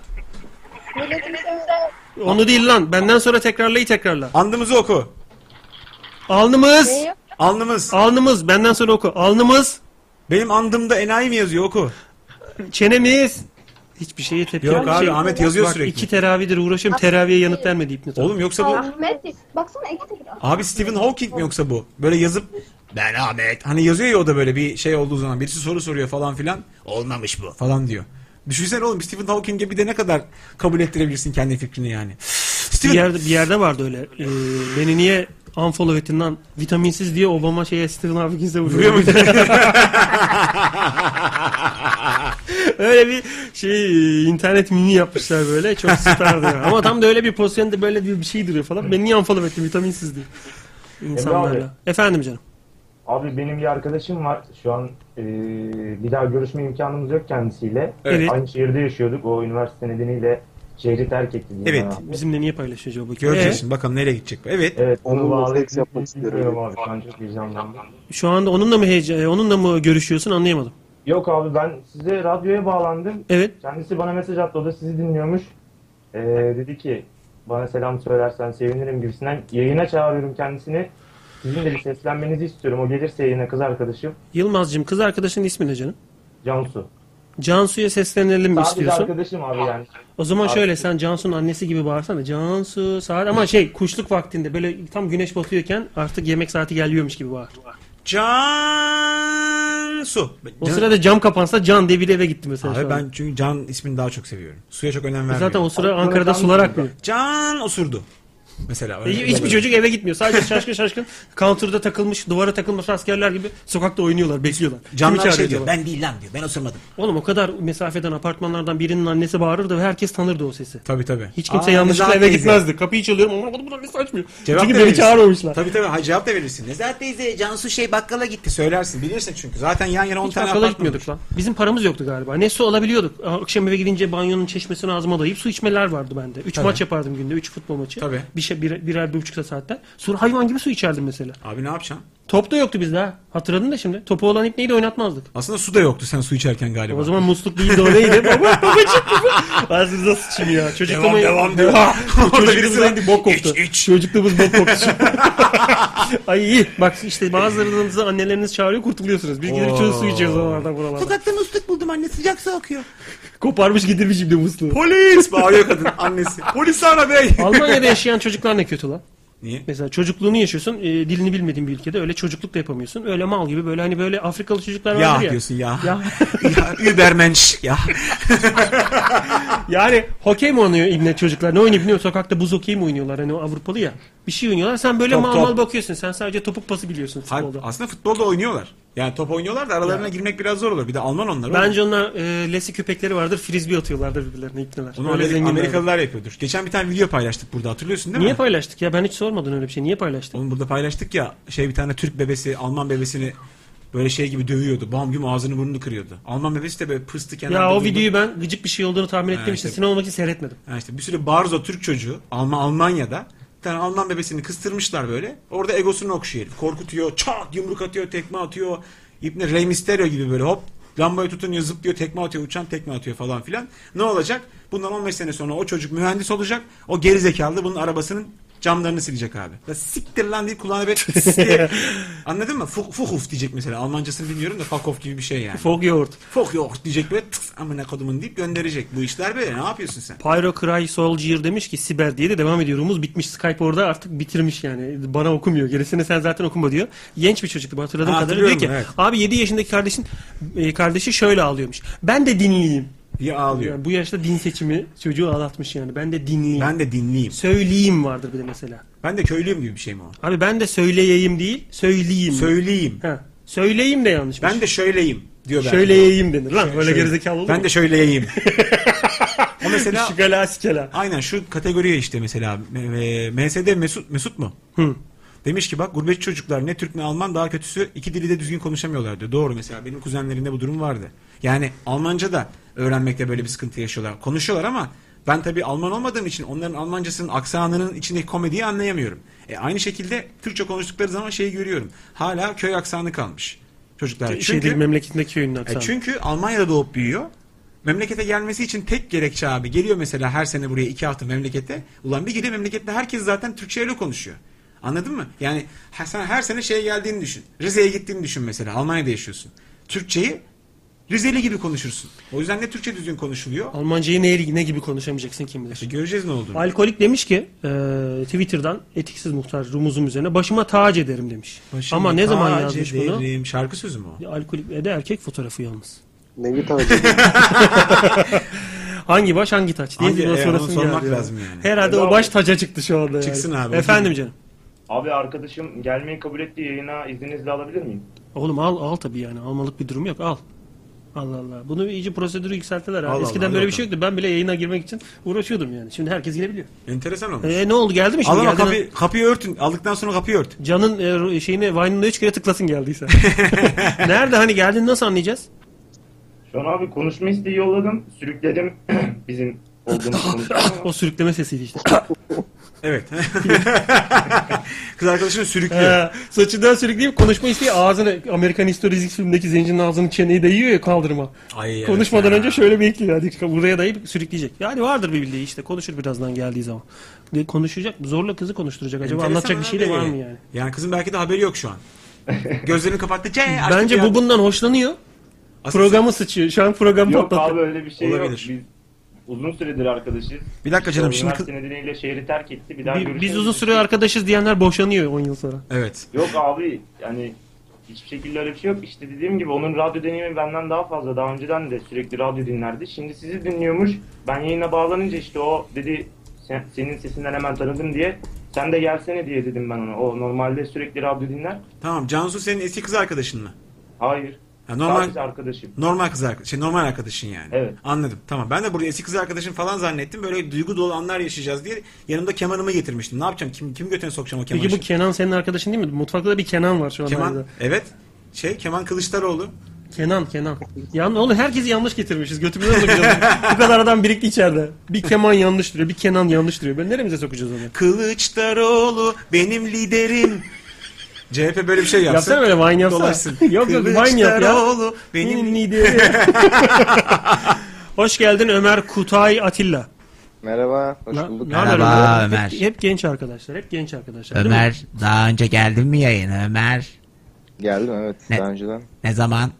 Milletimi sevdi.
Onu değil lan. Benden sonra tekrarlayı tekrarla.
Andımızı oku.
Alnımız.
Neyi?
Alnımız.
Alnımız. Benden sonra oku. Alnımız.
Benim andımda enayi mi yazıyor oku.
Çenemiz. Hiçbir şeye tepki
Yok
yok.
abi,
şey.
Ahmet yazıyor
Bak,
sürekli.
İki teravidir uğraşıyorum. Teraviye yanıt vermedi İbni Tabi.
Oğlum yoksa bu
Ahmet. Baksana iki tekrar.
abi Stephen Hawking mi yoksa bu? Böyle yazıp ben Ahmet. Hani yazıyor ya o da böyle bir şey olduğu zaman birisi soru soruyor falan filan. Olmamış bu falan diyor. Düşünsene oğlum Stephen Hawking'e bir de ne kadar kabul ettirebilirsin kendi fikrini yani.
Bir
Stephen
yerde, bir yerde vardı öyle. Ee, beni niye unfollow ettin lan? Vitaminsiz diye Obama şeye Stephen Hawking'e vuruyor.
Vuruyor muydu?
öyle bir şey internet mini yapmışlar böyle. Çok süperdi. ya. Ama tam da öyle bir pozisyonda böyle bir bir şey duruyor falan. Beni niye unfollow ettin vitaminsiz diye.
Emre abi.
İnsanlarla. Efendim canım.
Abi benim bir arkadaşım var. Şu an e, bir daha görüşme imkanımız yok kendisiyle.
Evet.
Aynı şehirde yaşıyorduk. O üniversite nedeniyle şehri terk etti. diyeyim
Evet.
ben abi.
Bizimle niye paylaşıyor acaba?
Göreceğiz
Ee,
şimdi bakalım nereye gidecek bu. Evet.
Evet. Onu
Onunla
bağlı.
seks yapmak istiyorum.
Bilmiyorum abi. Şu an çok heyecanlandım.
şu anda onunla mı heyecan, e, onunla mı görüşüyorsun anlayamadım.
Yok abi ben size radyoya bağlandım.
Evet.
Kendisi bana mesaj attı. O da sizi dinliyormuş. Ee, dedi ki bana selam söylersen sevinirim gibisinden. Yayına çağırıyorum kendisini. Sizin de bir seslenmenizi istiyorum. O gelirse yayına kız arkadaşım
Yılmaz'cığım kız arkadaşının ismi ne canım?
Cansu.
Cansu'ya seslenelim mi
Sadece
istiyorsun?
arkadaşım abi yani.
O zaman
Abi-
şöyle sen Cansu'nun annesi gibi bağırsana. Cansu saat ama şey kuşluk vaktinde böyle tam güneş batıyorken artık yemek saati geliyormuş gibi bağır.
Can Su.
O sırada cam kapansa Can diye biri eve gitti mesela. şu
Abi
an.
ben çünkü Can ismini daha çok seviyorum. Suya çok önem
E
vermiyorum.
Zaten o sıra
Aklına
Ankara'da
Can
sular
geldi.
akmıyor.
Can osurdu. Mesela.
E,
öyle- şey
Hiçbir çocuk eve gitmiyor. Sadece şaşkın şaşkın counter'da takılmış, duvara takılmış askerler gibi sokakta oynuyorlar, bekliyorlar. Kimi
Canlar şey
çağırıyor
diyor.
acaba?
Ben değil lan diyor. Ben osurmadım.
Oğlum o kadar mesafeden apartmanlardan birinin annesi bağırırdı ve herkes tanırdı o sesi.
Tabii tabii.
Hiç kimse
Aa,
yanlışlıkla
Nezahat
eve
teyze.
gitmezdi. Kapıyı çalıyorum. Aman aman aman mesaj açmıyor.
Cevap
Çünkü
da
beni
verirsin.
çağırmamışlar.
Tabii tabii. Ha, cevap da verirsin. Nezahat teyze Cansu şey bakkala gitti. Söylersin. Bilirsin çünkü. Zaten yan yana 10
Hiç
tane
bakkala
apartman.
gitmiyorduk lan. Bizim paramız yoktu galiba. Ne su alabiliyorduk. Akşam eve gidince banyonun çeşmesini ağzıma dayayıp su içmeler vardı bende. Üç
Tabii.
maç yapardım günde. Üç futbol maçı.
Tabii.
Bir şey, bir, birer bir buçuk saatten. Sonra hayvan gibi su içerdim mesela.
Abi ne yapacaksın?
Top da yoktu bizde ha. Hatırladın da şimdi. Topu olan ipneyi de oynatmazdık.
Aslında su da yoktu sen su içerken galiba.
O zaman musluk değil de o neydi? Baba babacık. Ağzınıza sıçayım ya. Çocukluğuma...
devam diyor. Orada birisi
Çocukluğumuzdan
var.
bok koptu.
İç, iç.
Çocukluğumuz bok koptu. Ay iyi. Bak işte bazılarınızı anneleriniz çağırıyor kurtuluyorsunuz. Biz gidip çocuk su içiyoruz oralardan buralardan.
Sokakta musluk buldum anne sıcak su akıyor.
Koparmış getirmişim de musluğu.
Polis bağırıyor kadın annesi. Polis ara bey.
Almanya'da yaşayan çocuklar ne kötü lan.
Niye?
Mesela çocukluğunu yaşıyorsun, e, dilini bilmediğin bir ülkede öyle çocukluk da yapamıyorsun. Öyle mal gibi böyle hani böyle Afrikalı çocuklar vardır
Ya
ya.
diyorsun ya.
Ya.
ya Übermensch ya.
Yani hokey mi oynuyor ibne çocuklar? Ne oynuyor bilmiyorum. Sokakta buz hokeyi mi oynuyorlar? Hani o Avrupalı ya. Bir şey oynuyorlar. Sen böyle
Top,
mal
top.
mal bakıyorsun. Sen sadece topuk pası biliyorsun
Hayır,
futbolda.
aslında futbolda oynuyorlar. Yani top oynuyorlar da aralarına girmek biraz zor olur. Bir de Alman onlar. oğlum.
Bence onlar e, lesi köpekleri vardır. Frisbee atıyorlardır birbirlerine ikneler.
Onu
Öyle
Ameri-
zenginler.
Amerikalılar yapıyordur. Geçen bir tane video paylaştık burada hatırlıyorsun değil
Niye
mi?
paylaştık ya? Ben hiç sormadın öyle bir şey. Niye paylaştık?
Onu burada paylaştık ya şey bir tane Türk bebesi Alman bebesini böyle şey gibi dövüyordu. Bam güm ağzını burnunu kırıyordu. Alman bebesi de böyle pıstık
Ya o videoyu ben gıcık bir şey olduğunu tahmin ettiğim için
işte.
sinir olmak için seyretmedim.
Ha işte bir sürü barzo Türk çocuğu Alman Almanya'da bir tane Alman bebesini kıstırmışlar böyle. Orada egosunu okşuyor herif. Korkutuyor, çat yumruk atıyor, tekme atıyor. İpne Rey Mysterio gibi böyle hop lambaya tutunuyor, zıplıyor, tekme atıyor, uçan tekme atıyor falan filan. Ne olacak? Bundan 15 sene sonra o çocuk mühendis olacak. O geri zekalı bunun arabasının camlarını silecek abi. Ya siktir lan deyip kulağına böyle tıs diye. Anladın mı? Fuh, fuhuf diyecek mesela. Almancasını bilmiyorum da fakof gibi bir şey yani.
Fog yoğurt.
Fuh yok diyecek böyle tıs amına kodumun deyip gönderecek. Bu işler böyle ne yapıyorsun sen?
Pyro Cry Soldier demiş ki Siber diye de devam ediyorumuz bitmiş. Skype orada artık bitirmiş yani. Bana okumuyor. Gerisini sen zaten okuma diyor. Genç bir çocuktu ben hatırladığım
Ha,
kadarıyla. Diyor ki
hatırlıyorum
abi 7 yaşındaki kardeşin e, kardeşi şöyle ağlıyormuş. Ben de dinleyeyim.
Diye ağlıyor.
Yani bu yaşta din seçimi çocuğu ağlatmış yani. Ben de dinleyeyim.
Ben de dinleyeyim.
Söyleyeyim vardır bir de mesela.
Ben de köylüyüm gibi bir şey mi o?
Abi ben de söyleyeyim değil, söyleyeyim.
Söyleyeyim.
ha. Söyleyeyim de yanlış.
Ben de şöyleyim diyor ben.
söyleyeyim denir lan. Öyle gerizekalı olur
Ben
mu?
de şöyleyeyim. o mesela
Şikala sikela.
aynen şu kategoriye işte mesela M- e, MSD Mesut Mesut mu?
Hı.
Demiş ki bak gurbetçi çocuklar ne Türk ne Alman daha kötüsü iki dili de düzgün konuşamıyorlar diyor. Doğru mesela benim kuzenlerimde bu durum vardı. Yani Almanca da öğrenmekte böyle bir sıkıntı yaşıyorlar. Konuşuyorlar ama ben tabii Alman olmadığım için onların Almancasının aksanının içindeki komediyi anlayamıyorum. E, aynı şekilde Türkçe konuştukları zaman şeyi görüyorum. Hala köy aksanı kalmış çocuklar.
Şey değil memleketindeki köyünün
E
aksanı.
çünkü Almanya'da doğup büyüyor. Memlekete gelmesi için tek gerekçe abi. Geliyor mesela her sene buraya iki hafta memlekete. Ulan bir gidiyor memlekette herkes zaten Türkçe öyle konuşuyor. Anladın mı? Yani ha- sen her sene şeye geldiğini düşün. Rize'ye gittiğini düşün mesela. Almanya'da yaşıyorsun. Türkçeyi Rizeli gibi konuşursun. O yüzden ne Türkçe düzgün konuşuluyor?
Almancayı ne, ne gibi konuşamayacaksın kim bilir.
İşte göreceğiz ne olduğunu.
Alkolik demiş ki e, Twitter'dan etiksiz muhtar rumuzum üzerine başıma tac ederim demiş.
Başımı
Ama ne zaman
tac
yazmış bunu?
ederim. Şarkı sözü mü o?
Alkolik ve de erkek fotoğrafı yalnız.
Nevi tacı.
Hangi baş hangi taç diye
Hangi-
bir
e, onu
sorasım
sormak
geldi ya.
lazım yani.
E,
Herhalde o
Bravo.
baş taca çıktı şu anda yani.
Çıksın abi.
Efendim canım.
Abi arkadaşım gelmeyi kabul etti yayına izninizle alabilir miyim?
Oğlum al al tabii yani almalık bir durum yok al. Allah Allah. Bunu iyice prosedürü yükselttiler. ha.
Allah Allah,
Eskiden
hadi
böyle bir
bakalım.
şey yoktu. Ben bile yayına girmek için uğraşıyordum yani. Şimdi herkes girebiliyor.
Enteresan olmuş.
E, ne oldu geldi mi şimdi?
Al ama
Geldi mi?
kapı, kapıyı örtün. Aldıktan sonra kapıyı ört.
Can'ın e, şeyine Vine'ında 3 kere tıklasın geldiyse. Nerede hani geldiğini nasıl anlayacağız?
Şu an abi konuşma isteği yolladım. Sürükledim bizim olduğumuz konuşma.
O sürükleme sesiydi işte.
Evet. Kız arkadaşını sürüklüyor.
Ee, saçından sürükleyip konuşma isteği ağzını Amerikan History X filmindeki zencinin ağzını çeneyi dayıyor ya kaldırıma.
Ay, evet
Konuşmadan
ya.
önce şöyle bekliyor. Hadi buraya dayayıp sürükleyecek. Yani vardır bir bildiği işte. Konuşur birazdan geldiği zaman. De- Konuşacak. Zorla kızı konuşturacak. Acaba
Enteresan
anlatacak bir şey de
abi.
var mı yani?
Yani kızın belki de haberi yok şu an. Gözlerini Şey, kapattı. "Ce, açtı bir
Bence
an."
bu bundan hoşlanıyor.
Aslında-
Programı sıçıyor. Şu an programı
yok
patlattı.
abi öyle bir şey
Olabilir.
yok. Biz uzun süredir arkadaşız.
Bir dakika canım, şimdi kı-
Üniversite nedeniyle şehri terk etti. Bir daha
Bi-
görüşemedik.
Biz uzun süre arkadaşız diyenler boşanıyor 10 yıl sonra.
Evet.
Yok abi yani Hiçbir şekilde öyle bir şey yok. İşte dediğim gibi onun radyo deneyimi benden daha fazla. Daha önceden de sürekli radyo dinlerdi. Şimdi sizi dinliyormuş. Ben yayına bağlanınca işte o dedi "Sen- senin sesinden hemen tanıdım diye. Sen de gelsene diye dedim ben ona. O normalde sürekli radyo dinler.
Tamam Cansu senin eski kız arkadaşın mı?
Hayır.
Ha, normal
Sadece arkadaşım.
normal kız arkadaş, şey, normal arkadaşın yani.
Evet.
Anladım. Tamam. Ben de burada eski kız arkadaşın falan zannettim. Böyle duygu dolu anlar yaşayacağız diye yanımda kemanımı getirmiştim. Ne yapacağım? Kim kim götüne sokacağım o kemanı?
Peki bu
şimdi?
Kenan senin arkadaşın değil mi? Mutfakta da bir Kenan var şu an.
keman
arada.
evet. Şey Keman Kılıçdaroğlu.
Kenan, Kenan. Yan, oğlum herkesi yanlış getirmişiz. Götümüze sokacağız. bu kadar adam birikti içeride. Bir Keman yanlış duruyor, bir Kenan yanlış duruyor. Ben neremize sokacağız onu?
Kılıçdaroğlu benim liderim. CHP böyle bir şey yapsın.
Yapsana böyle Vine yapsana.
Dolaşsın.
yok yok Vine yap ya.
Kılıçdaroğlu benim
Benim
liderim.
liderim. Hoş geldin Ömer Kutay Atilla.
Merhaba, hoş
Na-
bulduk.
ne haber
Merhaba
Ömer?
Ömer.
Hep, hep genç arkadaşlar, hep genç arkadaşlar. değil mi?
Ömer daha önce geldin mi yayına Ömer?
Geldim evet
Ne-
daha önceden.
Ne zaman?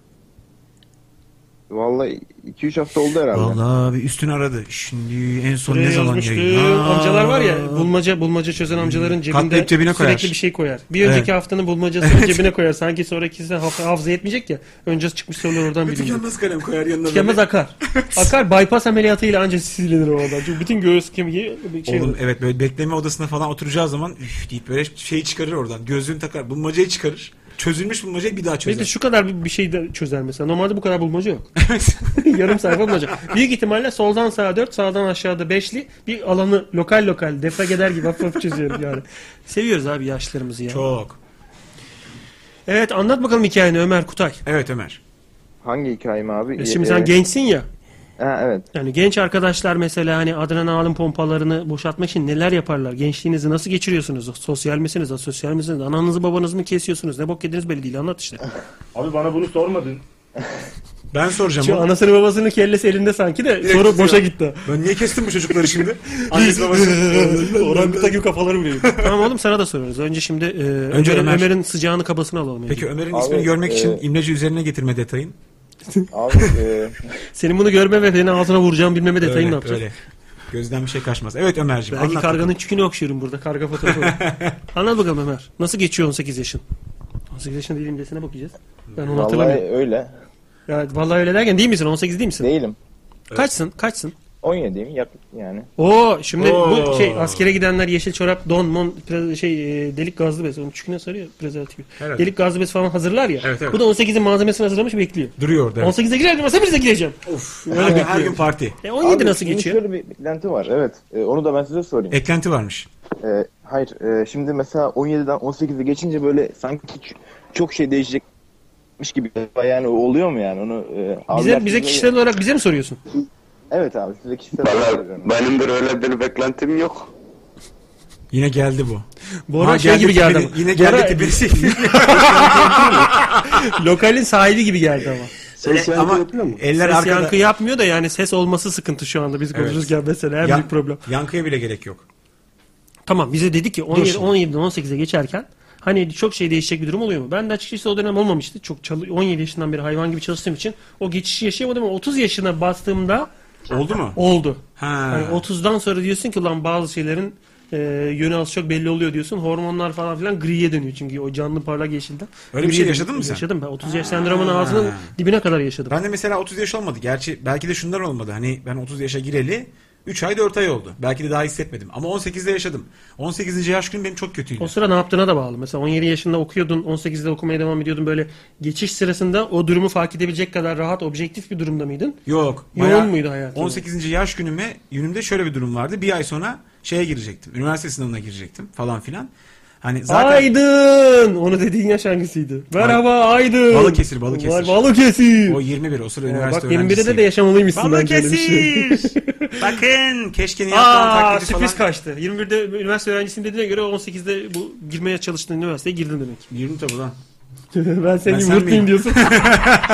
Vallahi 2-3 hafta oldu herhalde.
Vallahi bir üstünü aradı. Şimdi en son
Buraya
ne zaman
yazmıştı.
yayın? Aa.
Amcalar var ya bulmaca bulmaca çözen amcaların cebinde
Katlayıp cebine koyar.
sürekli bir şey koyar. Bir
Evet.
önceki haftanın bulmacasını cebine koyar. Sanki sonrakisi haf- hafıza yetmeyecek ya. Önce çıkmış sorular oradan
Bir
bilinir.
tükenmez kalem koyar yanına.
Tükenmez akar. akar bypass ameliyatıyla ancak silinir o adam. Çünkü bütün göğüs kemiği şey
Oğlum evet böyle bekleme odasına falan oturacağı zaman üf deyip böyle şeyi çıkarır oradan. Gözlüğünü takar. Bulmacayı çıkarır. Çözülmüş bulmacayı bir daha çözer.
Belki şu kadar bir- bir şey de çözer mesela. Normalde bu kadar bulmaca yok. Yarım sayfa bulmaca. Büyük ihtimalle soldan sağa 4, sağdan aşağıda beşli bir alanı lokal lokal defrag eder gibi hafif hafif çözüyorum yani. Seviyoruz abi yaşlarımızı ya.
Çok.
Evet anlat bakalım hikayeni Ömer Kutay.
Evet Ömer.
Hangi hikayem abi?
E Şimdi
Ee,
sen gençsin ya.
Ha, evet.
Yani genç arkadaşlar mesela hani adrenalin pompalarını boşaltmak için neler yaparlar? Gençliğinizi nasıl geçiriyorsunuz? Sosyal misiniz? Asosyal misiniz? Ananızı babanızı mı kesiyorsunuz? Ne bok yediniz belli değil anlat işte.
Abi bana bunu sormadın.
Ben soracağım.
Şu
oğlum.
anasını babasını kellesi elinde sanki de soru boşa gitti.
Ben niye kestim bu çocukları şimdi? Annesi babası.
Orangutan gibi kafaları vuruyor. tamam oğlum sana da sorarız. Önce şimdi e,
Önce
Ömer'in,
Ömer.
Ömer'in sıcağını kabasını alalım.
Peki Ömer'in
Abi,
ismini görmek
e,
için imleci üzerine getirme detayın.
Abi e,
Senin bunu görme ve beni ağzına vuracağım bilmeme detayını
Öyle,
ne yapacağız?
öyle. Gözden bir şey kaçmaz. Evet Ömerciğim
Belki
anlat.
karganın
bakalım.
çükünü okşuyorum burada. Karga fotoğrafı var. Anlat bakalım Ömer. Nasıl geçiyor 18 yaşın? 18 yaşında değilim desene bakacağız. Ben onu
vallahi
hatırlamıyorum.
öyle.
Ya, vallahi öyle derken değil misin? 18 değil misin?
Değilim.
Kaçsın? Kaçsın?
17'yim yak yani.
Oo şimdi bu
Oo.
şey askere gidenler yeşil çorap, don, mon, pre- şey e, delik gazlı bez. Onun çüküne sarıyor prezervatif.
Herhalde.
Delik gazlı bez falan hazırlar ya.
Evet, evet.
Bu da 18'in malzemesini hazırlamış bekliyor.
Duruyor orada. Evet.
18'e girer girmez hepinize gireceğim.
Of. Her, gün- her gün parti.
E 17
Abi,
nasıl
şimdi
geçiyor?
Şöyle bir beklenti var evet. E, onu da ben size sorayım.
Eklenti varmış.
E, hayır e, şimdi mesela 17'den 18'e geçince böyle sanki ç- çok şey değişecekmiş gibi. Yani o oluyor mu yani onu? E,
Bize,
abiler
bize
size-
kişisel olarak bize mi soruyorsun?
Evet abi size kişisel
Valla benim de öyle bir beklentim yok.
Yine geldi bu.
Bora
Ha,
şey gibi
tipini-
geldi ama.
Yine geldi
Bora-
tipini.
Lokalin sahibi gibi geldi ama.
Ses yankı
Ama
yapıyor mu?
eller
ses
arkada.
yankı yapmıyor da yani ses olması sıkıntı şu anda biz
Evet.
konuşurken mesela en
Yan-
büyük problem.
Yankıya bile gerek yok.
Tamam bize dedi ki 17
şimdi.
17'den 18'e geçerken hani çok şey değişecek bir durum oluyor mu? Ben de açıkçası o dönem olmamıştı. Çok çalı- 17 yaşından beri hayvan gibi çalıştığım için o geçişi yaşayamadım ama 30 yaşına bastığımda
Oldu mu?
oldu.
Ha.
Yani 30'dan sonra diyorsun ki lan bazı şeylerin e, yönü az çok belli oluyor diyorsun. Hormonlar falan filan griye dönüyor çünkü o canlı parlak yeşilden.
Öyle bir şey
Griye
yaşadın
dönüyor.
mı sen?
Yaşadım ben. 30 yaş sendromunun ağzının dibine kadar yaşadım.
Ben de mesela 30 yaş olmadı. Gerçi belki de şunlar olmadı. Hani ben 30 yaşa gireli 3 ay 4 ay oldu. Belki de daha hissetmedim. Ama 18'de yaşadım. 18. yaş günüm benim çok kötüydü.
O sıra ne yaptığına da bağlı. Mesela 17 yaşında okuyordun, 18'de okumaya devam ediyordun. Böyle geçiş sırasında o durumu fark edebilecek kadar rahat, objektif bir durumda mıydın?
Yok.
Yoğun
bayağı-
muydu hayatın?
18. yaş günüme günümde şöyle bir durum vardı. Bir ay sonra şeye girecektim. Üniversite sınavına girecektim falan filan. Hani zaten Hani
Aydın! Onu dediğin yaş hangisiydi? Merhaba Aydın!
Balıkesir, Balıkesir.
Vay, Balıkesir!
o 21 o sıra
Bak
üniversite
21'de de
öğrencisiyim.
yaşamalıymışsın bence öyle bir şey.
Balıkesir! Bakın keşke niye
Aa,
taklidi
sürpriz
falan.
kaçtı. 21'de üniversite öğrencisiyim dediğine göre 18'de bu girmeye çalıştığın üniversiteye girdin demek.
20 tabi lan.
ben seni
Ben sen
yumurtlayayım
miyim?
diyorsun.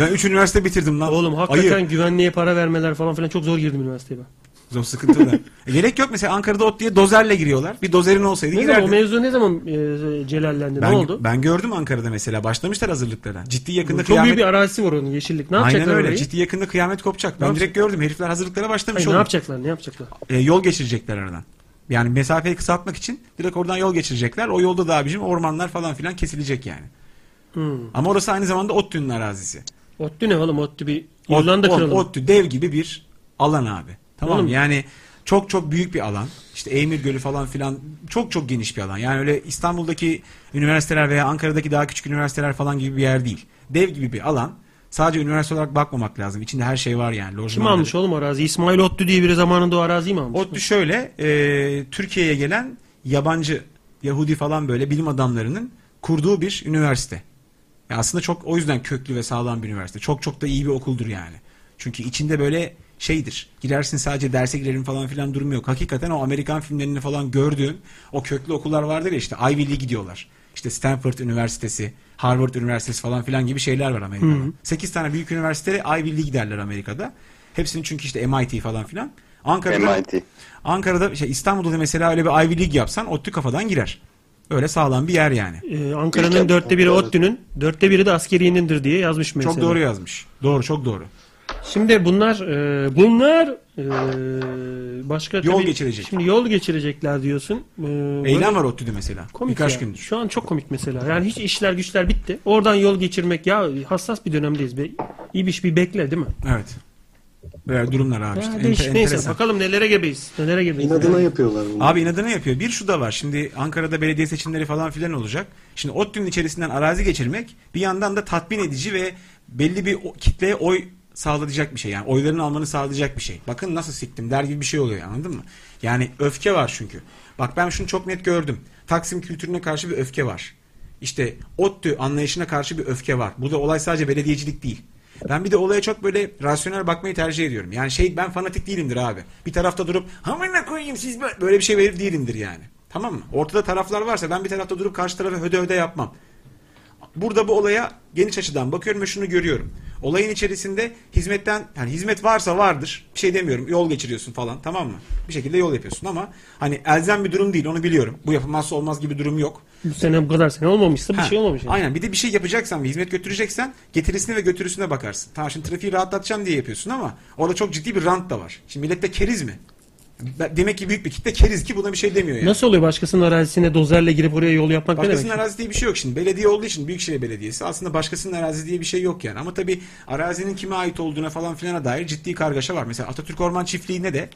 Ben 3 üniversite bitirdim lan.
Oğlum hakikaten
Ayı.
güvenliğe para vermeler falan filan çok zor girdim üniversiteye ben.
Zor sıkıntılı. E, gerek yok mesela Ankara'da ot diye dozerle giriyorlar. Bir dozerin olsaydı
Ne zaman, o
girerdim.
mevzu ne zaman e, celallendi?
Ben,
ne oldu?
ben gördüm Ankara'da mesela başlamışlar hazırlıklara. Ciddi yakında
Çok
kıyamet.
büyük bir arazisi var onun yeşillik. Ne yapacaklar
Aynen öyle.
orayı?
Ciddi yakında kıyamet kopacak. Ben
yapacak-
direkt gördüm. Herifler hazırlıklara başlamış
Hayır, ne
oğlum.
yapacaklar? Ne yapacaklar?
E, yol geçirecekler aradan. Yani mesafeyi kısaltmak için direkt oradan yol geçirecekler. O yolda da abicim ormanlar falan filan kesilecek yani.
Hmm.
Ama orası aynı zamanda ODTÜ'nün arazisi.
Ottu ne oğlum? Ottu bir İrlanda
Ot- Ot-
kralı.
ODTÜ dev gibi bir alan abi. Tamam mı?
Oğlum.
yani çok çok büyük bir alan. İşte Eymir Gölü falan filan çok çok geniş bir alan. Yani öyle İstanbul'daki üniversiteler veya Ankara'daki daha küçük üniversiteler falan gibi bir yer değil. Dev gibi bir alan. Sadece üniversite olarak bakmamak lazım. İçinde her şey var yani.
Kim almış oğlum arazi? İsmail Ottu diye biri zamanında o araziyi mi almış?
ODTÜ şöyle e, Türkiye'ye gelen yabancı Yahudi falan böyle bilim adamlarının kurduğu bir üniversite. Ya aslında çok o yüzden köklü ve sağlam bir üniversite. Çok çok da iyi bir okuldur yani. Çünkü içinde böyle şeydir. Girersin sadece derse girerim falan filan durum yok. Hakikaten o Amerikan filmlerini falan gördüğün o köklü okullar vardır ya işte Ivy League gidiyorlar. İşte Stanford Üniversitesi, Harvard Üniversitesi falan filan gibi şeyler var Amerika'da.
Hı hı.
8 tane büyük üniversiteye Ivy League derler Amerika'da. Hepsinin çünkü işte MIT falan filan. Ankara'da
MIT.
Ankara'da şey İstanbul'da mesela öyle bir Ivy League yapsan ODTÜ kafadan girer. Öyle sağlam bir yer yani.
Ee, Ankara'nın dörtte biri ODTÜ'nün, dörtte biri de askeriyenindir diye yazmış mesela.
Çok doğru yazmış. Doğru, çok doğru.
Şimdi bunlar, e, bunlar e, başka
Yol
tabii-
geçirecek.
Şimdi yol geçirecekler diyorsun. E,
Eylem
böyle-
var ODTÜ'de mesela.
Komik
Birkaç
ya.
gündür.
Şu an çok komik mesela. Yani hiç işler güçler bitti. Oradan yol geçirmek ya hassas bir dönemdeyiz. Be. İyi bir iş bir bekle değil mi?
Evet. Böyle durumlar abi işte.
Ya
Enter-
değiş- neyse
enteresan.
bakalım nelere gebeyiz. Nelere gebeyiz. Yani.
Abi inadına yapıyor. Bir şu da var. Şimdi Ankara'da belediye seçimleri falan filan olacak. Şimdi ODTÜ'nün içerisinden arazi geçirmek bir yandan da tatmin edici ve belli bir o- kitleye oy sağlayacak bir şey. Yani oylarını almanı sağlayacak bir şey. Bakın nasıl siktim der gibi bir şey oluyor anladın mı? Yani öfke var çünkü. Bak ben şunu çok net gördüm. Taksim kültürüne karşı bir öfke var. İşte ODTÜ anlayışına karşı bir öfke var. Burada olay sadece belediyecilik değil. Ben bir de olaya çok böyle rasyonel bakmayı tercih ediyorum. Yani şey ben fanatik değilimdir abi. Bir tarafta durup hamına koyayım siz böyle böyle bir şey verir değilimdir yani. Tamam mı? Ortada taraflar varsa ben bir tarafta durup karşı tarafı höde höde yapmam. Burada bu olaya geniş açıdan bakıyorum ve şunu görüyorum. Olayın içerisinde hizmetten yani hizmet varsa vardır. Bir şey demiyorum. Yol geçiriyorsun falan tamam mı? Bir şekilde yol yapıyorsun ama hani elzem bir durum değil onu biliyorum. Bu yapılmazsa olmaz gibi durum yok.
Bu sene bu kadar sene olmamışsa bir
Ha,
şey olmamış. yani.
Aynen bir de bir şey yapacaksan ve hizmet götüreceksen getirisine ve götürüsüne bakarsın. Tamam şimdi trafiği rahatlatacağım diye yapıyorsun ama orada çok ciddi bir rant da var. Şimdi millette keriz mi? Ben- Demek ki büyük bir kitle keriz ki buna bir şey demiyor yani.
Nasıl oluyor başkasının arazisine dozerle girip oraya yol yapmak ne
Başkasının
demek?
arazisi diye bir şey yok şimdi. Belediye olduğu için Büyükşehir Belediyesi aslında başkasının arazi diye bir şey yok yani. Ama tabii arazinin kime ait olduğuna falan filana dair ciddi kargaşa var. Mesela Atatürk Orman Çiftliği'ne de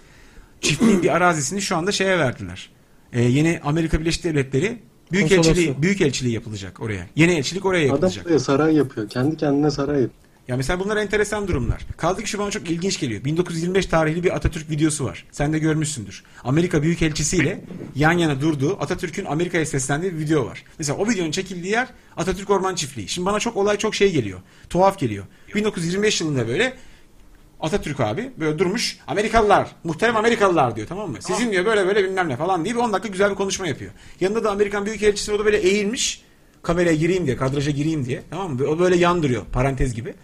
çiftliğin bir arazisini şu anda şeye verdiler. Ee, yeni Amerika Birleşik Devletleri Büyükelçiliği,
Konsolosu.
Büyükelçiliği yapılacak oraya. Yeni elçilik oraya
Adam
yapılacak.
buraya saray yapıyor. Kendi kendine saray yapıyor.
Ya mesela bunlar enteresan durumlar. Kaldı ki şu bana çok ilginç geliyor. 1925 tarihli bir Atatürk videosu var. Sen de görmüşsündür. Amerika Büyükelçisi ile yan yana durduğu Atatürk'ün Amerika'ya seslendiği bir video var. Mesela o videonun çekildiği yer Atatürk Orman Çiftliği. Şimdi bana çok olay çok şey geliyor. Tuhaf geliyor. 1925 yılında böyle Atatürk abi böyle durmuş Amerikalılar muhterem Amerikalılar diyor tamam mı? Sizin diyor böyle böyle bilmem ne falan diye bir 10 dakika güzel bir konuşma yapıyor. Yanında da Amerikan Büyükelçisi o da böyle eğilmiş kameraya gireyim diye kadraja gireyim diye tamam mı? O böyle yandırıyor parantez gibi.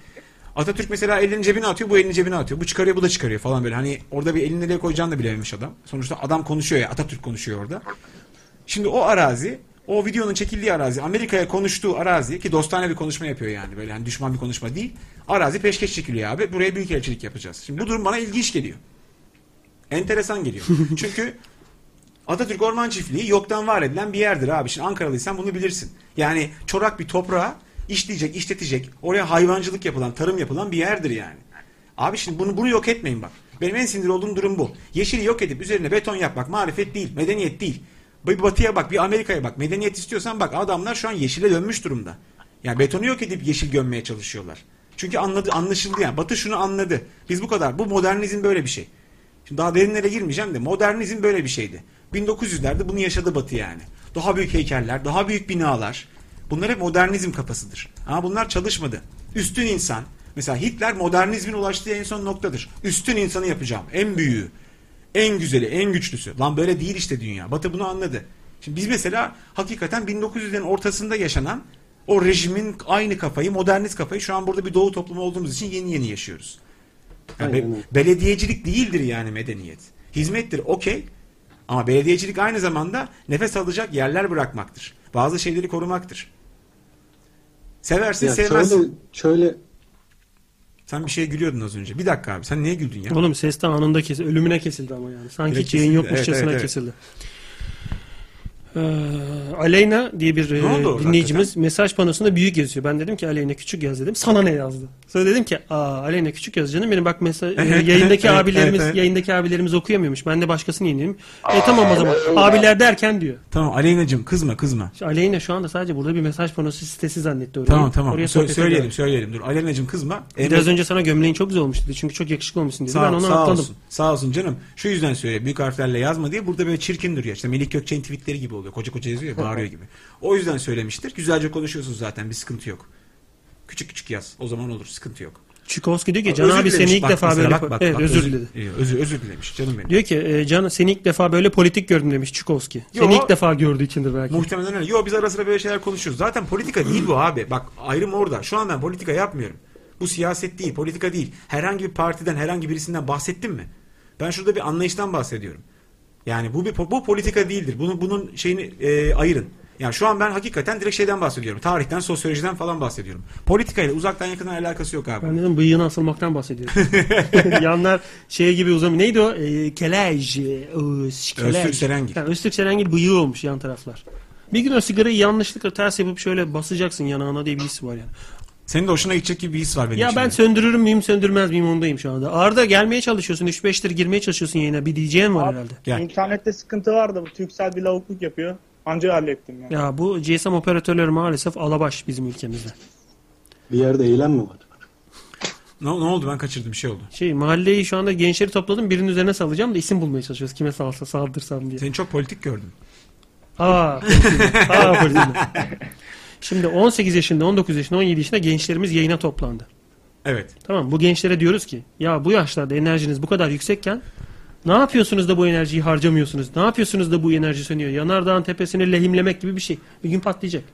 Atatürk mesela elini cebine atıyor bu elini cebine atıyor bu çıkarıyor bu da çıkarıyor falan böyle hani orada bir elini nereye koyacağını da bilememiş adam. Sonuçta adam konuşuyor ya Atatürk konuşuyor orada. Şimdi o arazi o videonun çekildiği arazi Amerika'ya konuştuğu arazi ki dostane bir konuşma yapıyor yani böyle hani düşman bir konuşma değil. Arazi peşkeş çekiliyor abi. Buraya büyükelçilik yapacağız. Şimdi bu durum bana ilginç geliyor. Enteresan geliyor. Çünkü Atatürk Orman Çiftliği yoktan var edilen bir yerdir abi. Şimdi Ankaralıysan bunu bilirsin. Yani çorak bir toprağa işleyecek, işletecek, oraya hayvancılık yapılan, tarım yapılan bir yerdir yani. Abi şimdi bunu bunu yok etmeyin bak. Benim en sinir olduğum durum bu. Yeşili yok edip üzerine beton yapmak marifet değil, medeniyet değil. Bir batıya bak, bir Amerika'ya bak. Medeniyet istiyorsan bak adamlar şu an yeşile dönmüş durumda. Yani betonu yok edip yeşil gömmeye çalışıyorlar. Çünkü anladı, anlaşıldı yani. Batı şunu anladı. Biz bu kadar. Bu modernizm böyle bir şey. Şimdi daha derinlere girmeyeceğim de modernizm böyle bir şeydi. 1900'lerde bunu yaşadı Batı yani. Daha büyük heykeller, daha büyük binalar. Bunlar hep modernizm kafasıdır. Ama bunlar çalışmadı. Üstün insan. Mesela Hitler modernizmin ulaştığı en son noktadır. Üstün insanı yapacağım. En büyüğü. En güzeli, en güçlüsü. Lan böyle değil işte dünya. Batı bunu anladı. Şimdi biz mesela hakikaten 1900'lerin ortasında yaşanan o rejimin aynı kafayı, modernist kafayı şu an burada bir doğu toplumu olduğumuz için yeni yeni yaşıyoruz. Yani be-
Aynen öyle.
belediyecilik değildir yani medeniyet. Hizmettir okey ama belediyecilik aynı zamanda nefes alacak yerler bırakmaktır. Bazı şeyleri korumaktır. Seversin
Ya
sevmezsin.
şöyle, şöyle
Sen bir şeye gülüyordun az önce. Bir dakika abi sen niye güldün ya?
Oğlum ses de anında kesildi. Ölümüne kesildi ama yani. Sanki
Direkt
hiç yayın
kesildi. Evet,
yokmuşçasına
evet, evet.
kesildi. Ee, Aleyna diye bir e,
Ne oldu orada
dinleyicimiz mesaj panosunda büyük yazıyor. Ben dedim ki Aleyna küçük yaz dedim. Sana ne yazdı? Sonra dedim ki Aa, Aleyna küçük yaz canım benim bak mesaj
Evet,
yayındaki
evet,
abilerimiz
evet, evet.
yayındaki abilerimiz okuyamıyormuş. Ben de başkasını yeneyim. E tamam o zaman. Abiler derken diyor.
Tamam Aleyna'cığım kızma kızma.
Şu Aleyna şu anda sadece burada bir mesaj panosu sitesi zannetti orayı.
Tamam tamam.
Oraya
Sö-
sohbet
söyleyelim
ediyor.
söyleyelim. Dur Aleyna'cığım kızma.
Biraz önce sana gömleğin çok güzel olmuş dedi. Çünkü çok yakışıklı olmuşsun dedi.
Sağ,
ben onu
sağ
atladım.
olsun. Sağ olsun canım. Şu yüzden söyle büyük harflerle yazma diye burada böyle çirkin duruyor. İşte Melih Gökçe'nin tweetleri gibi oluyor. Koca koca yazıyor ya, bağırıyor gibi. O yüzden söylemiştir. Güzelce konuşuyorsun zaten bir sıkıntı yok. Küçük küçük yaz. O zaman olur sıkıntı yok.
Çikoski diyor ki Can abi
dilemiş.
seni ilk
Bak
defa
mesela,
böyle
bak, bak,
evet,
bak,
özür diledi.
Ee, Özür, özür dilemiş canım benim.
Diyor ki e, Can seni ilk defa böyle politik gördüm demiş Çukovski.
Yo.
Seni ilk defa gördüğü içindir belki.
Muhtemelen öyle. Yo biz ara sıra böyle şeyler konuşuyoruz. Zaten politika değil bu abi. Bak ayrım orada. Şu an ben politika yapmıyorum. Bu siyaset değil, politika değil. Herhangi bir partiden, herhangi birisinden bahsettim mi? Ben şurada bir anlayıştan bahsediyorum. Yani bu bir bu politika değildir. Bunu bunun şeyini e, ayırın. Yani şu an ben hakikaten direkt şeyden bahsediyorum. Tarihten, sosyolojiden falan bahsediyorum. Politikayla uzaktan yakından alakası yok abi.
Ben dedim bıyığını asılmaktan bahsediyor. Yanlar şey gibi uzamıyor. Neydi o? E, kelaj. e, ıs, kelaj.
Öztürk Serengil.
Ha, Öztürk Serengil bıyığı olmuş yan taraflar. Bir gün o sigarayı yanlışlıkla ters yapıp şöyle basacaksın yanağına diye bir his var yani.
Senin de hoşuna gidecek gibi bir his var benim
ya
için.
ben söndürür müyüm söndürmez miyim ondayım şu anda. Arda gelmeye çalışıyorsun. 3-5'tir girmeye çalışıyorsun yayına. Bir diyeceğin var herhalde.
İnternette sıkıntı vardı. Bu Türksel bir lavukluk yapıyor. Anca hallettim yani.
Ya bu GSM operatörleri maalesef alabaş bizim ülkemizde.
Bir yerde eylem mi var?
Ne, ne oldu ben kaçırdım bir şey oldu.
Şey mahalleyi şu anda gençleri topladım birinin üzerine salacağım da isim bulmaya çalışıyoruz. Kime salsa saldırsam diye.
Seni çok politik gördüm.
Aa. politik. Aa politik. Şimdi 18 yaşında, 19 yaşında, 17 yaşında gençlerimiz yayına toplandı.
Evet.
Tamam bu gençlere diyoruz ki ya bu yaşlarda enerjiniz bu kadar yüksekken ne yapıyorsunuz da bu enerjiyi harcamıyorsunuz? Ne yapıyorsunuz da bu enerji sönüyor? Yanardağın tepesini lehimlemek gibi bir şey. Bir gün patlayacak.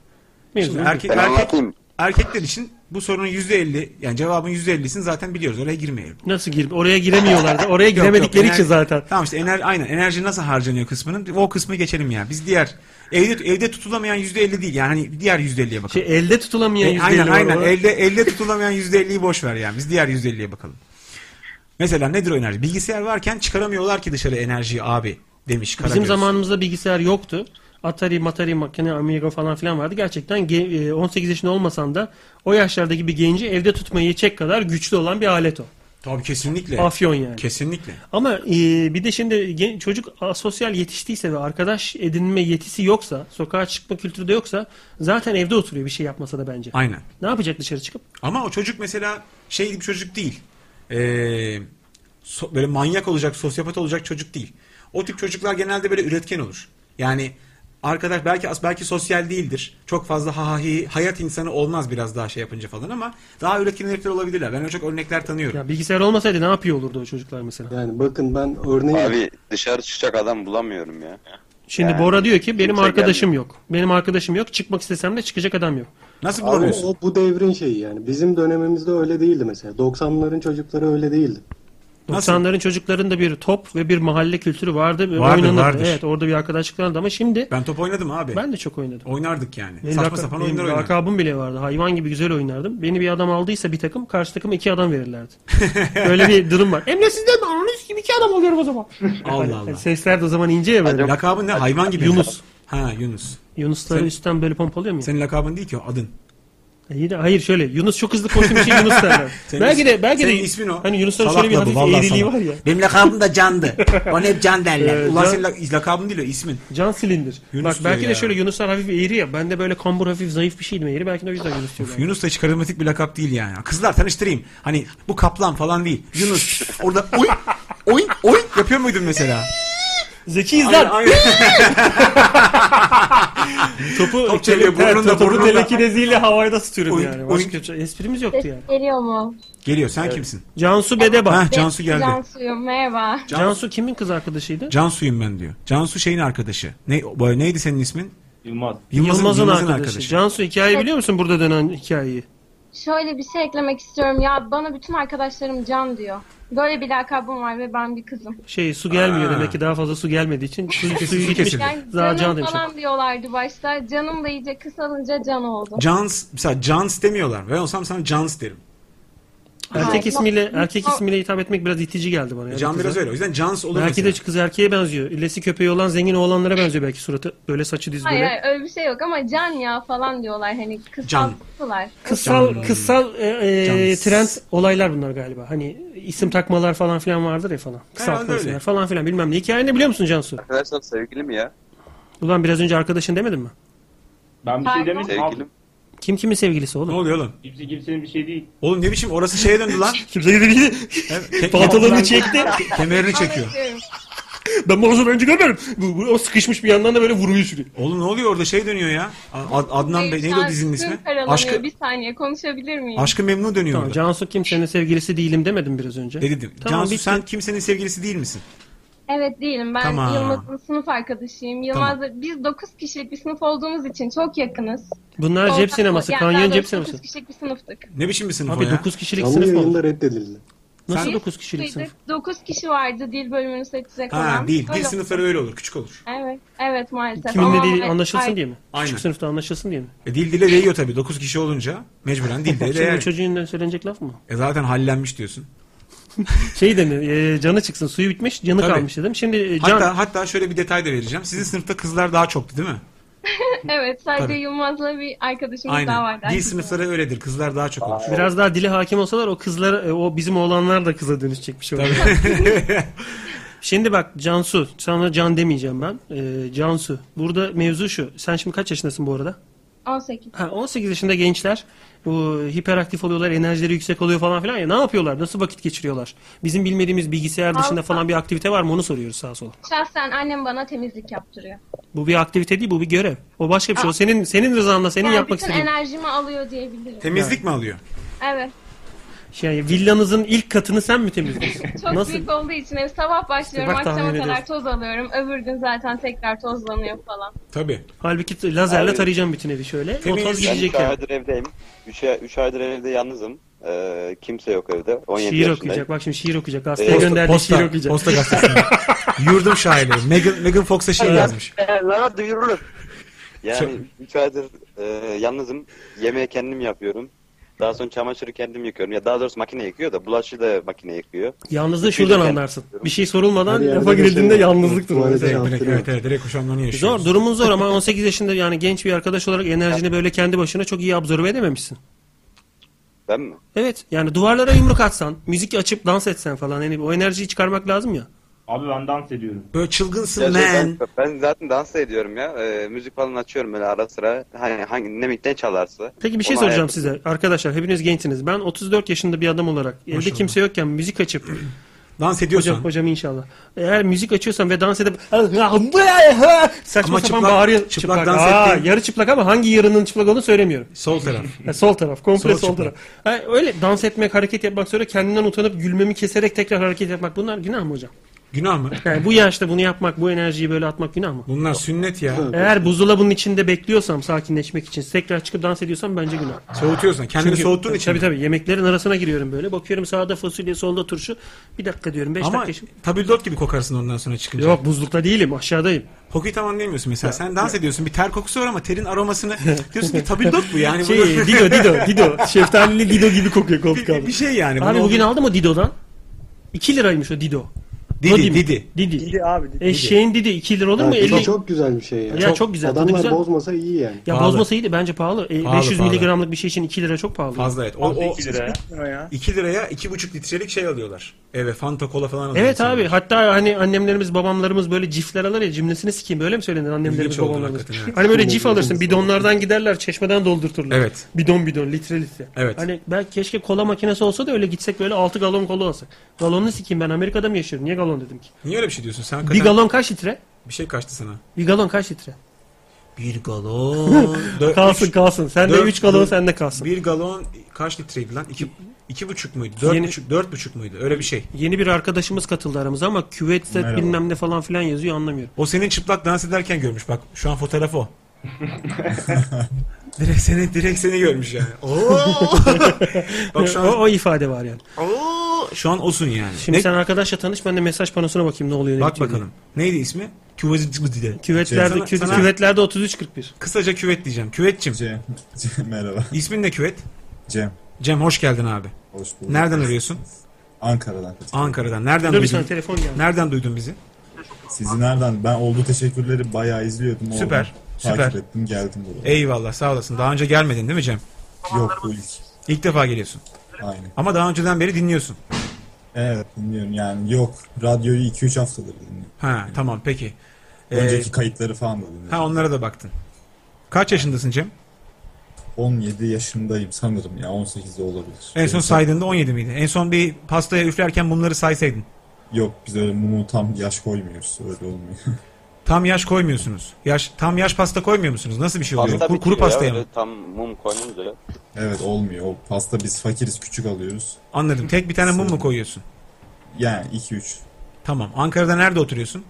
Mevzu
Şimdi
bu.
erkek, erkek, erkekler için bu sorunun %50 yani cevabın %50'sini zaten biliyoruz. Oraya girmeyelim.
Nasıl girip oraya giremiyorlar da oraya
Yok, yok,
giremedikleri
enerji-
için zaten.
Tamam işte ener, aynen enerji nasıl harcanıyor kısmının o kısmı geçelim ya. Biz diğer evde evde tutulamayan %50 değil yani hani diğer %50'ye bakalım.
Şey, elde tutulamayan
E, aynen
%50 var
aynen
o.
elde elde tutulamayan %50'yi boş ver yani. Biz diğer %50'ye bakalım. Mesela nedir o enerji? Bilgisayar varken çıkaramıyorlar ki dışarı enerjiyi abi demiş
Bizim
Karagöz.
zamanımızda bilgisayar yoktu. Atari, Matari, makine, Amiga falan filan vardı. Gerçekten ge- e, 18 yaşında olmasan da o yaşlardaki bir genci evde tutmayı yiyecek kadar güçlü olan bir alet o.
Tabii kesinlikle.
Afyon yani.
Kesinlikle.
Ama e, bir de şimdi gen- çocuk asosyal yetiştiyse ve arkadaş edinme yetisi yoksa, sokağa çıkma kültürü de yoksa zaten evde oturuyor bir şey yapmasa da bence.
Aynen.
Ne yapacak dışarı çıkıp?
Ama o çocuk mesela şey bir çocuk değil. Ee, so- böyle manyak olacak, sosyopat olacak çocuk değil. O tip çocuklar genelde böyle üretken olur. Yani arkadaş belki as belki sosyal değildir. Çok fazla ha ha hi- hayat insanı olmaz biraz daha şey yapınca falan ama daha üretken herifler olabilirler. Ben öyle çok örnekler tanıyorum.
Ya bilgisayar olmasaydı ne yapıyor olurdu o çocuklar mesela?
Yani bakın ben örneği
Abi dışarı çıkacak adam bulamıyorum ya.
Şimdi
Yani
Bora diyor ki benim
kimse
arkadaşım yok. Benim arkadaşım yok. Çıkmak istesem de çıkacak adam yok.
Nasıl
Ama o bu devrin şeyi yani. Bizim dönemimizde öyle değildi mesela. 90'ların çocukları öyle değildi.
90'ların çocuklarında bir top ve bir mahalle kültürü vardı. ve
Vardır,
oynanırdı.
vardır.
Evet orada bir arkadaşlık vardı ama şimdi
Ben top oynadım abi.
Ben de çok oynadım.
Oynardık yani.
benim
Saçma
laka-
sapan
benim
oyunlar oynardık.
lakabım bile vardı. Hayvan gibi güzel oynardım. Beni bir adam aldıysa bir takım karşı takıma iki adam verirlerdi. Böyle bir durum var. Emre sizden mi? Anonüs gibi iki adam oluyorum o zaman.
Allah Allah.
Sesler de o zaman ince ya böyle.
Lakabın ne? Hayvan gibi.
Yunus.
Ha Yunus.
Yunusları
Sen-
üstten böyle pompalıyor mu? ya?
Senin lakabın değil ki o adın.
E, iyi de- hayır şöyle Yunus çok hızlı koştuğum için Yunus derler.
Senin
belki
ismin-
de belki de
senin ismin o.
Hani Yunusların
Salak
şöyle bir
la bu,
hafif
vallahi
eğriliği
salak.
var ya.
Benim lakabım da Can'dı. Bana hep Can derler.
Ee,
Ulan
Can-
senin lak- lakabın değil o ismin.
Can silindir.
Yunus
Bak belki
diyor
de
ya.
şöyle Yunuslar hafif eğri ya. Ben de böyle kambur hafif zayıf bir şeydim eğri. Belki de o yüzden Yunus diyorlar.
Yunus da çıkarılmatik bir lakap değil yani. Kızlar tanıştırayım. Hani bu kaplan falan değil. Yunus orada oy oy oy yapıyor muydun mesela?
Zeki izler.
Aynen, aynen.
topu
Top çeviriyor,
tele-
burnunda,
topu
burnunda.
telekineziyle havaya da tutuyorum
Oyun-
yani.
oyun-
Başka bir- şey- esprimiz yoktu yani.
Geliyor mu?
Geliyor sen kimsin?
Cansu Bedeba.
Heh, Cansu geldi.
Cansu'yum merhaba.
Cansu kimin kız arkadaşıydı?
Cansu'yum ben diyor. Cansu şeyin arkadaşı. Ne, bu- neydi senin ismin?
Yılmaz.
Yılmaz'ın,
Yılmaz'ın, Yılmaz'ın
arkadaşı.
arkadaşı.
Cansu hikayeyi biliyor musun burada dönen hikayeyi?
Şöyle bir şey eklemek istiyorum ya bana bütün arkadaşlarım Can diyor. Böyle bir lakabım var ve ben bir kızım.
Şey su gelmiyor
Aa.
demek ki daha fazla su gelmediği için su, suyu
su
gitmiş.
kesildi.
Yani
Daha can
canım
demiş.
falan diyorlardı başta. Canım da iyice kısalınca Can oldu.
Cans mesela Cans demiyorlar. Ben olsam sana Cans derim.
Erkek
Hayır.
ismiyle erkek ismiyle hitap etmek biraz itici geldi bana. ya
Can
kıza.
biraz öyle. O yüzden Cans olur
Belki de kız erkeğe benziyor. İlesi köpeği olan zengin oğlanlara benziyor belki suratı. Böyle saçı diz
Hayır
böyle.
hayır öyle bir şey yok ama can ya falan diyorlar hani kısaltıyorlar.
Kısal
Can.
kısal e, e,
Can.
trend olaylar bunlar galiba. Hani isim takmalar falan filan vardır ya falan. Kısaltmalar
öyle.
falan filan bilmem ne. Hikayeni biliyor musun Cansu?
Arkadaşlar sevgili mi ya?
Ulan biraz önce arkadaşın demedin mi?
Ben bir şey demedim. abi.
Sevgilim.
Kim kimin sevgilisi oğlum?
Ne oluyor oğlum?
Kimse kimsenin bir şey değil.
Oğlum ne biçim orası şeye döndü lan.
Kimse gidebilir. Pantolonunu çekti.
Kemerini çekiyor.
ben bunu önce görmedim. Bu, bu- o sıkışmış bir yandan da böyle vuruyor sürekli.
Oğlum ne oluyor orada şey dönüyor ya. Ad- Adnan Bey neydi o dizinin ismi? Aşkı,
Aşkı... Bir saniye konuşabilir miyim?
aşkı memnun dönüyor
Tamam,
orada.
Cansu kimsenin sevgilisi değilim demedim biraz önce. Dedim.
Cansu sen kimsenin sevgilisi değil misin?
Evet değilim. Ben
Tamam.
Yılmaz'ın sınıf arkadaşıyım. Yılmaz'la biz 9 kişilik bir sınıf olduğumuz için çok yakınız.
Bunlar
Ortak-
cep sineması,
yani
kanyon
daha
cep
doğrusu
sineması.
9 kişilik bir sınıftık.
Ne biçim bir sınıf
Abi
o ya?
9 kişilik Canlı sınıf mı yayında
reddedildi.
Nasıl 9 kişilik sınıf?
9 Şey kişi vardı dil bölümünü seçecek olan.
Ha değil. Dil
Öyle-
sınıfları öyle olur. Küçük olur.
Evet, evet maalesef.
Kimin
Ama-
ne dediği
Ay-
anlaşılsın
ay-
diye mi?
Aynen.
Küçük sınıfta anlaşılsın diye mi?
E, dil dile değiyor tabii. 9 kişi olunca mecburen dil dile
Şimdi bu
değer.
çocuğun söylenecek laf mı?
E, zaten hallenmiş diyorsun.
Şey demiyor, e, canı çıksın, suyu bitmiş, canı
Tabii.
kalmış dedim. Şimdi e, can...
Hatta hatta şöyle bir detay da vereceğim. Sizin sınıfta kızlar daha çoktu değil mi?
evet, sadece
Tabii.
Yılmaz'la bir arkadaşımız daha
Aynen.
vardı.
Dil sınıfları öyledir. Kızlar daha çok olur.
Biraz daha dile hakim olsalar o kızlar, e, o bizim oğlanlar da kıza dönüşecekmiş. orada. şimdi bak Cansu, sana Can demeyeceğim ben. E, Cansu, burada mevzu şu. Sen şimdi kaç yaşındasın bu arada?
18.
Ha, 18 yaşında gençler bu hiperaktif oluyorlar, enerjileri yüksek oluyor falan filan ya. Ne yapıyorlar? Nasıl vakit geçiriyorlar? Bizim bilmediğimiz bilgisayar dışında
Vallahi-
falan bir aktivite var mı? Onu soruyoruz sağa sola.
Şahsen annem bana temizlik yaptırıyor.
Bu bir aktivite değil, bu bir görev. O başka bir şey. O senin senin rızanla senin
yani
yapmak
bütün
istediğin.
enerjimi alıyor diyebilirim.
mi alıyor?
Evet.
Şey, villanızın ilk katını sen mi temizliyorsun?
Çok
Nasıl?
büyük olduğu için ev sabah başlıyorum,
İşte bak
akşama
tahmin
kadar
ediyorsun.
toz alıyorum. Öbür gün zaten tekrar tozlanıyor falan.
Tabii.
Halbuki t- lazerle
Abi-
tarayacağım bütün evi şöyle. O toz gidecek
Ben 3
yani.
aydır evdeyim. 3, aydır evde yalnızım. Ee, kimse yok evde. 17
Şiir
yaşındayım.
okuyacak. Bak şimdi şiir okuyacak.
Ee,
Gazeteye
posta-
gönderdiği
posta-
şiir okuyacak.
posta gazetesi. Yurdum şairi. Megan, Megan Fox'a şiir
Hayır.
yazmış.
Lana duyurulur.
Çok-
Yani 3 aydır e, yalnızım. Yemeği kendim yapıyorum. Daha sonra çamaşırı kendim yıkıyorum. Ya daha doğrusu makine yıkıyor da bulaşığı da makine yıkıyor.
Yalnızlığı
Üçüncü
şuradan
kez-
anlarsın. Bir şey sorulmadan
Her
lafa
yerde
girildiğinde
yaşıyor.
yalnızlıktır.
Tuvalete
Mesela.
Direkt, evet evet direkt kuşamlarını yaşıyor.
Zor durumun zor ama 18 yaşında yani genç bir arkadaş olarak enerjini böyle kendi başına çok iyi absorbe edememişsin.
Ben mi?
Evet yani duvarlara yumruk atsan, müzik açıp dans etsen falan yani o enerjiyi çıkarmak lazım ya.
Abi ben dans ediyorum.
Böyle çılgınsın
Ya şey, ben, ben zaten dans da ediyorum ya. Ee, müzik falan açıyorum böyle ara sıra. Hani hangi ne mikten çalarsa.
Peki bir şey
Onu
soracağım
ayarlıyorum.
size. Arkadaşlar hepiniz gençsiniz. Ben 34 yaşında bir adam olarak evde
Maşallah.
kimse yokken müzik açıp
dans ediyorsan.
Hocam, hocam inşallah. Eğer müzik açıyorsan ve dans edip saçma
Ama
sapan
çıplak-
bağırıyor.
çıplak dans
Aa,
ettiğin-
yarı çıplak ama hangi yarının çıplak olduğunu söylemiyorum.
Sol taraf.
Ha, sol taraf. Komple
Sol
sol,
çıplak.
taraf. Ha, öyle dans etmek, hareket yapmak sonra kendinden utanıp gülmemi keserek tekrar hareket yapmak. Bunlar günah mı hocam?
Günah mı?
Yani bu yaşta bunu yapmak, bu enerjiyi böyle atmak günah mı?
Bunlar sünnet ya.
Eğer buzdolabının içinde bekliyorsam sakinleşmek için tekrar çıkıp dans ediyorsam bence günah.
Soğutuyorsun. Kendini soğuttuğun için
Tabii
mi?
tabii yemeklerin arasına giriyorum böyle. Bakıyorum sağda fasulye solda turşu. Bir dakika diyorum 5
Ama
dakika. şimdi-
tabildot gibi kokarsın ondan sonra çıkınca.
Yok buzlukta değilim aşağıdayım.
Kokuyu tam anlayamıyorsun mesela. Sen dans ediyorsun. Bir ter kokusu var ama terin aromasını diyorsun ki tabildot bu yani.
Şey,
bunu-
Dido Dido Dido. Şeftalili Dido gibi kokuyor koltuk altı.
bir şey yani.
Abi
Bunu-
bugün aldım o Dido'dan. 2 liraymış o Dido.
Didi,
Dodi mi?
Didi.
Didi.
abi
Eşeğin Didi 2 lira olur mu?
Ya, Didi
50.
çok güzel bir şey ya.
Ya çok güzel, tadı
Adamlar
güzel.
bozmasa iyi yani.
Ya bozması iyiydi bence pahalı. E,
Pahalı,
500
pahalı.
miligramlık bir şey için 2 lira çok pahalı.
Fazla evet. O, o, 2
liraya.
2 liraya 2,5 litrelik şey alıyorlar. Eve Fanta Cola falan alıyorlar.
Evet abi hatta hani annemlerimiz babamlarımız böyle cifler alır ya cimnesini sikeyim böyle mi söylenir annemlerimiz
İlginç oldu
babamlarımız.
hakikaten, evet.
Hani böyle
Çok
cif
ilginç oldu.
alırsın bidonlardan giderler çeşmeden doldurturlar.
Evet.
Bidon bidon litre litre.
Evet.
Hani belki keşke kola makinesi olsa da öyle gitsek böyle 6 galon kola alsak. Galonunu sikeyim ben Amerika'da mı yaşıyorum niye galon dedim ki.
Niye öyle bir şey diyorsun? Sen
Bir
hakikaten-
galon kaç litre?
Bir şey kaçtı sana.
Bir galon kaç litre?
Bir galon. Dö-
Kalsın,
üç-
kalsın. Sende
dört-
üç galon,
dört-
sende kalsın.
Bir galon kaç litreydi lan? İki, iki buçuk muydu? Dört,
Yeni-
buçuk, dört buçuk muydu? Öyle bir şey.
Yeni bir arkadaşımız katıldı aramıza ama küvette
Merhaba.
bilmem ne falan filan yazıyor anlamıyorum.
O senin çıplak dans ederken görmüş. Bak şu an fotoğraf o. direkt seni direkt seni görmüş yani. Oo! Bak şu an
o, o ifade var yani.
Oo! şu an osun yani.
Şimdi
Ne-
sen arkadaşla tanış ben de mesaj panosuna bakayım ne oluyor. ne
Bak
bitiyor diye.
bakalım. Neydi ismi? Küvetlerde,
Küvetlerde- kü- küvetlerde 33-41.
Kısaca küvet diyeceğim. Küvetçim. Cem. Merhaba. İsmin ne küvet?
Cem.
Cem hoş geldin abi.
Hoş bulduk.
Nereden arıyorsun?
Ankara'dan.
Ankara'dan. Nereden
Dur bir
duydun?
saniye, telefon geldi.
Nereden duydun bizi?
Sizi nereden? Ben oldu teşekkürleri bayağı izliyordum. oradan.
Süper, süper.
Takip ettim geldim buraya.
Eyvallah sağ olasın. Daha önce gelmedin değil mi Cem?
Yok bu ilk.
İlk defa geliyorsun.
Aynen.
Ama daha önceden beri dinliyorsun.
Evet dinliyorum yani yok. Radyoyu 2-3 haftadır dinliyorum.
Ha tamam peki. Ee,
Önceki kayıtları falan da dinliyorum.
Ha onlara da baktın. Kaç yaşındasın Cem?
17 yaşındayım sanırım ya 18 de olabilir.
En son
Benim-
saydığında 17 miydi? En son bir pastaya üflerken mumları saysaydın.
Yok biz öyle mumu tam yaş koymuyoruz öyle olmuyor.
Tam yaş koymuyorsunuz. Yaş tam yaş pasta koymuyor musunuz? Nasıl bir şey oluyor?
Pasta
Kur- kuru
bitiyor ya,
pastaya
öyle
mı?
Tam mum koyunca.
evet olmuyor o pasta biz fakiriz küçük alıyoruz.
Anladım. Tek bir tane mum mu koyuyorsun?
Yani 2-3
Tamam. Ankara'da nerede oturuyorsun?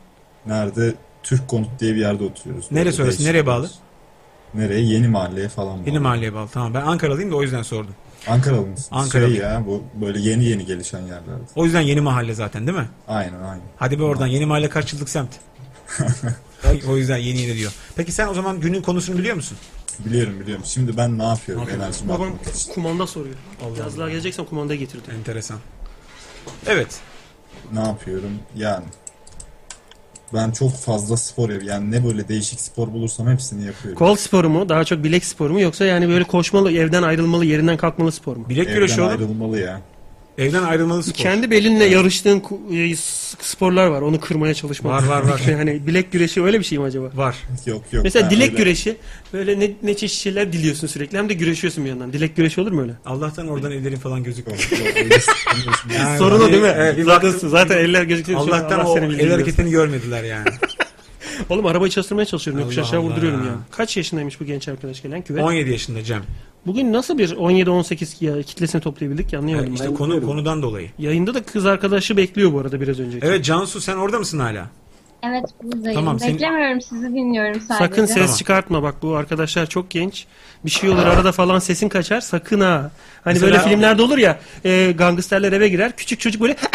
nerede Türk Konut diye bir yerde oturuyoruz. Böyle
Neresi orası?
değişik
Nereye bağlı? E-
Nereye? Yeni mahalleye falan bağlı.
Yeni mahalleye bağlı. Tamam. Ben Ankaralıyım da o yüzden sordum.
Ankaralı mısın?
Ankaralı.
Şey ya bu böyle yeni yeni gelişen yerlerde.
O yüzden yeni mahalle zaten değil mi?
Aynen aynen.
Hadi be oradan. Yeni mahalle kaç yıllık semt? o yüzden yeni yeni diyor. Peki sen o zaman günün konusunu biliyor musun?
Biliyorum biliyorum. Şimdi ben ne yapıyorum enerjimi
Babam
atmak için?
kumanda soruyor. Yazlığa geleceksen kumanda getirdi.
Enteresan. Evet.
Ne yapıyorum? Yani ben çok fazla spor yap- yani ne böyle değişik spor bulursam hepsini yapıyorum.
Kol sporu mu? Daha çok bilek sporu mu? Yoksa yani böyle koşmalı, evden ayrılmalı, yerinden kalkmalı spor mu?
Bilek
Evden ayrılmalı ya.
Evden ayrılmalı spor.
Kendi belinle yarıştığın ku- e, s- sporlar var. Onu kırmaya çalışmak.
Var, var, var.
yani bilek güreşi öyle bir şey mi acaba?
Var.
Yok yok.
Mesela
ben
dilek
öyle-
güreşi böyle ne, ne çeşit şeyler diliyorsun sürekli hem de güreşiyorsun bir yandan. Dilek güreşi olur mu öyle?
Allah'tan oradan ellerin falan gözükmüyor.
Yani Sorun o değil mi?
Evet, bir
zaten,
baktım-
zaten eller gözüküyor.
Allah'tan o el hareketini görmediler yani.
Oğlum arabayı çalıştırmaya çalışıyorum. Yokuş
Allah
aşağı
Allah
vurduruyorum
ya.
ya. Kaç yaşındaymış bu genç arkadaş gelen küvet?
17 yaşında Cem.
Bugün nasıl bir 17-18 ya- kitlesini toplayabildik ki anlayamadım.
işte
ben.
konu konudan dolayı.
Yayında da kız arkadaşı bekliyor bu arada biraz önce.
Evet Cansu sen orada mısın hala?
Evet buradayım.
Tamam, senin-
Beklemiyorum sizi dinliyorum sadece.
Sakın ses çıkartma bak bu arkadaşlar çok genç. Bir şey olur arada falan sesin kaçar sakın ha. Hani
Mesela-
böyle filmlerde olur ya e, gangsterler eve girer küçük çocuk böyle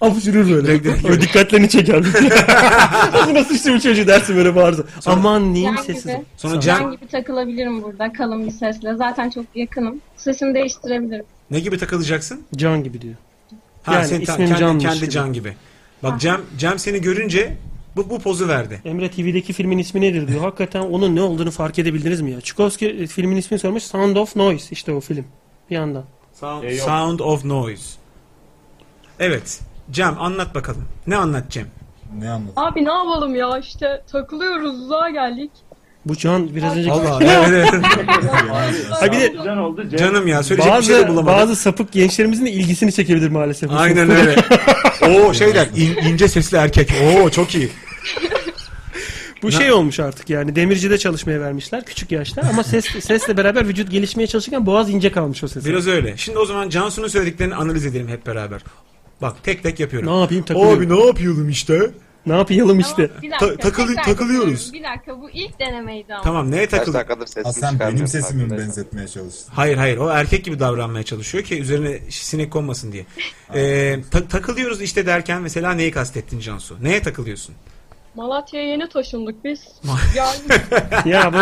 apışırır böyle. o dikkatlerini çeker. Bu nasıl işte bu çocuğu dersin böyle bağırsa. Aman neyim
Can
sesi.
gibi, Can gibi takılabilirim burada kalın bir sesle. Zaten çok yakınım. Sesimi değiştirebilirim.
Ne gibi takılacaksın?
Can gibi diyor.
Ha
Yani
sen ta-
ismim
kendi,
Can'mış
kendi
gibi.
Can gibi. Bak Cem, Cem seni görünce bu, bu pozu verdi.
Emre TV'deki filmin ismi nedir diyor. Hakikaten onun ne olduğunu fark edebildiniz mi ya? Çukovski e, filmin ismini sormuş. Sound of Noise işte o film. Bir yandan.
Sound,
E,
Sound of Noise. Evet. Cem anlat bakalım. Ne anlat Cem?
Ne anlat?
Abi ne yapalım ya işte takılıyoruz uzağa geldik.
Bu Can biraz önce...
Allah evet evet.
Ha bir de
Can oldu. Cem.
Canım ya söyleyecek
bazı,
bir şey de bulamadım.
Bazı sapık gençlerimizin de ilgisini çekebilir maalesef.
Aynen öyle. Oo şeyler in- ince sesli erkek. Oo çok iyi.
Bu şey olmuş artık yani demircide çalışmaya vermişler küçük yaşta ama ses sesle beraber vücut gelişmeye çalışırken boğaz ince kalmış o sesin.
Biraz öyle. Şimdi o zaman Cansu'nun söylediklerini analiz edelim hep beraber. Bak tek tek yapıyorum.
Ne yapayım takılıyorum.
Abi ne yapıyordum işte?
Ne yapıyalım işte?
Bir dakika,
takılı-
tekrar
takılıyoruz.
yapıyorum. Bir dakika bu ilk denemeydi ama.
Tamam neye takıldın?
Ha, sen benim sesimi mi benzetmeye çalıştın?
Hayır hayır o erkek gibi davranmaya çalışıyor ki üzerine sinek konmasın diye. Ee, ta- takılıyoruz işte derken mesela neyi kastettin Cansu? Neye takılıyorsun?
Malatya'ya yeni taşındık biz. yani
ya bu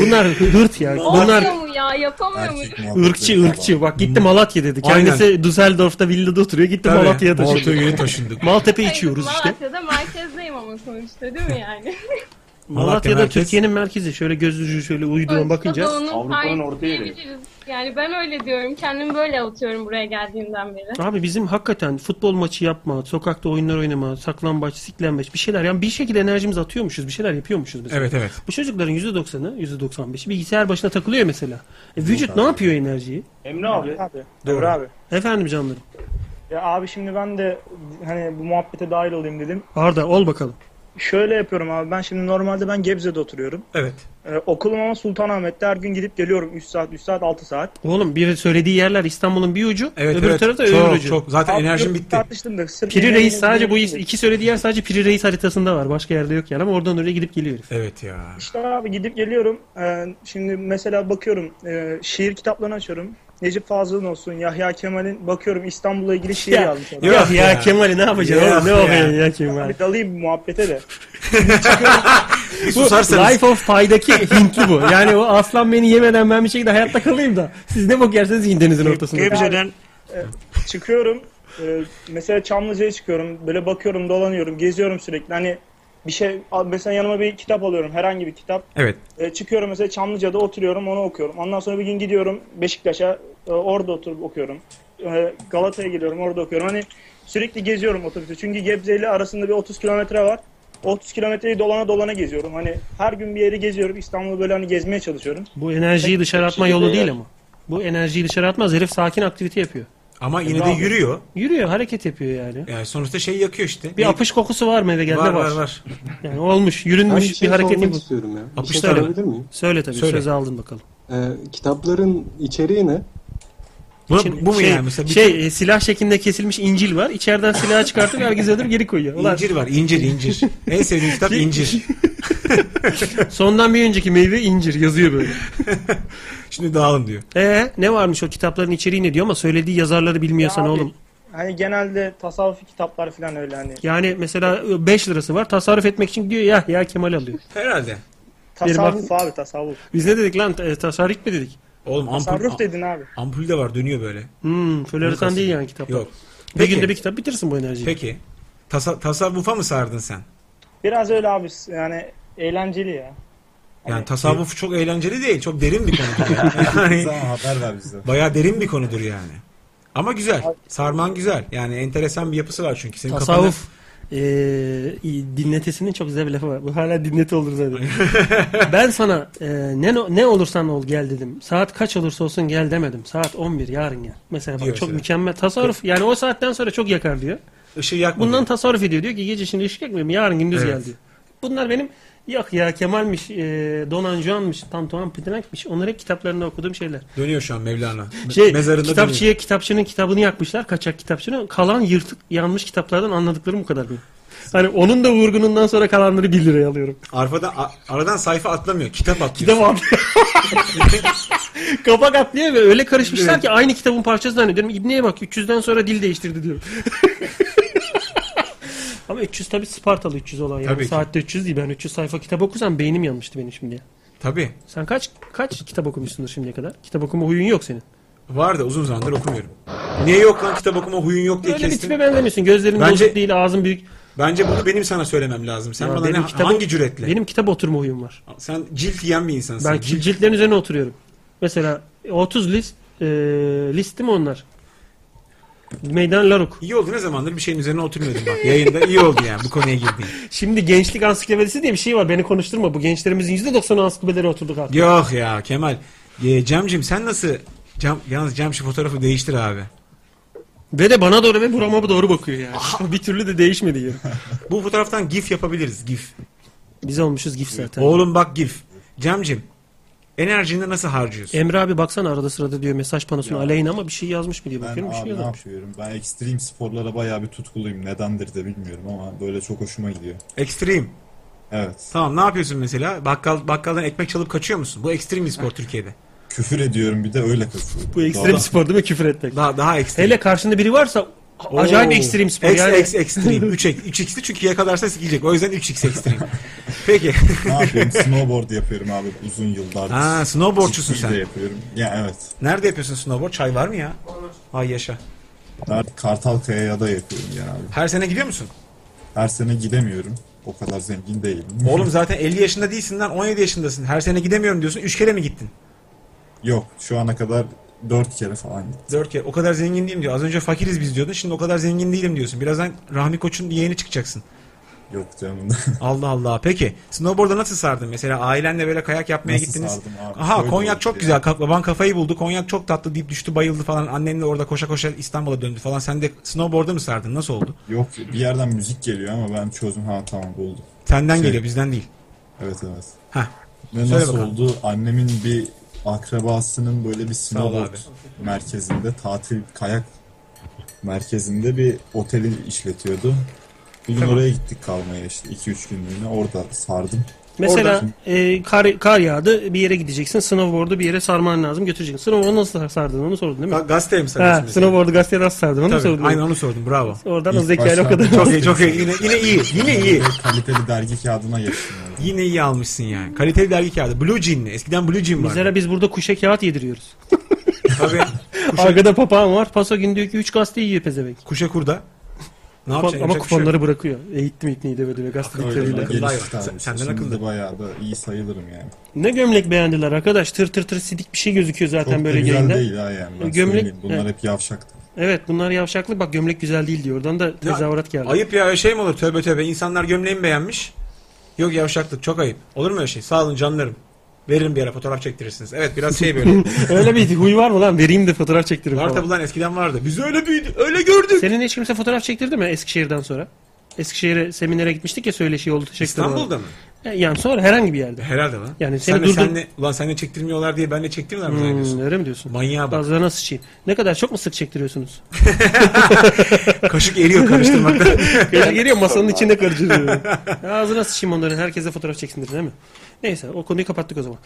bunlar hırt ya.
olmuyor
bunlar
mu ya yapamıyor mu?
ırkçı ırkçı. Bak gitti Malatya dedi. Kendisi Düsseldorf'ta villada oturuyor. Gitti
Tabii,
Malatya'ya taşındı.
Malatya'ya yeni taşındık.
Maltepe içiyoruz işte.
Malatya'da merkezdeyim ama sonuçta değil mi yani?
Malatya'da
merkez.
Türkiye'nin merkezi. Şöyle gözlücü şöyle uydudan bakınca.
Avrupa'nın Avrupa'nın Yani ben öyle diyorum. Kendimi böyle atıyorum buraya geldiğimden beri.
Abi bizim hakikaten futbol maçı yapma, sokakta oyunlar oynama, saklambaç, siklenmeç bir şeyler. Yani bir şekilde enerjimizi atıyormuşuz, bir şeyler yapıyormuşuz biz.
Evet, evet.
Bu çocukların %90'ı, %95'i bilgisayar başına takılıyor mesela. E, vücut ne yapıyor enerjiyi?
Emre abi.
abi. Doğru abi.
Efendim canlarım.
Ya abi şimdi ben de hani bu muhabbete dahil olayım dedim.
Arda ol bakalım.
Şöyle yapıyorum abi ben şimdi normalde ben Gebze'de oturuyorum.
Evet.
Ee, okulum ama Sultanahmet'te her gün gidip geliyorum 3 saat 3 saat 6 saat.
Oğlum bir söylediği yerler İstanbul'un bir ucu,
Evet,
öbür
evet.
tarafta
Çok,
öbür ucu.
çok. Zaten Abi, enerjim yok, bitti.
Tartıştım
da, sırf
Piri
enerjim
Reis sadece bu
bitti.
iki söylediği yer sadece Piri Reis haritasında var. Başka yerde yok yani ama oradan oraya gidip geliyor. herif.
Evet ya.
İşte abi gidip geliyorum. Ee, şimdi mesela bakıyorum e, şiir kitaplarını açıyorum. Necip Fazıl'ın olsun, Yahya Kemal'in bakıyorum İstanbul'la ilgili şiir
Ya,
yazmış. adam.
yok ya Kemal'i ne yapacaksın oğlum? Ne okuyorsun ya Kemal?
Abi dalayım bu muhabbete de.
Bir
bu
susarsanız.
Life of Pi'daki Hintli bu. Yani o aslan beni yemeden ben bir şekilde hayatta kalayım da. Siz ne bok yerseniz yiyin denizin ortasında.
E, çıkıyorum. E, mesela Çamlıca'ya çıkıyorum. Böyle bakıyorum, dolanıyorum, geziyorum sürekli. Hani bir şey al- mesela yanıma bir kitap alıyorum herhangi bir kitap.
Evet.
E, çıkıyorum mesela Çamlıca'da oturuyorum onu okuyorum. Ondan sonra bir gün gidiyorum Beşiktaş'a e, orada oturup okuyorum. E, Galata'ya gidiyorum orada okuyorum. Hani sürekli geziyorum otobüste. Çünkü Gebze ile arasında bir 30 kilometre var. 30 kilometreyi dolana dolana geziyorum. Hani her gün bir yeri geziyorum. İstanbul'u böyle hani gezmeye çalışıyorum.
Bu enerjiyi dışarı atma yolu değil
yani.
ama. Bu enerjiyi dışarı atmaz. Herif sakin aktivite yapıyor.
Ama yine de yürüyor.
Yürüyor, hareket yapıyor yani.
Yani sonuçta şey yakıyor işte.
Bir apış kokusu var mı eve geldi?
Var, var, var.
Yani olmuş,
Ben
yürünmüş
bir şey
bir hareket
sormak
yapıyor.
istiyorum ya. Bir şey
Apışlar var.
sorabilir miyim?
Söyle tabii,
Söyle.
söz aldın bakalım.
Ee, kitapların içeriği ne?
Şimdi şey, şey, e, silah şeklinde kesilmiş incil var. İçeriden silahı çıkartıp herkes öldürüp geri koyuyor. Ulan.
İncir var, incir, incir. en sevdiğim kitap incir.
Sondan bir önceki meyve incir yazıyor böyle.
Şimdi dağılın diyor.
Ee, ne varmış o kitapların içeriği ne diyor ama söylediği yazarları bilmiyorsan
Ya abi,
oğlum.
Hani genelde tasavvufi kitaplar falan öyle hani.
Yani mesela 5 lirası var tasarruf etmek için gidiyor ya ya Kemal alıyor.
Herhalde.
Tasavvuf abi tasavvuf.
Biz ne dedik lan E, tasarruf mi dedik?
Oğlum
Tasarruf dedin abi.
Ampul de var dönüyor böyle.
Hmm,
Bunu kastediyor.
floresan değil yani kitap.
Yok.
Bir
Peki.
günde bir kitap bitirsin bu enerjiyi.
Peki. Tasa- tasavvufa mı sardın sen?
Biraz öyle abi yani eğlenceli ya.
Yani tasavvuf çok eğlenceli değil. Çok derin bir konudur. yani. haber ver bize. Bayağı derin bir konudur yani. Ama güzel. Sarman güzel. Yani enteresan bir yapısı var çünkü. Senin
Tasavvuf e, i- dinletesinin çok güzel bir lafı var. Bu hala dinleti olur zaten. ben sana e, ne ne olursan ol gel dedim. Saat kaç olursa olsun gel demedim. Saat 11 yarın gel. Mesela bak
Diyor
çok
mesela.
mükemmel tasarruf. Yani o saatten sonra çok yakar diyor.
Işığı yakma
Bundan tasarruf ediyor. Diyor ki gece şimdi ışık yakmayayım. Yarın gündüz
Evet.
gel diyor. Bunlar benim yok ya Kemal'miş, e, Donan Juan'mış, Tantuan Pidenk'miş. Onlar hep kitaplarında okuduğum şeyler.
kafanda dönüyor şu an Mevlana. Me-
Şey,
Mezarında
kitapçıya kitapçının kitabını yakmışlar. Kaçak kitapçının. Kalan yırtık yanmış kitaplardan anladıklarım bu kadar benim. Hani onun da vurgunundan sonra kalanları 1 liraya alıyorum.
Arfada, aradan sayfa atlamıyor. Kitap atlıyor.
Kitap atlıyor. Kapak atlıyor ve öyle karışmışlar ki aynı kitabın parçası zannediyorum. İbni'ye bak 300'den sonra dil değiştirdi diyor. Ama 300 tabii Spartalı 300 olan yani.
Tabii ki.
Saatte 300 değil. Ben 300 sayfa kitap okusam beynim yanmıştı benim şimdi.
Tabii.
Sen kaç kaç kitap okumuşsundur şimdiye kadar? Kitap okuma huyun yok senin.
Var da uzun zamandır okumuyorum. Niye yok lan kitap okuma huyun yok diye
Öyle bir
kestin.
tipe benzemiyorsun. Gözlerin
Bence-
bozuk değil, ağzın büyük.
Bence bunu benim sana söylemem lazım. Sen
Ya
bana
benim
ne,
kitap-
hangi cüretle?
Benim kitap oturma huyum var.
Sen cilt yiyen bir insansın.
Ben
cilt...
ciltlerin üzerine oturuyorum. Mesela 30 list e, list mi onlar? Meydan Laruk.
İyi oldu ne zamandır bir şeyin üzerine oturmuyordum bak. Yayında iyi oldu yani bu konuya girdiğin.
Şimdi gençlik ansiklopedisi diye bir şey var. Beni konuşturma. Bu gençlerimizin %90'ı ansiklopedilere oturduk artık.
Yok ya Kemal. E, Cemcim sen nasıl... Cem, yalnız Cem şu fotoğrafı değiştir abi.
Ve de bana doğru ve burama doğru bakıyor yani. bir türlü de değişmedi yani.
bu fotoğraftan gif yapabiliriz gif.
Biz olmuşuz gif zaten.
Oğlum bak gif. Cemcim enerjini nasıl harcıyorsun?
Emre abi baksana arada sırada diyor mesaj panosuna aleyhine ama bir şey yazmış mı diye
Ben
bakıyorum. bir şey
abi ne
yazmamış.
yapıyorum? Ben ekstrem sporlara bayağı bir tutkuluyum. Nedendir de bilmiyorum ama böyle çok hoşuma gidiyor.
Ekstrem.
Evet.
Tamam ne yapıyorsun mesela? Bakkal bakkaldan ekmek çalıp kaçıyor musun? Bu ekstrem bir
Ah.
spor Türkiye'de.
Küfür ediyorum bir de öyle kızıyorum.
Bu ekstrem
Doğru.
spor değil mi küfür etmek?
Daha, daha ekstrem.
Hele karşında biri varsa
Oo.
acayip ekstrem spor.
Ex,
yani.
ex, ekstrem. 3, 3x'li çünkü yakalarsa sikecek. O yüzden 3x ekstrem. Peki.
Ne yapıyorum? Snowboard yapıyorum abi uzun yıllardır.
Ha, snowboardçusun
Ciddi
sen.
de yapıyorum. Ya evet.
Nerede yapıyorsun snowboard? Çay var mı ya? Ay yaşa.
Nerede? Kartal Kaya'ya da yapıyorum genelde.
Her sene gidiyor musun?
Her sene gidemiyorum. O kadar zengin değilim.
Oğlum zaten 50 yaşında değilsin lan 17 yaşındasın. Her sene gidemiyorum diyorsun. 3 kere mi gittin?
Yok şu ana kadar dört kere falan gittim.
4 kere. O kadar zengin değilim diyor. Az önce fakiriz biz diyordun. Şimdi o kadar zengin değilim diyorsun. Birazdan Rahmi Koç'un yeğeni çıkacaksın.
Yok canım.
Allah Allah. Peki snowboard'a nasıl sardın? Mesela ailenle böyle kayak yapmaya
Nasıl
gittiniz.
sardım abi?
Aha
Şöyle
konyak
oldu
çok
ya.
güzel. Kalk, baban kafayı buldu. Konyak çok tatlı deyip düştü bayıldı falan. Annenle orada koşa koşa İstanbul'a döndü falan. Sen de snowboard'a mı sardın? Nasıl oldu?
Yok bir yerden müzik geliyor ama ben çözdüm. Ha tamam buldum.
Senden
Şey-
geliyor bizden değil.
Evet evet.
Heh.
Ne
Söyle
nasıl
bakalım.
oldu? Annemin bir akrabasının böyle bir
ol
snowboard
abi.
merkezinde tatil kayak merkezinde bir oteli işletiyordu. Bir gün
Tamam.
oraya gittik kalmaya işte 2-3 günlüğüne orada sardım.
Mesela
Oradan-
e, kar, kar yağdı bir yere gideceksin. Snowboard'u bir yere sarman lazım götüreceksin. Snowboard'u nasıl sardın onu sordun değil mi?
gazeteye mi
Ha,
sarıyorsun mesela?
snowboard'u gazeteye nasıl sardın onu
Tabii,
sordun.
aynen onu sordum bravo.
Oradan o zekalı o kadar.
Çok iyi çok iyi yine, yine iyi yine iyi.
Kaliteli dergi kağıdına geçtim.
Yine iyi almışsın yani. Kaliteli dergi kağıdı. Blue Jean'li. Eskiden Blue Jean vardı.
Bizlere biz burada kuşa kağıt yediriyoruz.
Tabii.
Arkada papağan var. Paso gün diyor ki 3 gazete yiyor pezevenk.
Kuşa kurda. Ne
Kupon-
yapacaksın?
ama
Yapacak bir şey
kuponları
yok.
bırakıyor. Eğittim ikneyi de böyle gazeteleriyle.
Senden akıllı. Bayağı da iyi sayılırım yani.
Ne gömlek beğendiler arkadaş. Tır tır tır sidik bir şey gözüküyor zaten
Çok da
böyle
güzel
yayında. E,
değil ha yani. Ben
gömlek,
söyleyeyim. Bunlar
Evet.
hep yavşaktı.
Evet bunlar yavşaklık. Bak gömlek güzel değil diyor. Oradan da tezahürat geldi.
Ayıp ya öyle şey mi olur? Tövbe tövbe. İnsanlar gömleği mi beğenmiş? Yok yavşaklık çok ayıp. Olur mu öyle şey? Sağ olun canlarım. Veririm bir ara fotoğraf çektirirsiniz. Evet biraz şey böyle.
öyle bir huy var mı lan? Vereyim de fotoğraf çektireyim
Var
falan.
tabi lan eskiden vardı. Biz öyle büyüdük. Öyle gördük.
Senin hiç kimse fotoğraf çektirdi mi Eskişehir'den sonra? Eskişehir'e seminere gitmiştik ya söyleşi oldu. Teşekkür
İstanbul'da
ederim.
mı?
E, Yani sonra herhangi bir yerde.
Herhalde lan.
Yani seni Hmm.
Sen de-
durdur-
sen de- ulan sen de çektirmiyorlar diye ben de çektirmiyorlar mı zannediyorsun?
öyle mi diyorsun?
Manyağa bak.
Bazılarına sıçayım. Ne kadar çok mu sık çektiriyorsunuz?
Kaşık eriyor karıştırmaktan.
Kaşık eriyor masanın içinde karıştırıyor. Ağzına sıçayım onların. Herkese fotoğraf çeksindir değil mi? Neyse o konuyu kapattık o zaman.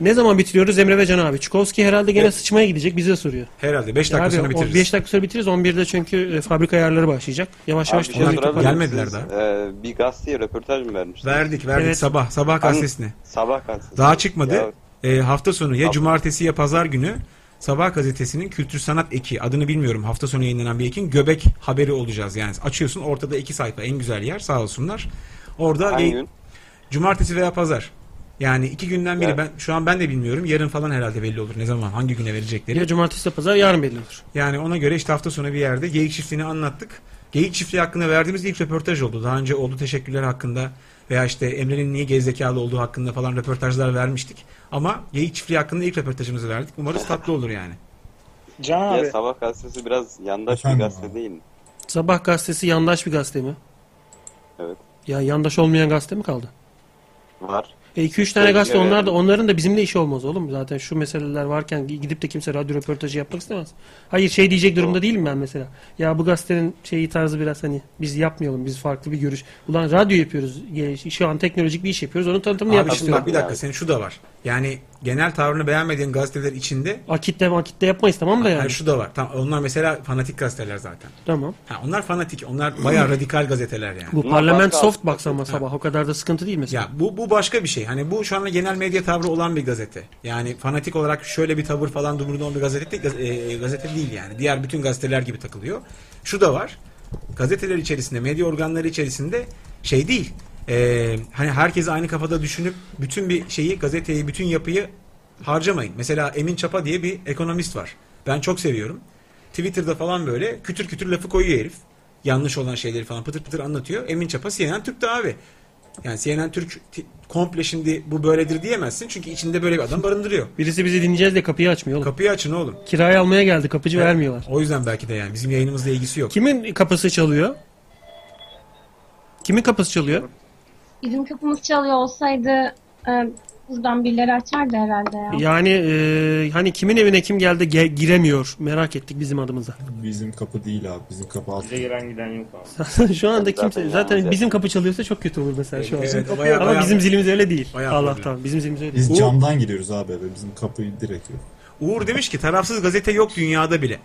Ne zaman bitiriyoruz Emre ve Can abi? Çukovski herhalde gene
Evet.
sıçmaya gidecek. Bizi de soruyor.
Herhalde 5 dakika
Abi,
sonra
o
bitiririz.
beş dakika sonra bitiririz. 11'de çünkü e, fabrika ayarları başlayacak. Yavaş yavaş
Abi, bir şey
toparlayalım.
sorabilir misiniz? Ee, bir gazeteye röportaj mı vermiştiniz?
Verdik verdik sabah. Sabah
Hani-
gazetesine.
Sabah gazetesi.
Daha çıkmadı.
Ya,
Ee, hafta sonu ya cumartesi ya pazar günü Sabah gazetesinin kültür sanat eki adını bilmiyorum hafta sonu yayınlanan bir ekin göbek haberi olacağız yani açıyorsun ortada iki sayfa en güzel yer sağ olsunlar orada
Hangi
yayın-
gün?
cumartesi veya pazar yani iki günden biri ben şu an ben de bilmiyorum yarın falan herhalde belli olur ne zaman hangi güne verecekleri
Ya cumartesi ya pazar yarın belli olur.
yani ona göre işte hafta sonu bir yerde geyik çiftliğini anlattık. Geyik çiftliği hakkında verdiğimiz ilk röportaj oldu. Daha önce oldu teşekkürler hakkında veya işte Emre'nin niye gerizekalı olduğu hakkında falan röportajlar vermiştik. Ama geyik çiftliği hakkında ilk röportajımızı verdik. Umarız tatlı olur yani.
Can
ya sabah gazetesi biraz yandaş bir gazete değil mi?
Sabah gazetesi yandaş bir gazete mi?
Evet.
Ya yandaş olmayan gazete mi kaldı?
Var.
E 2-3 tane
Peki,
gazete
evet.
onlar da onların da bizimle işi olmaz oğlum. Zaten şu meseleler varken gidip de kimse radyo röportajı yapmak istemez. Hayır şey diyecek durumda değilim ben mesela. Ya bu gazetenin şeyi tarzı biraz hani biz yapmayalım biz farklı bir görüş. Ulan radyo yapıyoruz. Ya Şu an teknolojik bir iş yapıyoruz. Onun tanıtımını
Abi
yapmak
şimdi
istiyorum.
bak bir dakika senin şu da var. Yani genel tavrını beğenmediğin gazeteler içinde
Akitte makitte yapmayız tamam da yani.
yani şu da var. Tam, onlar mesela fanatik gazeteler zaten.
Tamam.
Ha, onlar fanatik. Onlar bayağı radikal gazeteler yani.
Bu parlament soft box ama sabah o kadar da sıkıntı değil mesela.
Ya bu bu başka bir şey. Hani bu şu anda genel medya tavrı olan bir gazete. Yani fanatik olarak şöyle bir tavır falan dumurunda olan bir gazete, gaz- e, gazete değil yani. Diğer bütün gazeteler gibi takılıyor. Şu da var. Gazeteler içerisinde, medya organları içerisinde şey değil. E, hani herkes aynı kafada düşünüp bütün bir şeyi, gazeteyi, bütün yapıyı harcamayın. Mesela Emin Çapa diye bir ekonomist var. Ben çok seviyorum. Twitter'da falan böyle kütür kütür lafı koyuyor herif. Yanlış olan şeyleri falan pıtır pıtır anlatıyor. Emin Çapa CNN Türk'te abi. Yani CNN Türk ti- komple şimdi bu böyledir diyemezsin. Çünkü içinde böyle bir adam barındırıyor.
Birisi bizi dinleyeceğiz de kapıyı açmıyor oğlum.
Kapıyı açın oğlum.
Kirayı almaya geldi kapıcı
Evet.
vermiyorlar.
O yüzden belki de yani bizim yayınımızla ilgisi yok.
Kimin kapısı çalıyor? Kimin kapısı çalıyor?
Bizim kapımız çalıyor olsaydı e, buradan birileri açardı herhalde ya.
Yani e, hani kimin evine kim geldi ge- giremiyor merak ettik bizim adımıza.
Bizim kapı değil abi. Bizim kapı altı.
Bize gelen giden yok abi.
şu anda
Zaten
kimse
yani
zaten
zaten.
bizim kapı çalıyorsa çok kötü olur mesela şu an.
Evet,
Ama
bayağı- bayağı-
bizim zilimiz öyle değil.
bayağı
Allah'tan bizim zilimiz öyle değil.
Biz camdan giriyoruz abi eve. Bizim kapıyı direkt yok.
Uğur demiş ki tarafsız gazete yok dünyada bile.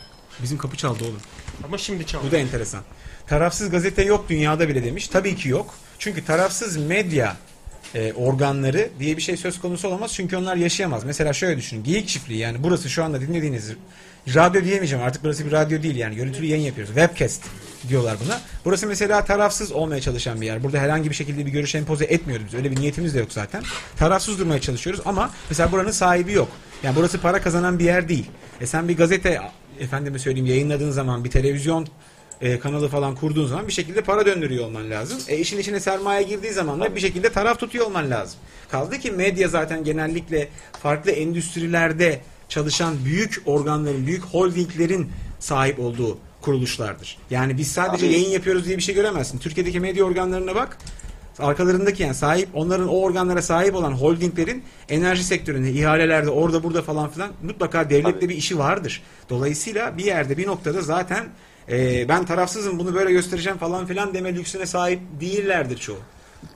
Bizim kapı çaldı oğlum.
Ama şimdi çaldı.
Bu da enteresan. Tarafsız gazete yok dünyada bile demiş. Tabii ki yok. Çünkü tarafsız medya e, organları diye bir şey söz konusu olamaz. Çünkü onlar yaşayamaz. Mesela şöyle düşünün. Geyik çiftliği yani burası şu anda dinlediğiniz radyo diyemeyeceğim. Artık burası bir radyo değil yani. Görüntülü yayın yapıyoruz. Webcast diyorlar buna. Burası mesela tarafsız olmaya çalışan bir yer. Burada herhangi bir şekilde bir görüş empoze etmiyoruz. biz. Öyle bir niyetimiz de yok zaten. Tarafsız durmaya çalışıyoruz ama mesela buranın sahibi yok. Yani burası para kazanan bir yer değil. E sen bir gazete efendime söyleyeyim yayınladığın zaman bir televizyon e, kanalı falan kurduğun zaman bir şekilde para döndürüyor olman lazım. E, işin içine sermaye girdiği zaman da bir şekilde taraf tutuyor olman lazım. Kaldı ki medya zaten genellikle farklı endüstrilerde çalışan büyük organların, büyük holdinglerin sahip olduğu kuruluşlardır. Yani biz sadece
Abi-
yayın yapıyoruz diye bir şey göremezsin. Türkiye'deki medya organlarına bak. Arkalarındaki yani sahip, onların o organlara sahip olan holdinglerin enerji sektöründe, ihalelerde, orada burada falan filan mutlaka devletle bir işi vardır. Dolayısıyla bir yerde bir noktada zaten e, ben tarafsızım bunu böyle göstereceğim falan filan deme lüksüne sahip değillerdir çoğu.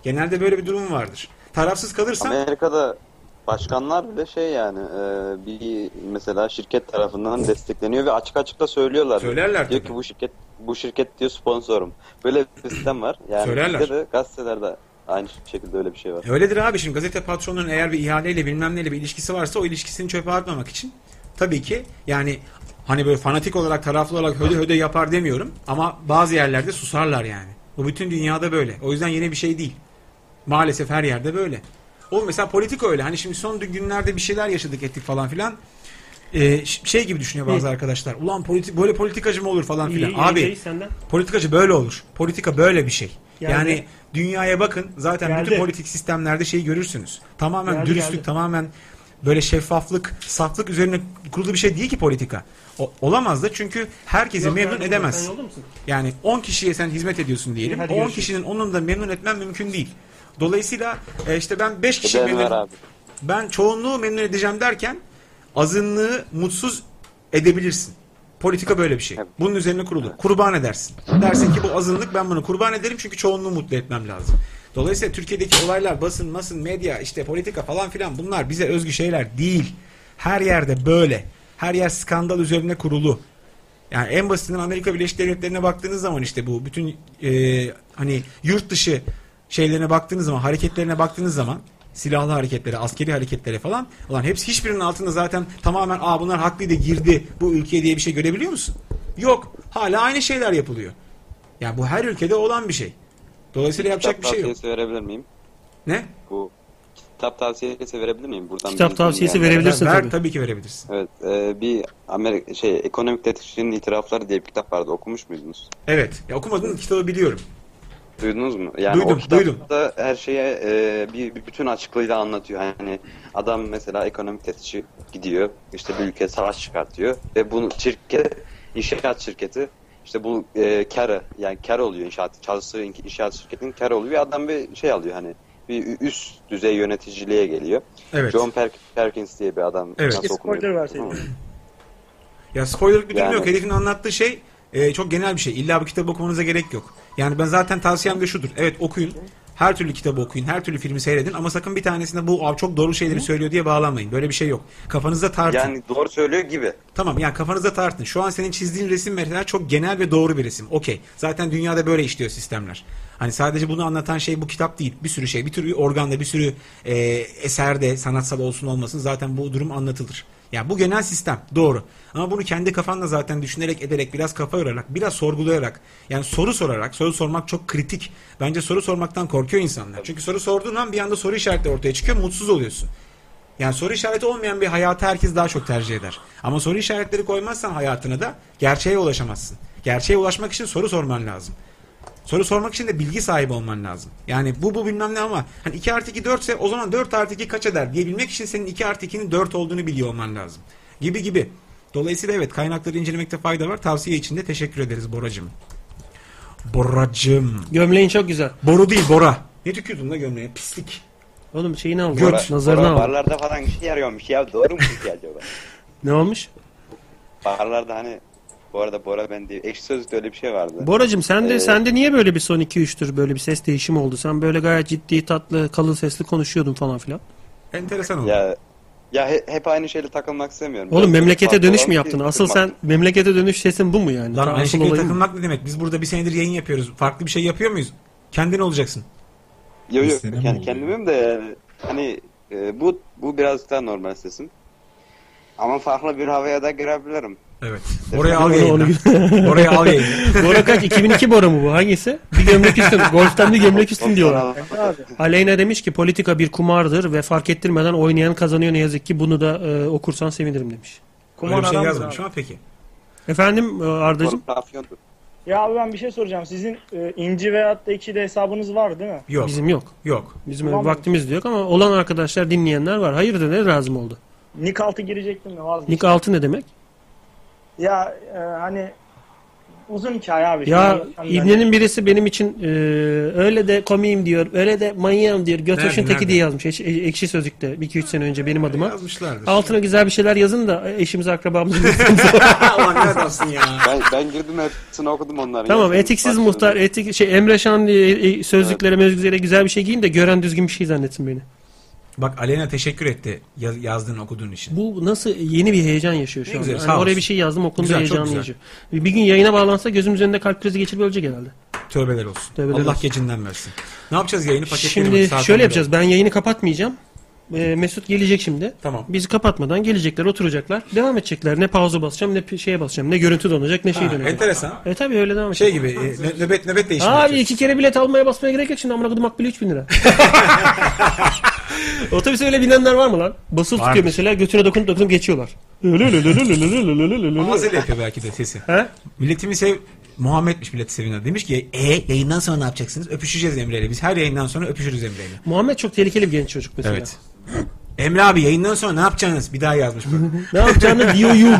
Genelde böyle bir durum vardır. Tarafsız kalırsan
Amerika'da başkanlar bile şey yani e, bir mesela şirket tarafından destekleniyor ve açık açık da söylüyorlar.
Söylerler
Diyor ki bu şirket bu şirket diyor sponsorum. Böyle bir sistem var. Yani
Söylerler.
bizde de gazetelerde aynı şekilde öyle bir şey var.
Öyledir abi şimdi gazete patronunun eğer bir ihaleyle bilmem neyle bir ilişkisi varsa o ilişkisini çöpe atmamak için tabii ki yani hani böyle fanatik olarak taraflı olarak höde höde yapar demiyorum ama bazı yerlerde susarlar yani. Bu bütün dünyada böyle. O yüzden yeni bir şey değil. Maalesef her yerde böyle. O mesela politik öyle. Hani şimdi son günlerde bir şeyler yaşadık ettik falan filan. Ee, ş- şey gibi düşünüyor bazı
Hı.
arkadaşlar. Ulan politik böyle politikacı mı olur falan filan.
İyi, iyi,
abi
iyi, senden.
politikacı böyle olur. Politika böyle bir şey.
Geldi.
Yani dünyaya bakın zaten
Geldi.
bütün politik sistemlerde şeyi görürsünüz. Tamamen
Geldi,
dürüstlük,
geldi.
tamamen böyle şeffaflık, saflık üzerine kurulu bir şey değil ki politika. O- olamaz da çünkü herkesi
Yok,
memnun
geldi.
edemez.
Sen yolda mısın?
Yani 10 kişiye sen hizmet ediyorsun diyelim.
Hadi
O 10
görüşürüz.
kişinin onun da memnun etmen mümkün değil. Dolayısıyla e, işte ben 5 kişi
Ödeyen var
memnun
abi.
ben çoğunluğu memnun edeceğim derken azınlığı mutsuz edebilirsin. Politika böyle bir şey. Bunun üzerine kurulu. Kurban edersin. Dersin ki bu azınlık ben bunu kurban ederim çünkü çoğunluğu mutlu etmem lazım. Dolayısıyla Türkiye'deki olaylar basın, masın, medya, işte politika falan filan bunlar bize özgü şeyler değil. Her yerde böyle. Her yer skandal üzerine kurulu. Yani en basitinden Amerika Birleşik Devletleri'ne baktığınız zaman işte bu bütün e, hani yurt dışı şeylerine baktığınız zaman hareketlerine baktığınız zaman silahlı hareketlere, askeri hareketlere falan olan hepsi hiçbirinin altında zaten tamamen aa bunlar haklıydı girdi bu ülkeye diye bir şey görebiliyor musun? Yok. Hala aynı şeyler yapılıyor. Yani bu her ülkede olan bir şey. Dolayısıyla yapacak
kitap
bir şey yok.
tavsiyesi verebilir miyim?
Ne?
Bu kitap tavsiyesi verebilir miyim? Buradan
Kitap
bir-
tavsiyesi
dinleyenlere-
verebilirsin Ver, tabii.
ki verebilirsin.
Evet, e, bir Amerika şey ekonomik tetkikçinin itirafları diye bir kitap vardı. Okumuş muydunuz?
Evet. Ya okumadığınız kitabı biliyorum.
Duydunuz mu? Yani
Duydum,
o kitapta
duydum.
her şeye e, bir, bir bütün açıklığıyla anlatıyor. Yani adam mesela ekonomik tetkikçi gidiyor. işte bir ülke savaş çıkartıyor ve bunu şirket inşaat şirketi işte bu e, karı yani kar oluyor inşaat çalıştığı in- inşaat şirketinin kar oluyor ve adam bir şey alıyor hani bir ü- üst düzey yöneticiliğe geliyor.
Evet.
John Perk- Perkins diye bir adam
Evet.
nasıl okunuyor?
Spoiler verseydin.
Ya spoilerlık bir durum
Yani-
yok. Herifin anlattığı şey e, çok genel bir şey. İlla bu kitabı okumanıza gerek yok. Yani ben zaten tavsiyem de şudur. Evet okuyun. Her türlü kitabı okuyun. Her türlü filmi seyredin. Ama sakın bir tanesinde bu abi çok doğru şeyleri söylüyor diye bağlanmayın. Böyle bir şey yok. Kafanızda tartın.
Yani doğru söylüyor gibi.
Tamam yani kafanızda tartın. Şu an senin çizdiğin resim mesela çok genel ve doğru bir resim. Okey. Zaten dünyada böyle işliyor sistemler. Hani sadece bunu anlatan şey bu kitap değil. Bir sürü şey, bir türlü organda, bir sürü e, eserde, sanatsal olsun olmasın zaten bu durum anlatılır. Yani bu genel sistem doğru. Ama bunu kendi kafanla zaten düşünerek, ederek, biraz kafa yorarak, biraz sorgulayarak, yani soru sorarak, soru sormak çok kritik. Bence soru sormaktan korkuyor insanlar. Çünkü soru sorduğun an bir anda soru işaretleri ortaya çıkıyor, mutsuz oluyorsun. Yani soru işareti olmayan bir hayatı herkes daha çok tercih eder. Ama soru işaretleri koymazsan hayatına da gerçeğe ulaşamazsın. Gerçeğe ulaşmak için soru sorman lazım. Soru sormak için de bilgi sahibi olman lazım. Yani bu bu bilmem ne ama hani 2 artı 2 4 ise o zaman 4 artı 2 kaç eder diye bilmek için senin 2 artı 2'nin 4 olduğunu biliyor olman lazım. Gibi gibi. Dolayısıyla evet kaynakları incelemekte fayda var. Tavsiye için de teşekkür ederiz Boracım. Boracım.
Gömleğin çok güzel.
Boru değil Bora. Ne tükürdün la gömleğe? Pislik.
Oğlum şeyini al.
Göt.
Bar-
Nazarını
bar-
al.
Barlarda falan işe yarıyormuş ya doğru mu ki acaba?
Ne olmuş?
Barlarda hani bu arada Bora ben değil. Ekşi Sözlük'te öyle bir şey vardı.
Boracım sende
Ee,
sende niye böyle bir son 2 3'tür böyle bir ses değişimi oldu? Sen böyle gayet ciddi, tatlı, kalın sesli konuşuyordun falan filan.
Enteresan oldu.
Ya, ya he- hep aynı şeyle takılmak istemiyorum.
Oğlum
Biraz
memlekete
farklı
dönüş
olan
mü
bir
yaptın?
şey
Asıl sen
yapmak.
memlekete dönüş sesin bu mu yani?
Lan
Asıl
aynı şekilde
olayı bu.
takılmak ne demek? Biz burada bir senedir yayın yapıyoruz. Farklı bir şey yapıyor muyuz? Kendin olacaksın.
Yo yo yani kendimim de yani, hani e, bu bu biraz daha normal sesim. Ama farklı bir havaya da girebilirim.
Evet.
Onu- onu-
Oraya al
Bora kaç? 2002 Bora mı bu? Hangisi? Bir gömlek üstün. Golf'ten bir gömlek üstün diyorlar. Aleyna demiş ki politika bir kumardır ve fark ettirmeden oynayan kazanıyor ne yazık ki. Bunu da e, okursan sevinirim demiş.
Öyle bir şey yazmamış ama peki.
Efendim e, Arda'cığım?
Ya abi ben bir şey soracağım. Sizin e, inci veyahut da ikili hesabınız var değil mi?
Bizim yok.
Yok.
Bizim öyle
Ulan-
vaktimiz de yok ama olan arkadaşlar dinleyenler var. Hayırdır ne lazım oldu?
Nick altı girecektim de vazgeçtim.
Nick altı ne demek?
Ya e, hani uzun hikaye abi.
Ya
Şimdi insan-
İbne'nin birisi benim için e, öyle de komiyim diyor, öyle de manyağım diyor. Götoş'un
Nerede,
teki
nerede?
diye yazmış. Eş- e- ekşi Sözlük'te 2-3 sene önce benim adıma.
Yazmışlardır.
Altına güzel bir şeyler yazın da eşimiz akrabamız.
Ulan ne adamsın ya.
Ben, ben girdim hepsini okudum onların.
tamam
yazılarını.
etiksiz
Bak,
muhtar, etik şey Emre Şan diye, e, sözlüklere, mevzüklere güzel bir şey giyin de gören düzgün bir şey zannetsin beni.
Bak Alena teşekkür etti yaz- yazdığın okuduğun için.
Bu nasıl yeni bir heyecan yaşıyor şu
Ne
an.
güzel,
Yani
sağ
oraya
olsun.
bir şey yazdım okundu
Güzel, çok
heyecanlı
güzel.
yaşıyor. Bir gün yayına bağlansa gözümüz önünde kalp krizi geçirip ölecek herhalde.
Tövbeler olsun.
Tövbeler
Allah
olsun.
gecinden versin. Ne yapacağız yayını paketleyelim.
Şimdi
mi? Saat
şöyle
11
yapacağız. Ben yayını kapatmayacağım. Ee, Mesut gelecek şimdi.
Tamam.
Bizi kapatmadan gelecekler, oturacaklar. Devam edecekler. Ne pauza basacağım, ne pi- şeye basacağım. Ne görüntü donacak, ne şey
Ha,
dönecek.
enteresan.
E tabii öyle devam
Şey gibi e, nö- nöbet nöbet değişimi.
Abi iki kere bilet almaya basmaya gerek yok şimdi amına kodum akbili 3000 lira. Otobüse öyle binenler var mı lan? Basılı
Varmış.
tutuyor mesela götüne dokunup dokunup geçiyorlar.
Mazel yapıyor belki de sesi.
He?
Milletimi sev... Muhammed'miş milleti sevinler. Demiş ki e yayından sonra ne yapacaksınız? Öpüşeceğiz Emre'yle. Biz her yayından sonra öpüşürüz Emre'yle.
Muhammed çok tehlikeli bir genç çocuk mesela.
Evet. Emre abi yayından sonra ne yapacaksınız? Bir daha yazmış bu.
Ne yapacağını diyorum.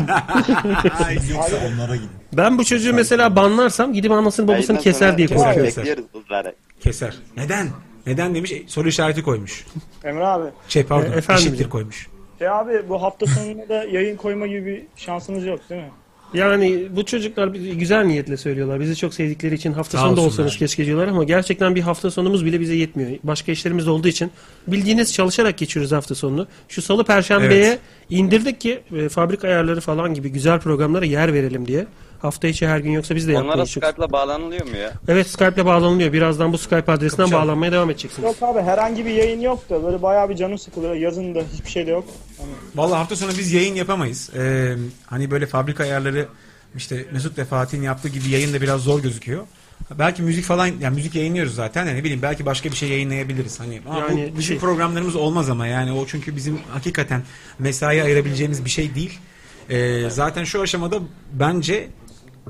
Yoksa onlara gidin.
Ben bu çocuğu mesela banlarsam gidip anasını babasını keser diye korkuyorum.
kızları.
Keser. Neden? Neden demiş? E, soru işareti koymuş.
Emre abi.
Şey pardon.
E, efendim
eşittir
diyeceğim.
koymuş.
Şey abi bu hafta sonunda da yayın koyma gibi bir şansınız yok değil mi?
Yani bu çocuklar bir- güzel niyetle söylüyorlar. Bizi çok sevdikleri için hafta
Sağ
sonu da
olsunlar.
olsanız keşke diyorlar ama gerçekten bir hafta sonumuz bile bize yetmiyor. Başka işlerimiz de olduğu için bildiğiniz çalışarak geçiyoruz hafta sonunu. Şu salı perşembeye
Evet.
indirdik ki e, fabrika ayarları falan gibi güzel programlara yer verelim diye. Hafta içi her gün yoksa biz de
Onlara
yapmayız. Çok-
Skype'la bağlanılıyor mu ya?
Evet Skype'le bağlanılıyor. Birazdan bu Skype adresinden
Kapışalım.
bağlanmaya devam edeceksiniz.
Yok abi herhangi bir yayın yok da böyle bayağı bir canım sıkılıyor. Yazın da hiçbir şey de yok.
Vallahi hafta sonu biz yayın yapamayız. Ee, hani böyle fabrika ayarları işte Mesut ve Fatih'in yaptığı gibi yayın da biraz zor gözüküyor. Belki müzik falan yani müzik yayınlıyoruz zaten. Yani ne bileyim belki başka bir şey yayınlayabiliriz. Hani ama bu
Yani
bizim
şey-
programlarımız olmaz ama yani o çünkü bizim hakikaten mesai ayırabileceğimiz bir şey değil. Ee, zaten şu aşamada bence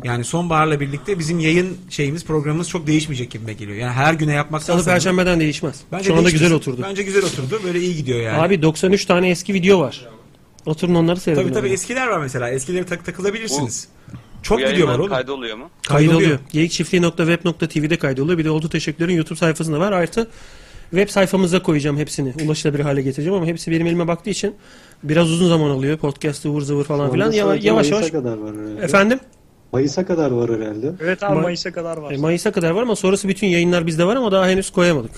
yani sonbaharla birlikte bizim yayın şeyimiz programımız çok değişmeyecek gibi geliyor. Yani her güne yapmaktan
Salı perşembeden değişmez. Şu anda
değişmez.
güzel oturdu.
Bence güzel oturdu. Böyle iyi gidiyor yani.
Abi 93 tane eski video var. Oturun onları seyredin.
Tabii tabii
abi.
eskiler var mesela. Eskileri tak takılabilirsiniz.
Çok
Bu
video
yayınlar
var oğlum.
Kaydoluyor mu?
Kaydoluyor. Geyikçiftliği.web.tv'de kaydoluyor. Bir de Oldu Teşekkürler'in YouTube sayfasında var. Artı web sayfamıza koyacağım hepsini. Ulaşılabilir hale getireceğim ama hepsi benim elime baktığı için biraz uzun zaman alıyor. Podcast ıvır zıvır falan
Şu
filan.
anda
Yavaş
sadece
yavaş.
Mayıs'a
yavaş-
kadar var herhalde.
Efendim?
Mayıs'a kadar var herhalde.
Evet abi Mayıs'a kadar var.
E, Mayıs'a kadar var ama sonrası bütün yayınlar bizde var ama daha henüz koyamadık.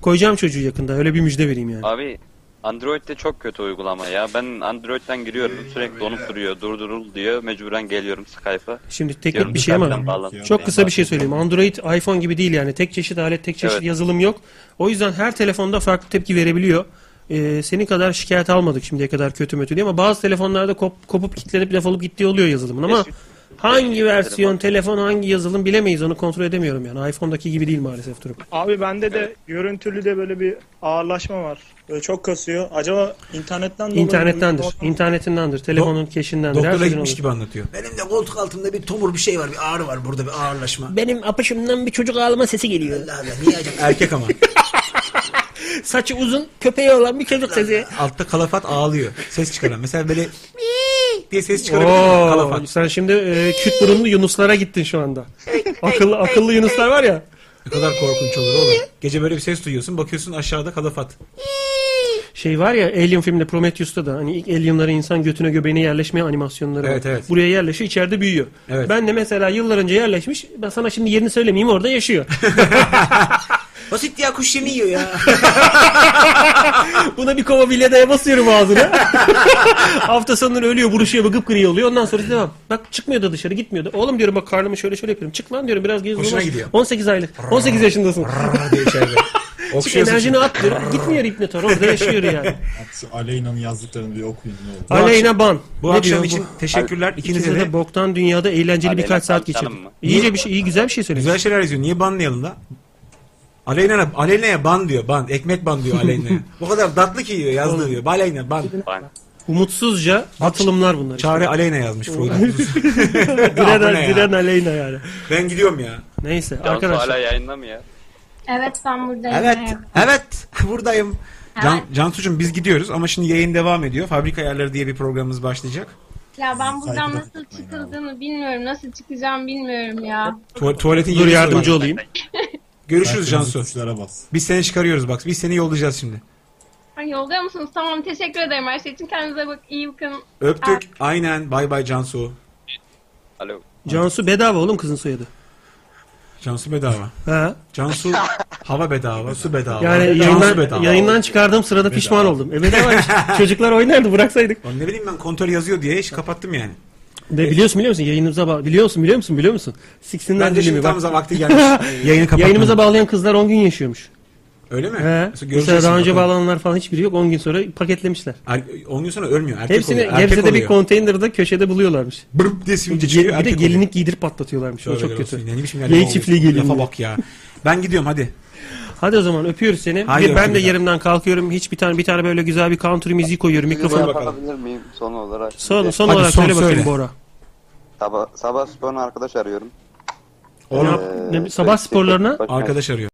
Koyacağım çocuğu yakında. Öyle bir müjde vereyim yani.
Abi Android'de çok kötü uygulama ya. Ben Android'den giriyorum sürekli donup duruyor. Durdurul diyor. Mecburen geliyorum Skype'a.
Şimdi
Diyorum,
teknik bir şey
Skype'den
ama
bağlan-
çok kısa bir şey söyleyeyim. Android iPhone gibi değil yani. Tek çeşit alet, tek çeşit
Evet.
yazılım yok. O yüzden her telefonda farklı tepki verebiliyor. Ee, senin kadar şikayet almadık şimdiye kadar kötü mötü diye ama bazı telefonlarda kop- kopup kilitlenip laf olup gittiği oluyor yazılımın ama hangi versiyon, telefon hangi yazılım bilemeyiz onu kontrol edemiyorum yani. iPhone'daki gibi değil maalesef durum.
Abi bende de görüntülü de böyle bir ağırlaşma var. Böyle çok kasıyor. Acaba internetten dolayı
İnternettendir.
mı?
İnternetindendir. Telefonun keşindendir. her
Doktora
şeyden
gitmiş
olur.
gibi anlatıyor. Benim de koltuk altımda bir tomur bir şey var. Bir ağrı var burada bir ağırlaşma.
Benim apışımdan bir çocuk ağlama sesi geliyor.
Erkek ama.
Saçı uzun, köpeği olan bir çocuk sesi.
Altta kalafat ağlıyor. Ses çıkaran. Mesela böyle diye ses çıkarabilir miyim?
Oo,
kalafat.
sen şimdi e, küt burunlu yunuslara gittin şu anda. Akıllı akıllı yunuslar var ya.
Ne kadar korkunç olur oğlum. Gece böyle bir ses duyuyorsun. Bakıyorsun aşağıda kalafat.
Şey var ya Alien filmde Prometheus'ta da hani ilk Alien'lara insan götüne göbeğine yerleşme animasyonları
Evet,
var.
evet.
Buraya yerleşiyor içeride büyüyor.
Evet.
Ben de mesela yıllar önce yerleşmiş ben sana şimdi yerini söylemeyeyim orada yaşıyor.
Basit ya kuş yemi yiyor ya.
Buna bir kova bilyadaya basıyorum ağzına. Hafta sonları ölüyor buruşuyor bakıp gri oluyor ondan sonra devam. Bak çıkmıyor da dışarı gitmiyor da. Oğlum diyorum bak karnımı şöyle şöyle yapıyorum. Çık lan diyorum biraz gez.
Hoşuna
dolaş.
gidiyor.
18 aylık. 18 yaşındasın.
diye içeride.
Çık
Okşuyorsun
enerjini
çünkü.
at diyor. Gitmiyor hipnotör orada yaşıyor yani.
Bak şu Aleyna'nın yazdıklarını bir okuyun ne olur.
Bu Aleyna Ban.
bu
Ne
akşam
diyor
için teşekkürler.
İkinize
İkinize
de.
de.
boktan dünyada eğlenceli
Aleyna
birkaç saat
tanışalım
geçirdik.
mı?
İyice bir şey, iyi güzel bir şey söylemiş.
Güzel şeyler yazıyor. Niye banlayalım da? Aleyna, Aleyna'ya ban diyor. Ban. Ekmek ban diyor Aleyna'ya. Bu kadar tatlı ki yiyor yazdığı diyor. Aleyna ban.
Umutsuzca atılımlar bunlar.
Çare Aleyna yazmış Freud.
Diren,
Amına ya.
diren Aleyna yani.
Ben gidiyorum ya.
Neyse
Cansu
arkadaşlar.
hala yayında mı ya?
Evet ben buradayım.
Evet. Evet. Buradayım. Can,
Evet.
Cansucuğum biz gidiyoruz ama şimdi yayın devam ediyor. Fabrika ayarları diye bir programımız başlayacak.
Ya ben buradan
Saygıda
nasıl çıkıldığını bilmiyorum. Nasıl çıkacağım bilmiyorum ya.
Tu- tuvaletin
Dur,
yerine
yardımcı
sorayım.
olayım.
Görüşürüz
Herkes
Cansu. Biz seni çıkarıyoruz bak. Biz seni yollayacağız şimdi.
Ay, yolda mısınız? Tamam teşekkür ederim her şey için. Kendinize bak iyi bakın.
Öptük. Aynen. Bay bay Cansu.
Alo.
Cansu bedava oğlum kızın soyadı.
Cansu bedava.
He.
Cansu hava bedava, su bedava.
Yani
Cansu
yayından,
bedava.
yayından çıkardığım sırada pişman oldum. E bedava çocuklar oynardı bıraksaydık.
Lan Ne bileyim ben kontrol yazıyor diye iş kapattım yani.
De biliyorsun biliyor musun yayınımıza bağ biliyor musun biliyor musun biliyor musun? Siksinler
Ben de şimdi
dilimi
tam
bak.
zaman vakti gelmiş. Yayını kapatmadım.
Yayınımıza bağlayan kızlar 10 gün yaşıyormuş.
Öyle mi?
He.
Mesela
Mesela
göreceksin
daha önce
bakalım.
bağlananlar falan hiçbiri yok 10 gün sonra paketlemişler.
Er, 10 gün sonra ölmüyor. Erkek
Hepsini
oluyor. Erkek
Gebze'de
oluyor.
bir konteynerda köşede buluyorlarmış.
Brrp diye sivilce çıkıyor,
Bir de
erkek
gelinlik
oluyor.
giydirip patlatıyorlarmış. O
Tövbeler
çok
olsun.
kötü.
Ne biçim yerlere
Yay
oldu?
çiftliği gelin.
Lafa bak ya. Ben gidiyorum hadi.
Hadi o zaman öpüyoruz seni.
Haydi
Bir- ben de
öpüyorum.
yerimden kalkıyorum. Hiç bir tane bir tane böyle güzel bir country müziği koyuyorum
Mikrofonu
mikrofona.
bakabilir miyim son olarak?
Son
Bir de-
son olarak söyle bakayım Bora.
Sabah, sabah sporuna arkadaş arıyorum.
Ne
Ee,
yap- ne- sabah sporlarına-
Bakın-
Arkadaş arıyor.